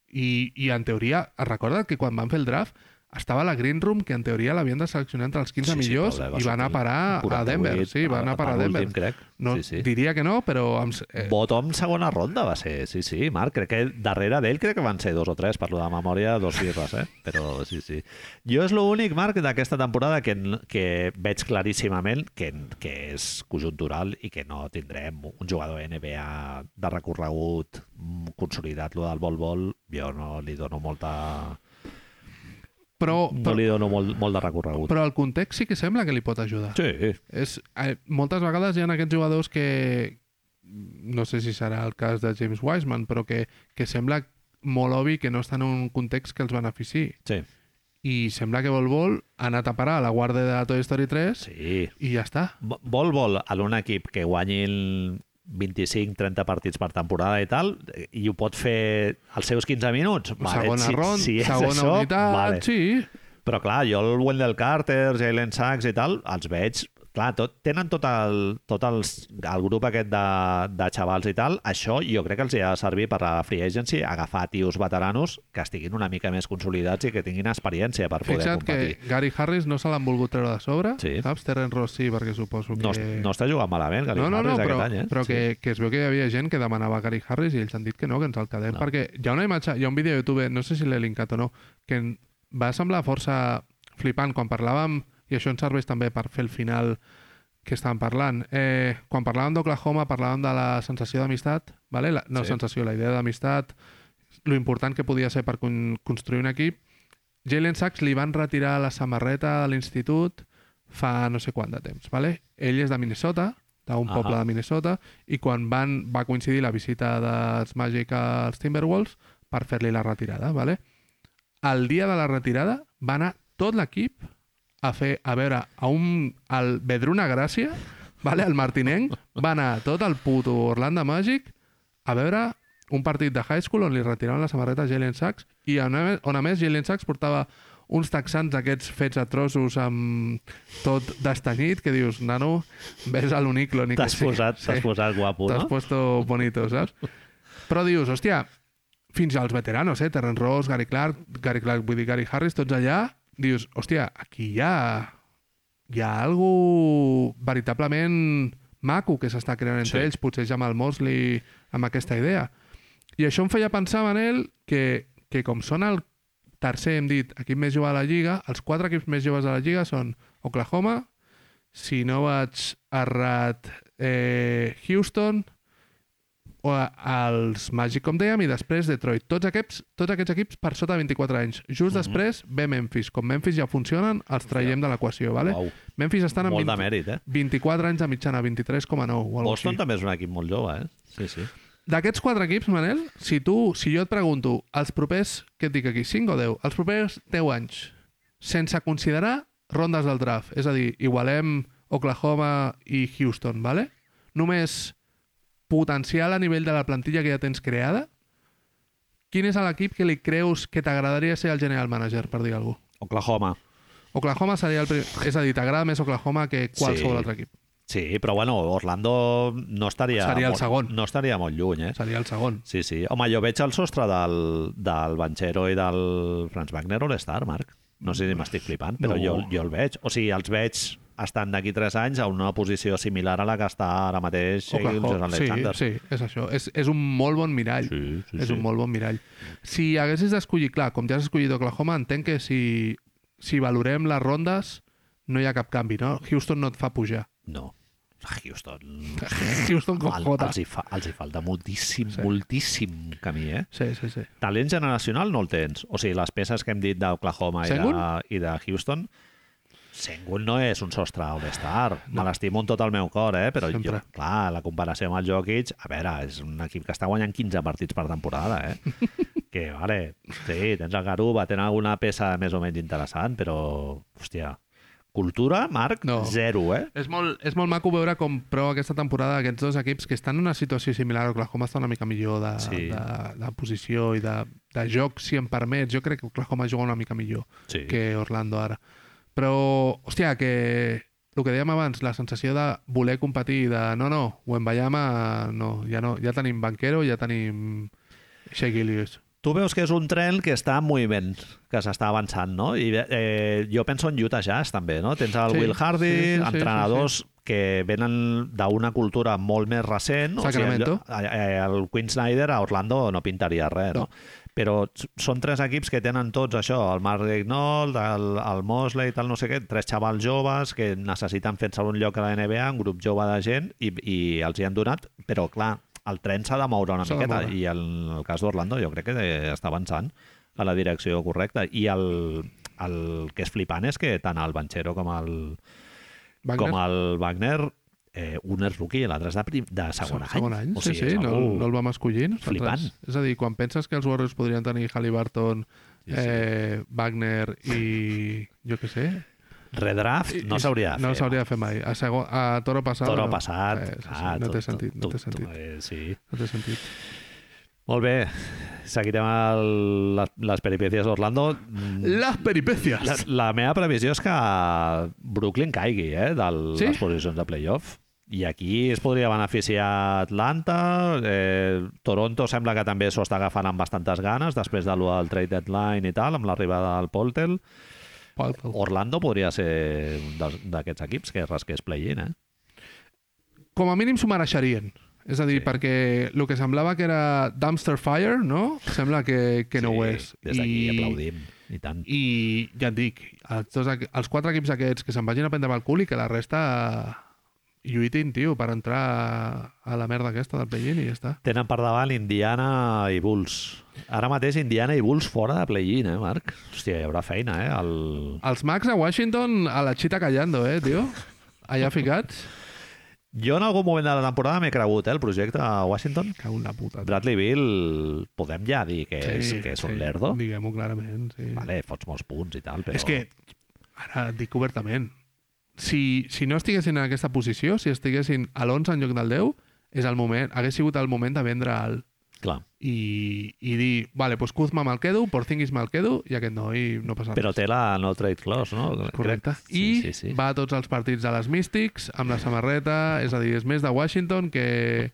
B: I, I en teoria, es recorda que quan van fer el draft estava a la Green Room, que en teoria l'havien de seleccionar entre els 15
A: Sí, sí,
B: millors
A: però va
B: i va anar a
A: sortir
B: parar a
A: 48,
B: Denver. Sí, va anar a parar a Denver.
A: penúltim, crec.
B: No,
A: sí, sí.
B: Diria que no, però... Amb, eh,
A: Bottom segona ronda va ser, sí, sí, Marc, crec que darrere d'ell crec que van ser dos o tres, parlo de memòria, dos birres, eh? Però sí, sí. Jo és l'únic, Marc, d'aquesta temporada que, que veig claríssimament que, que és conjuntural i que no tindrem un jugador NBA de recorregut mm, consolidat, lo del vol-vol, jo no li dono molta...
B: però,
A: No
B: però,
A: li dono molt, molt de recorregut.
B: però el context sí que sembla que li pot ajudar.
A: Sí,
B: És, eh, moltes vegades hi ha aquests jugadors que no sé si serà el cas de James Wiseman, però que, que sembla molt obvi que no estan en un context que els benefici.
A: sí,
B: I sembla que Vol Vol ha anat a parar a la guarda de Toy Story 3
A: sí.
B: i ja està.
A: Bo- vol, vol, en un equip que guanyi 25-30 partits per temporada i tal, eh, i ho pot fer als seus 15 minuts. Vale,
B: segona
A: si,
B: ronda,
A: si és
B: segona
A: això,
B: unitat,
A: vale.
B: sí.
A: Però clar, jo el Wendell Carter, Jalen Sachs i tal, els veig clar, tot, tenen tot, el, tot els, el grup aquest de, de xavals i tal, això jo crec que els hi ha de servir per a la free agency, agafar tios veteranos que estiguin una mica més consolidats i que tinguin experiència per poder
B: Fixa't que
A: competir.
B: Gary Harris no se l'han volgut treure de sobre,
A: Sí.
B: saps? Terrence Ross sí, perquè suposo que...
A: No, es- no està jugant malament, Gary
B: No, no, no,
A: Harris,
B: però,
A: aquest any, eh?
B: però
A: Sí.
B: que, que es veu que hi havia gent que demanava Gary Harris i ells han dit que no, que ens el quedem,
A: No.
B: perquè hi ha una imatge, hi ha un vídeo a YouTube, no sé si l'he linkat o no, que em va semblar força flipant quan parlàvem, i això ens serveix també per fer el final, que estaven parlant? Eh, quan parlàvem d'Oklahoma parlàvem de la sensació d'amistat, vale? la, no
A: Sí.
B: sensació, la idea d'amistat, lo important que podia ser per con construir un equip. Jalen Sachs li van retirar la samarreta de l'institut fa no sé quant de temps. Vale? Ell és de Minnesota, d'un
A: Ahà.
B: poble de Minnesota, i quan van, va coincidir la visita dels Magic als Timberwolves per fer-li la retirada. Vale? El dia de la retirada va anar tot l'equip a fer a veure a un, al Bedruna Gràcia, vale, el martinenc, va anar tot el puto Orlando Magic a veure un partit de high school on li retiraven la samarreta a Jalen Sachs i on a, més, on a més Jalen Sachs portava uns texans aquests fets a trossos amb tot destanyit que dius, nano, ves a l'uniclo ni que
A: T'has
B: sigui".
A: posat, t'has posat guapo,
B: T'has
A: no?
B: puesto bonito, saps? Però dius, hòstia, fins als veteranos, eh? Terrence Ross, Gary Clark, Gary Clark, vull dir Gary Harris, tots allà, dius, hòstia, aquí hi ha... Hi ha algú veritablement maco que s'està creant entre
A: Sí.
B: ells, potser Jamal Mosley amb aquesta idea. I això em feia pensar, Manel, que, que com són el tercer, hem dit, equip més jove a la Lliga, els quatre equips més joves de la Lliga són Oklahoma, si no vaig errat, eh, Houston, o els Magic, com dèiem, i després Detroit. Tots aquests, tots aquests equips per sota de 24 anys. Just
A: Mhm.
B: després ve Memphis. Com Memphis ja funcionen, els traiem de l'equació, vale?
A: Uau,
B: Memphis estan amb
A: molt de
B: 20,
A: mèrit, eh?
B: 24 anys de mitjana, 23,9 o alguna
A: Boston
B: així.
A: també és un equip molt jove, eh? Sí, sí.
B: D'aquests quatre equips, Manel, si tu, si jo et pregunto, els propers, què et dic aquí, 5 o 10, els propers 10 anys, sense considerar rondes del draft, és a dir, igualem Oklahoma i Houston, vale? només potencial a nivell de la plantilla que ja tens creada, quin és l'equip que li creus que t'agradaria ser el general manager, per dir alguna cosa?
A: Oklahoma.
B: Oklahoma seria el primer... És a dir, t'agrada més Oklahoma que qualsevol
A: Sí.
B: altre equip.
A: Sí, però bueno, Orlando no estaria...
B: Seria el
A: molt,
B: segon.
A: No estaria molt lluny, eh?
B: Seria el segon.
A: Sí, sí. Home, jo veig el sostre del, del Banchero i del Franz Wagner All-Star, Marc. No sé si m'estic flipant, però
B: No.
A: no. jo, jo el veig. O sigui, els veig estant d'aquí 3 anys a una posició similar a la que està ara mateix Shaggy
B: Oklahoma-
A: Alexander.
B: Sí, sí, és això. És, és un molt bon mirall.
A: sí, sí,
B: és
A: sí.
B: un molt bon mirall. Si haguessis d'escollir, clar, com ja has escollit Oklahoma, entenc que si, si valorem les rondes no hi ha cap canvi, no? Houston no et fa pujar.
A: No. Ah, Houston,
B: Houston com
A: el,
B: jota.
A: els, hi fa, els hi falta moltíssim,
B: Sí.
A: sí. moltíssim camí, eh?
B: Sí, sí, sí.
A: Talent generacional no el tens. O sigui, les peces que hem dit d'Oklahoma i, de,
B: Sengun?
A: i de Houston, Sengun no és un sostre all-star. No. Me l'estimo amb tot el meu cor, eh? Però, jo,
B: Sempre.
A: clar, la comparació amb el Jokic, a veure, és un equip que està guanyant 15 partits per temporada, eh? que, vale, sí, tens el Garuba, tenen alguna peça més o menys interessant, però, hòstia, cultura, Marc,
B: No.
A: zero, eh?
B: És molt, és molt maco veure com prou aquesta temporada aquests dos equips que estan en una situació similar a Oklahoma està una mica millor de, sí.
A: Sí.
B: de, de posició i de, de joc, si em permets. Jo crec que Oklahoma juga una mica millor.
A: Sí.
B: que Orlando ara. Però, hòstia, que el que dèiem abans, la sensació de voler competir, i de no, no, Wembayama, no, ja no, ja tenim Banquero, ja tenim Shea Gillius.
A: Tu veus que és un tren que està en moviment, que s'està avançant, no? I eh, jo penso en Utah Jazz, també, no? Tens el
B: Sí,
A: sí, Will Hardy,
B: sí,
A: sí,
B: sí, sí,
A: entrenadors sí, sí, que venen d'una cultura molt més recent.
B: Sacramento.
A: O sigui, el, eh, el Quinn Snyder a Orlando no pintaria res,
B: No.
A: no? Però s- són tres equips que tenen tots això, el Mark Ignold, el, el Mosley i tal, no sé què, tres xavals joves que necessiten fer-se un lloc a la NBA, un grup jove de gent, i, i els hi han donat, però clar, el tren s'ha de moure una
B: S'ha de
A: miqueta,
B: moure.
A: i en el cas d'Orlando jo crec que eh, està avançant a la direcció correcta, i el, el que és flipant és que tant el Banchero com el,
B: Wagner?
A: com el Wagner eh, un és rookie i l'altre és de, prim, de segon,
B: segon any,
A: O
B: sí,
A: sigui,
B: sí,
A: és
B: no,
A: algú-
B: no el vam escollir. nosaltres.
A: Flipant.
B: És a dir, quan penses que els Warriors podrien tenir Halliburton,
A: Sí, sí.
B: eh, Wagner i jo què sé...
A: Redraft no
B: i-
A: s'hauria de fer.
B: No s'hauria de fer mai. A, segon, a Toro passat...
A: Toro
B: no.
A: passat.
B: Eh, sí, sí,
A: clar,
B: no
A: tot-
B: té sentit, no
A: tot-
B: té sentit,
A: eh, sí.
B: no té sentit.
A: Molt bé, seguirem el, les, les peripècies d'Orlando. Mm,
B: Las peripecias.
A: La, la meva previsió és que Brooklyn caigui eh, de
B: Sí?
A: les posicions de playoff. I aquí es podria beneficiar Atlanta, eh, Toronto sembla que també s'ho està agafant amb bastantes ganes després de lo del trade deadline i tal, amb l'arribada del Poltel.
B: Pau.
A: Orlando podria ser un dels- d'aquests equips que rasqués play-in, eh?
B: com a mínim s'ho mereixerien. És a dir, sí.
A: Sí.
B: perquè el que semblava que era dumpster fire, no? Sembla que, que no
A: sí,
B: ho és.
A: Des d'aquí I... aplaudim, i tant.
B: I ja et dic, els, dos, equ- els quatre equips aquests que se'n vagin a prendre pel cul i que la resta lluitin, tio, per entrar a la merda aquesta del play-in i ja està.
A: Tenen per davant Indiana i Bulls. Ara mateix Indiana i Bulls fora de play-in, eh, Marc? Hòstia, hi haurà feina, eh? El...
B: Els Macs a Washington a la xita callando, eh, tio? Allà ficats.
A: Jo en algun moment de la temporada m'he cregut eh, el projecte a Washington.
B: Cago en la puta. tio.
A: Bradley Bill, podem ja dir que és, que és un lerdo?
B: Diguem-ho clarament, sí.
A: Vale, fots molts punts i tal, però...
B: És que, ara et dic obertament, si, si no estiguessin en aquesta posició, si estiguessin a l'11 en lloc del 10, és el moment, hagués sigut el moment de vendre el
A: Clar.
B: i, i dir, vale, doncs Kuzma me'l quedo, Porzingis me'l quedo i aquest noi no passa
A: Però té la no trade clause, no?
B: Correcte.
A: Crec-
B: I
A: Sí, sí, sí.
B: va a tots els partits de les Mystics amb la samarreta, és a dir, és més de Washington que,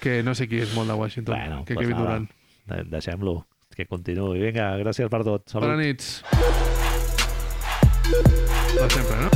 B: que no sé qui és molt de Washington,
A: Bueno,
B: que
A: pues
B: Kevin
A: nada.
B: Durant.
A: De- Deixem-lo, que continuï. Vinga, gràcies per tot. Salut.
B: Bona nit. De sempre, no?